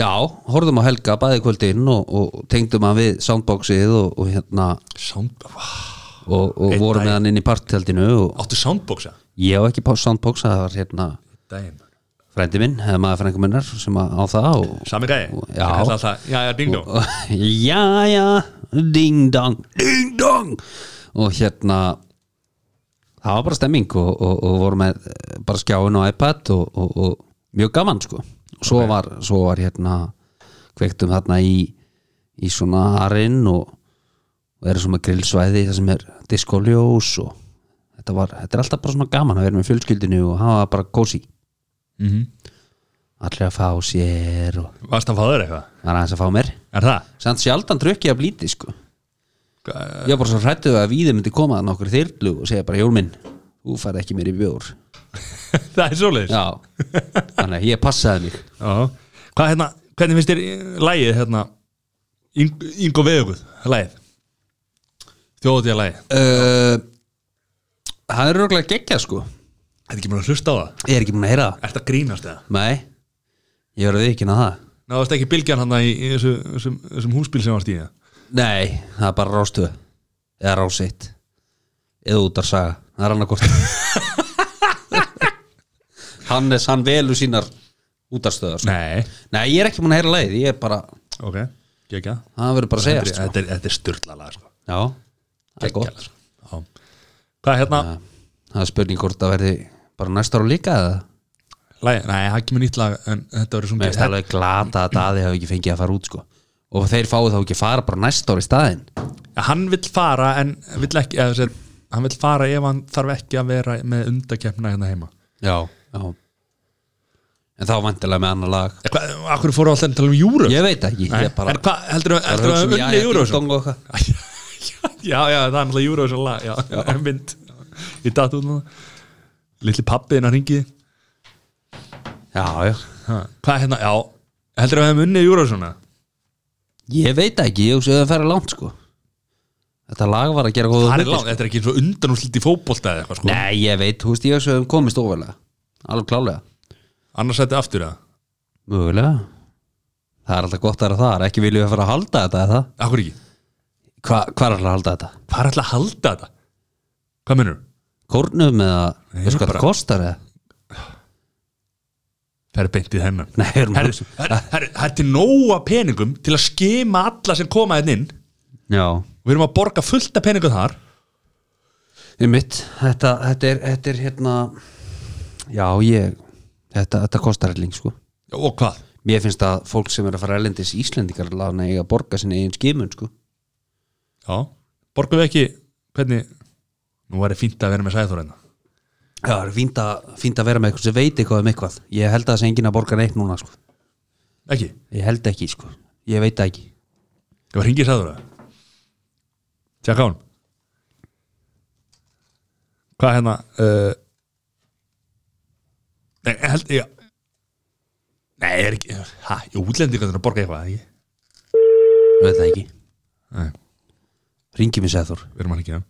Speaker 2: Já, horfðum á Helga bæði kvöldin og, og tengdum hann við soundboxið og, og hérna
Speaker 1: Sound, vá,
Speaker 2: og, og
Speaker 1: Einn
Speaker 2: voru
Speaker 1: daginn.
Speaker 2: með hann inn í partjaldinu og
Speaker 1: áttu soundboxa?
Speaker 2: ég á ekki pá- soundbox það var hérna
Speaker 1: Dæin
Speaker 2: frændi minn, hefði maður frængum minnar sem að á það og,
Speaker 1: Sami gæði?
Speaker 2: Já.
Speaker 1: Það kalla alltaf, já, já, ding dong
Speaker 2: og já, já, ding dong ding dong og hérna það var bara stemming og, og, og voru með eh, bara skjáin og iPad og, og, og mjög gaman sko og svo, var, svo var hérna kveiktum þarna í í svona arinn og, og erum svona grillsvæði það sem er diskoljós og þetta, var, þetta er alltaf bara svona gaman að vera með fjölskyldinu og hafa bara kósi
Speaker 1: mm
Speaker 2: allir að fá sér og
Speaker 1: Varst að fá þér eitthvað?
Speaker 2: það er aðeins að fá mér
Speaker 1: Er það?
Speaker 2: samt sjaldan drukki að blíti sko
Speaker 1: Hva-
Speaker 2: ég var bara svo hrættu að víði myndi koma að nokkur þyrlu og segja bara Jón minn, þú fær ekki mér í bjór
Speaker 1: Það er svoleiðis
Speaker 2: já, þannig að ég passaði mig
Speaker 1: Já, hvað hérna, hvernig finnst þér eh, lagið hérna Ing- Ingo Veðuguð, lagið Þjóðatíða lagið
Speaker 2: uh, það er röglega geggja sko
Speaker 1: Þetta ekki mér að hlusta á það,
Speaker 2: ég er ekki múin að heyra það
Speaker 1: ert að grínast eða
Speaker 2: nei, ég var að viðkynna það
Speaker 1: Náðast ekki bylgjan hann í, í þessu, þessum, þessum húsbíl sem var stíða
Speaker 2: nei, það er bara rástu eða rásitt eða útarsaga, það er annarkort Hannes, hann velur sínar útarstöðar sko.
Speaker 1: Nei,
Speaker 2: nei, ég er ekki múin að heyra leið ég er bara,
Speaker 1: ok, gegja
Speaker 2: það verður bara að segja
Speaker 1: Þetta er, þetta er sturla lag sko.
Speaker 2: Já, það er gott
Speaker 1: Geggjað, sko. Já. Hvað hérna,
Speaker 2: Það- Það er spurning hvort það verði bara næsta ára líka eða
Speaker 1: lagið, nei, það kemur nýtt lag en þetta verður
Speaker 2: Mér
Speaker 1: svona
Speaker 2: finnst alveg glata að Daði hafi ekki fengið að fara út sko og þeir fáið þá ekki að fara bara næsta ára í staðinn
Speaker 1: Hann vill fara en vill ekki, eða, sér, hann vill fara ef hann þarf ekki að vera með undakefna hérna heima
Speaker 2: Já, Já. En þá vantilega með annar lag
Speaker 1: Hvað, akkur fóru alltaf að tala um júru?
Speaker 2: Ég veit ekki,
Speaker 1: Nei,
Speaker 2: ég bara
Speaker 1: en hvað, heldur þú
Speaker 2: var
Speaker 1: heldur
Speaker 2: hugsa um
Speaker 1: að
Speaker 2: jæja,
Speaker 1: unni Eurovision?
Speaker 2: ding-dong og eitthvað.
Speaker 1: Já, já, það er alltaf Eurovision lag, já, en mynd Ég datt út núna Lilli pappiðin að ringi
Speaker 2: Já, já,
Speaker 1: Hvað hérna, já, heldur þú að unni Eurovision? eða?
Speaker 2: ég veit ekki, ég hugsa að það færa langt sko Þetta lag var að gera góða
Speaker 1: Það er
Speaker 2: hluti,
Speaker 1: langt, þetta er ekki eins og undanúslit í fótbolta eða eitthvað
Speaker 2: sko.
Speaker 1: sko
Speaker 2: Nei, ég veit, þú veist, ég hugsa um að við komist ofalega Alveg klálega
Speaker 1: Annars sætti aftur eða
Speaker 2: Mögulega Það er alltaf gott að vera þar, ekki viljum við að fara að halda þetta eða það
Speaker 1: Akkur ekki,
Speaker 2: Hva, hvað er alltaf að halda þetta?
Speaker 1: hvað er alltaf að halda þetta? Hvað mennur?
Speaker 2: Kórnum eða,
Speaker 1: Nei,
Speaker 2: veist hvað
Speaker 1: bara-
Speaker 2: það kostar eða?
Speaker 1: fer beint í þennan
Speaker 2: Nei, við erum að
Speaker 1: Herri,
Speaker 2: hugsa-
Speaker 1: herri, herri, Það er til nóga peningum til að skima alla sem koma þenn inn
Speaker 2: Já,
Speaker 1: Við erum að borga fullt af peningum þar
Speaker 2: um mitt þetta, þetta, er, þetta er hérna Já, ég Þetta, þetta kostar helling sko
Speaker 1: Og hvað?
Speaker 2: Mér finnst að fólk sem er að fara erlendis Íslendingar lána eiga að borga sinni eigin skimun sko
Speaker 1: Já, borgum við ekki Hvernig, nú var fínt að vera með sæður hérna
Speaker 2: Já, það er fínt að, fínt að vera með eitthvað sem veit eitthvað um eitthvað Ég held að það sé enginn að borga neitt núna sko
Speaker 1: Ekki,
Speaker 2: Ég held ekki sko, ég veit það ekki
Speaker 1: ég var hringið sæður það Tjekka á hann Hvað hérna uh, Nei, ég held ég, Nei, er ekki Hæ, útlendingar þarna borga eitthvað ekki?
Speaker 2: Ég veit það ekki
Speaker 1: Nei,
Speaker 2: Ringi mér segður
Speaker 1: við erum hann ekki hann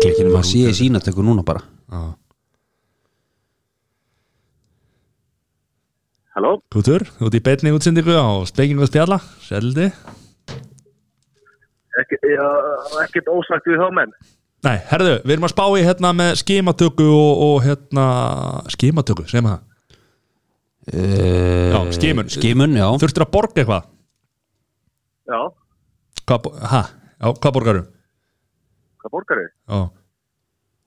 Speaker 2: Klikkinum að sé í sínatöku núna bara
Speaker 1: Já,
Speaker 3: Halló?
Speaker 1: Kútur, þú ert í beinni útsendingu á Speking og Spjalla, seldi
Speaker 3: Ekki, já, ekkert ósagt við þá menn.
Speaker 1: Nei, herðu, við erum að spá í hérna með skimatöku og, og hérna skimatöku, segjum við það
Speaker 2: uh,
Speaker 1: Já, skimun.
Speaker 2: Skimun, já
Speaker 1: Þurftur að borga eitthvað?
Speaker 3: Já,
Speaker 1: Hvað, bo- ha, já, hvað borgarum?
Speaker 3: hvað borgar þau?
Speaker 1: Já,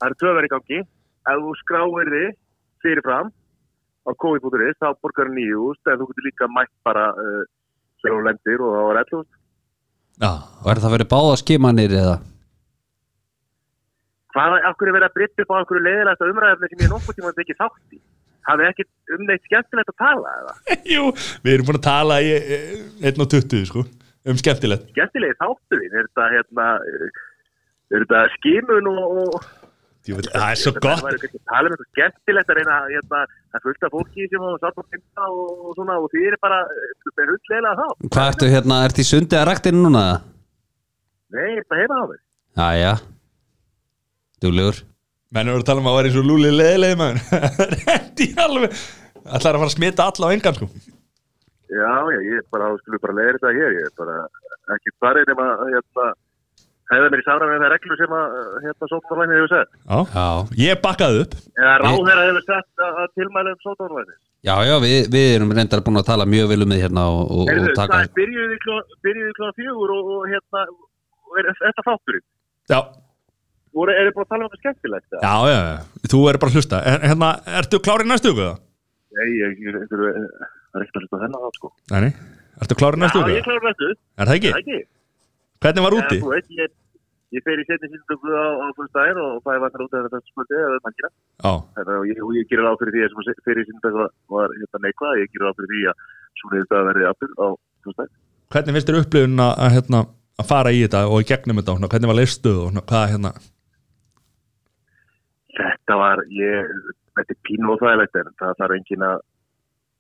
Speaker 3: Það eru tvö verið gangi. Ef þú skráir þið fyrirfram á COVID.is, þá borgar þau nýjúst, en þú getur líka mætt bara uh, sem þú lendir og þá er ellúst.
Speaker 1: já,
Speaker 2: Og er það verið báða skimanir eða?
Speaker 3: Hvað, af hverju er verið að brytta upp á einhverju leiðilegasta umræðafni sem ég nokkuð tíma ekki þátt í? Það er ekkert um neitt skemmtilegt að tala, eða?
Speaker 1: Jú, við erum búin að tala í eh, einn og 20, sko um skemmtilegt
Speaker 3: Skemmtilegi þátturinn, er þetta, hérna, er þetta skimun og... og
Speaker 1: Jú, Það er svo
Speaker 3: Það
Speaker 1: gott
Speaker 3: var ekki að tala um eitthvað skemmtilegt að reyna að hérna, það fullta fólki sem hún satt á finna og, og svona og því er bara eh, með hundleila þá.
Speaker 2: Hvað ertu hérna, ertu í sundi að raktinu núna?
Speaker 3: Nei, ég er bara heima á mig.
Speaker 2: Jæja Dúlegur
Speaker 1: Menn eru að tala um að vera eins og lúli leðilegi maður Rendi alveg Það er að fara að smita alla á engan, sko
Speaker 3: Já, já, ég er bara, skulum bara leiða þetta hér, ég er bara ekki farið nema að hérna, hefða mér í samræmi með það reglu sem að eh, hérna sótvarlæni hefur sett.
Speaker 1: Já,
Speaker 2: Já,
Speaker 1: ég bakkaði upp
Speaker 3: Eða ráðherra hefur sett að að tilmæla um sótvarlæni.
Speaker 2: já, já við, við erum reyndar búin að tala mjög vel um þið hérna og, og, og
Speaker 3: Heyrðu,
Speaker 2: taka
Speaker 3: það byrjuði klá- byrjuði klá fjögur og, og hérna, og er þetta þátturinn?
Speaker 1: Já,
Speaker 3: Voru, eru búin að tala um þetta skemmtilegt? eða?
Speaker 1: já, já, já. þú er bara að hlusta En hérna, ertu klárið næstu, guða?
Speaker 3: Nei, ég, ég, ég, ég, það er ekkert að hluta á þennan þá sko.
Speaker 1: Nei, nei. ertu klárið næstu
Speaker 3: Já,
Speaker 1: viku?
Speaker 3: ég klára næstu.
Speaker 1: Er það
Speaker 3: Það
Speaker 1: ekki?
Speaker 3: ekki.
Speaker 1: Hvernig var úti?
Speaker 3: Þú veist, ég, ég fer í setni síndöku á, á fyrstæðin og það er vantar út af þetta smöldi eða mannina.
Speaker 1: Já,
Speaker 3: Þannig að ég, og ég gerir ráð fyrir því að sem fer í síndöku var hérna neikvað. Ég gerir ráð fyrir því að svona þetta verði aftur á fyrstæðin.
Speaker 1: hvernig finnst þér upplifun að, að, hérna, að fara í þetta og í gegnum þetta og svona, hvernig var leistuð og svona, hvað hérna
Speaker 3: Þetta var, ég, þetta er pínu og þægilegt en það þarf engin að,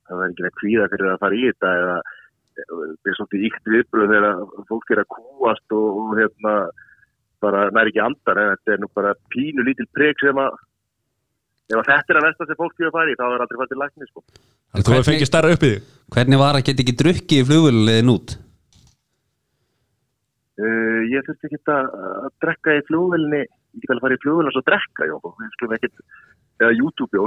Speaker 3: það þarf engin að kvíða fyrir að fara í þetta eða það er svolítið íkt viðbröð þegar fólk er að kúast og, og hérna bara nær ekki andan en þetta er nú bara pínu lítil preg sem að ef að þetta er að versta sem fólk fyrir að fara í þá er aldrei farið til lækni sko.
Speaker 1: Þannig þú hefur
Speaker 2: hvernig-
Speaker 1: fengið stærra upp í þig
Speaker 2: Hvernig var að geta ekki drukkið í flugvölulegin út?
Speaker 3: Uh, ég þurfti ekki að, að drekka í flugvölinni, ég get alveg að fara í flugvölinni og svo drekka, já, við skulum ekkert, eða YouTube, já.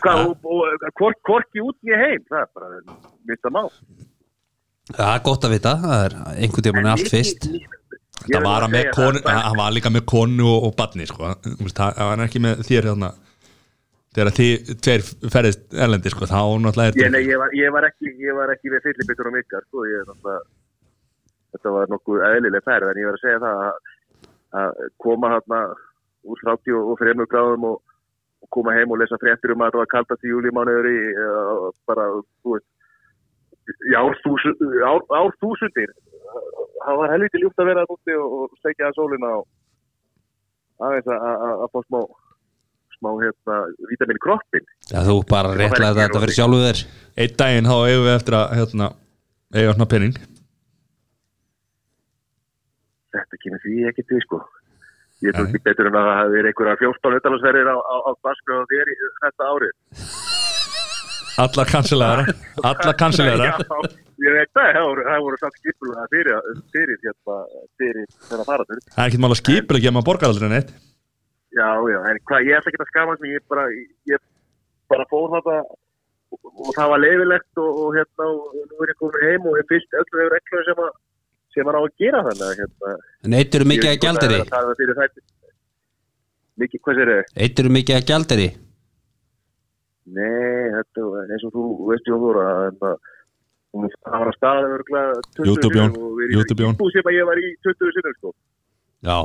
Speaker 3: Hvað, og, og hvort, hvorki út ég heim, það er bara mitt að má.
Speaker 2: Það er gott að vita, það er einhvern tímann er allt fyrst
Speaker 1: Það var hann með konu, hann hann var líka með konu og, og badni sko, Þú veist, það það var ekki með þér hérna þegar þið tveir ferðist erlendi sko, þá náttúrulega
Speaker 3: Ég,
Speaker 1: er
Speaker 3: nei, ég, var, ég, var ekki, ég var ekki við fyllibittur á mikar, sko, ég er náttúrulega, þetta var nokkuð eðlileg færð, en ég var að segja það að, að koma hérna úr 30 og 3 gráðum og, og koma heim og lesa fréttir um að það var kaldast í júlimánuður í, uh, bara, þú veist, í árþúsu- ár- árþúsundir, það var helviti ljúft að vera það úti og, og segja að sólina og aðeins að, að, að fá smá, smá, hérna, vítamin kroppin.
Speaker 2: Já, þú bara réttlega þetta fyrir sjálfu þér
Speaker 1: einn daginn þá eigum við eftir að hérna, eiga svona penning
Speaker 3: þetta kemur því ekki til sko ég tók ekki betur en að það hafi verið einhverja 14 hundalansverðir á, á, á Basku og þér í þetta árið
Speaker 1: alla kansilegara alla kansilegara
Speaker 3: Já, ég veit það, það voru, það voru samt skipulega fyrir, fyrir, hérna, fyrir þennan faraður
Speaker 1: það er ekkert mála skipileg að maður borgar aldrei neitt
Speaker 3: Já, já, en hvað, ég ætla ekki að skama mig, ég bara, ég bara fór þetta og, og það var leifilegt og, og hérna, og nú er ég komin heim og ég fyllt öllu hefur reglum sem að, sem maður á að gera þannig að hérna.
Speaker 2: Neytur
Speaker 3: ég
Speaker 2: mikið
Speaker 3: veit
Speaker 2: að
Speaker 3: ekki hvort
Speaker 2: gjaldari
Speaker 3: Það er að tala fyrir þætti. Mikið, hvað sér þau?
Speaker 2: Neytur mikið að gjaldari
Speaker 3: Nei, þetta, var- eins og þú veist ég og þú er að, hérna, hún- það var að staða örgulega 20
Speaker 1: YouTube, Jón.
Speaker 3: sinnum og við erum
Speaker 1: YouTube, Jón.
Speaker 3: í bú sem að ég var í 20 sinnum, sko.
Speaker 2: Já,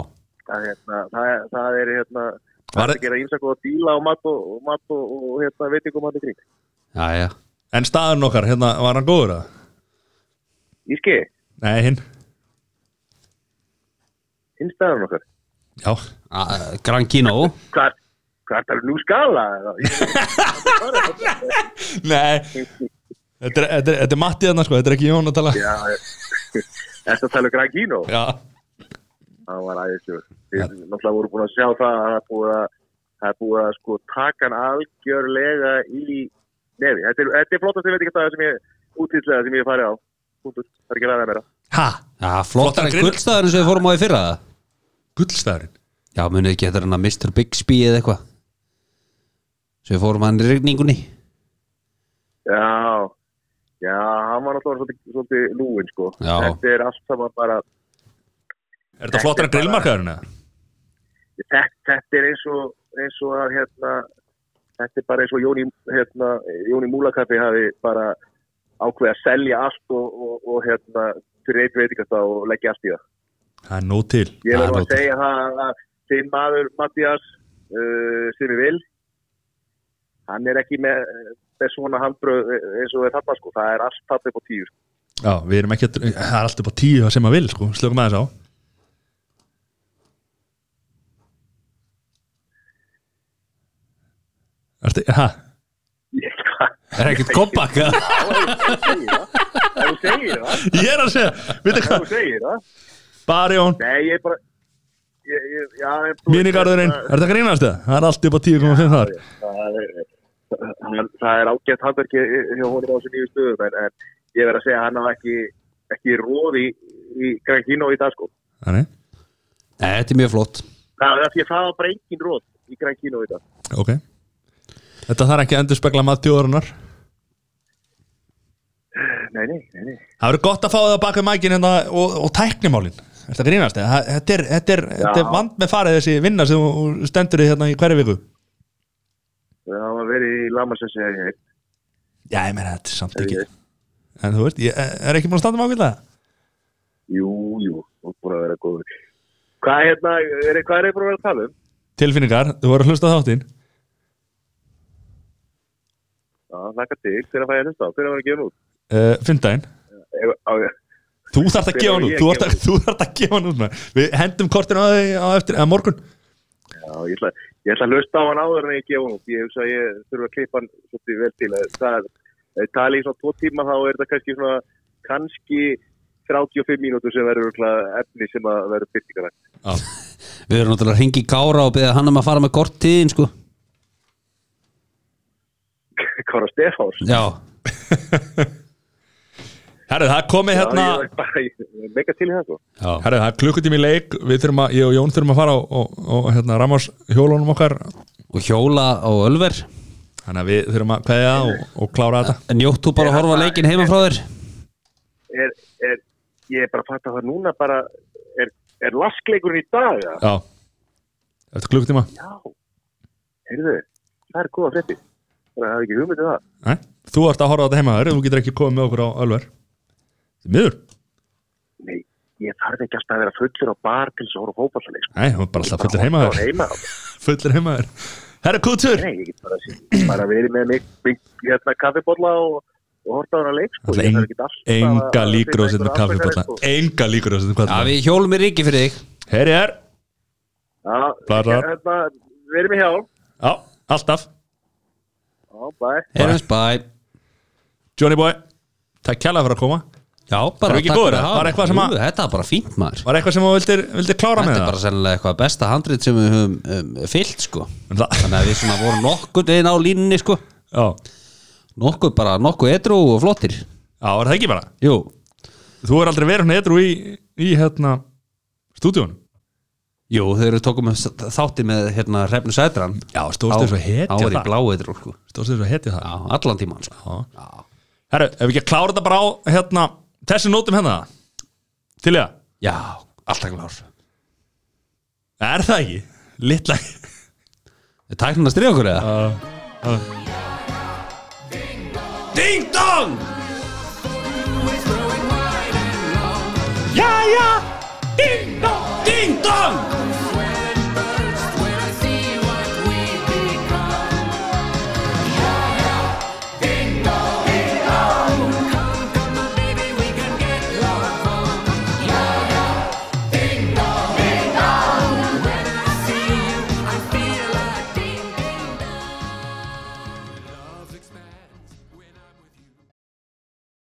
Speaker 3: Það, er, hérna, það, er- það er, hérna, það
Speaker 1: Var-
Speaker 3: er að gera ímsa góða díla og mat og, og mat og, og hérna, veitingum hann í kring.
Speaker 2: já, já
Speaker 1: En staðurinn okkar, hérna, var hann góður að?
Speaker 3: Íski,
Speaker 1: Nei, hinn,
Speaker 3: innstæðan okkar.
Speaker 1: já
Speaker 2: A- Gran Kino
Speaker 3: Hvað, hvað er það nú skala? eða?
Speaker 1: Nei Þetta er, þetta er, þetta er Matti þarna sko, þetta er ekki Jón að tala
Speaker 3: Já, þetta tala um Gran Kino.
Speaker 1: Já,
Speaker 3: Það var æðisjóð. Við náttúrulega vorum búin að sjá það að það er búið að, það er búið að sko taka hann algjörlega í nefi. Þetta er, þetta er flottast ég veit ekki það sem ég, útýrslega sem ég hef farið á. Punktur. Það er ekki ræða meira.
Speaker 1: ha,
Speaker 2: Já, flottar
Speaker 1: Flottar
Speaker 2: en
Speaker 1: grill.
Speaker 2: gullstæðurinn sem við fórum á í fyrra það
Speaker 1: gullstæðurinn
Speaker 2: Já, munið ekki þetta er hann að Mr. Bixby eða eitthvað sem við fórum hann í rigningunni
Speaker 3: Já, já, hann var náttúrulega svolítið, svolítið lúin sko.
Speaker 2: Já.
Speaker 3: Þetta er allt saman bara
Speaker 1: Er þetta flottar
Speaker 3: Þetta er
Speaker 1: en grillmarkaðurinn eða?
Speaker 3: þetta, þetta er eins og, eins og að hérna, þetta er bara eins og Jóni, hérna, Jóni Múlakaffi hafi bara ákveðið að selja allt og, og, og hérna, fyrir eitt veitingast og leggja allt í það.
Speaker 1: Það er nóg til
Speaker 3: Ég
Speaker 2: Það er
Speaker 3: verður að
Speaker 2: ótrúlegt.
Speaker 3: segja það að þinn maður Mattias uh, sem ég vil hann er ekki með, með svona handbröð eins og þetta sko, það er allt það upp á tíu sko.
Speaker 1: Já, við erum ekki að, það er allt upp á tíu það sem að vil sko, slökum aðeins á Ertu, ha,
Speaker 3: Ég- hvað-
Speaker 2: Er ekkert kompakk eða?
Speaker 3: Ef þú segir það,
Speaker 1: ég er að segja, veitu
Speaker 3: ef
Speaker 1: hvað
Speaker 3: þú segir það
Speaker 1: Bara Jón,
Speaker 3: Nei, ég bara ég, ég, já, en þú-
Speaker 1: mínigarðurinn Er þetta grínast það? Það er allt upp á tíu komum þar
Speaker 3: það er- hann- það er ágætt handverki hjá honum á þessu nýju stöðum en, en ég verð að segja að hann hafa ekki ekki róði í, í Gran Kino í dag sko
Speaker 1: Þannig,
Speaker 2: Nei, þetta er mjög flott
Speaker 3: það er af því að það var bara engin róð í Gran Kino í dag
Speaker 1: ok Þetta þarf ekki að endur spekla maður tjóðarinnar
Speaker 3: nei, nei, nei, nei.
Speaker 1: Það verður gott að fá það baka mækin hérna og, og tæknimálin Þetta grínast, eða? Það- þetta er, þetta er, þetta er vand með farið þessi vinna sem þú þú stendur í hérna í hverju viku
Speaker 3: það hafa verið í Lamarsessi já,
Speaker 1: Já, ég meina, þetta er samt
Speaker 3: Ég
Speaker 1: ekki En þú veist, ég er ekki búin að standa með ákveðlega
Speaker 3: jú, jú, þú er búin að vera góður hvað hérna, er, hvað er ég búin að vera að tala um?
Speaker 1: Tilfinningar, þú voru að hlusta á þáttinn
Speaker 3: Já, þakka til, hver að fæ ég að hlusta á, hver að vera að gefa hann út
Speaker 1: uh, Fyndaginn,
Speaker 3: Ef- á, ég-
Speaker 1: þú þarft að
Speaker 3: Hvenær
Speaker 1: gefa hann
Speaker 3: á
Speaker 1: út
Speaker 3: ég
Speaker 1: Þú
Speaker 3: að
Speaker 1: þarft að, þú þarft að gefa hann út maður. Við hendum kortinu á því á eftir, eða morgun
Speaker 3: já, ég ætla, ég ætla að hlusta á hann áður en ég gefa hann út ég hugsa að ég þurfa að klippa hann svolítið vel til það, það tali í svona tvo tíma þá er þetta kannski svona kannski 35 mínútur sem verður örugglega efni sem að verður byrtingarætt
Speaker 2: Við erum náttúrulega að ringi Kára og beða hann um að fara með kortiðin sko
Speaker 3: Kára Stefáns
Speaker 2: Já,
Speaker 1: Herru, það er komið hérna
Speaker 3: Já, ég er bara- ég er mega til í það sko
Speaker 2: já,
Speaker 1: Herru, það er klukkutími í leik Við þurfum að, ég og Jón þurfum að fara og, og, og hérna, Ramars hjólunum okkar
Speaker 2: og hjóla á Ölver
Speaker 1: Þannig að við þurfum að kveðja og, og klára þetta
Speaker 2: En njóttu bara að horfa á leikinn heima frá þér
Speaker 3: er, er, ég er bara að fatta það núna bara, er, er laskleikurinn í dag ja?
Speaker 1: Já Eftir klukkutíma
Speaker 3: já, heyrðu það er góða frétti, það er ekki hugmyndið það
Speaker 1: Nei, Þú ert að horfa á þetta heima þér Þú getur ekki komið með okkur á Ölver Miður
Speaker 3: nei, ég þarf ekki alltaf að vera fullur á bar til þess að horfa fókbalsleik
Speaker 1: Nei, hún er bara alltaf fullir heima þér
Speaker 3: heima,
Speaker 1: Fullir heima þér Herra Kútur
Speaker 3: nei, ég get bara, bara verið með mig, mig hérna kaffibotla og, og horta á hana leik sko. Ég þarf ekki alltaf að-
Speaker 1: Enga
Speaker 3: að
Speaker 1: líkur á
Speaker 3: finna
Speaker 1: þessum
Speaker 3: einhverja
Speaker 1: kaffibólla
Speaker 3: afsakaðir, sko.
Speaker 1: Enga líkur á um þessum
Speaker 2: Já,
Speaker 1: kaffibólla
Speaker 2: við hjólum í ríki fyrir þig
Speaker 1: Herri er
Speaker 3: já,
Speaker 1: Blarar.
Speaker 3: hérna, verið með hjá
Speaker 1: Já, alltaf
Speaker 3: já, bæ
Speaker 2: Heyrjumst, bæ
Speaker 1: Johnny boy Takk kjærlega fyrir að koma
Speaker 2: Já, bara
Speaker 1: Erum við ekki
Speaker 2: takk
Speaker 1: góðir,
Speaker 2: fyrir að
Speaker 1: eða?
Speaker 2: hafa
Speaker 1: Var
Speaker 2: mig.
Speaker 1: eitthvað sem að-
Speaker 2: Jú, Þetta er bara fínt maður
Speaker 1: Var eitthvað sem þú vildir, vildir klára
Speaker 2: Þetta
Speaker 1: með
Speaker 2: er
Speaker 1: það?
Speaker 2: bara sennilega eitthvað besta handrit sem við höfum um, fyllt sko
Speaker 1: En það?
Speaker 2: Þannig að við svona vorum nokkuð einn á línunni sko
Speaker 1: Já,
Speaker 2: Nokkuð bara, nokkuð edru og flottir
Speaker 1: já, er það ekki bara
Speaker 2: Jú,
Speaker 1: Þú er aldrei verið hérna edru í, í hérna stúdíónu
Speaker 2: Jú, þeir eru tókum með þátti með hérna Hrefnu Sætran
Speaker 1: Já, stóðstu þess að hetja
Speaker 2: Árið
Speaker 1: það
Speaker 2: bláið til sko.
Speaker 1: Stóðstu þess að hetja það
Speaker 2: Já, allan tíman sko.
Speaker 1: Já.
Speaker 2: Já.
Speaker 1: Herru, ef við ekki að klára þetta bara á hérna, þessi nótum hérna Til ég
Speaker 2: Já, alltaf klár
Speaker 1: Er það ekki? Littla
Speaker 2: Er tæknin að stríða okkur eða?
Speaker 1: Ding dong! Já, já, ding dong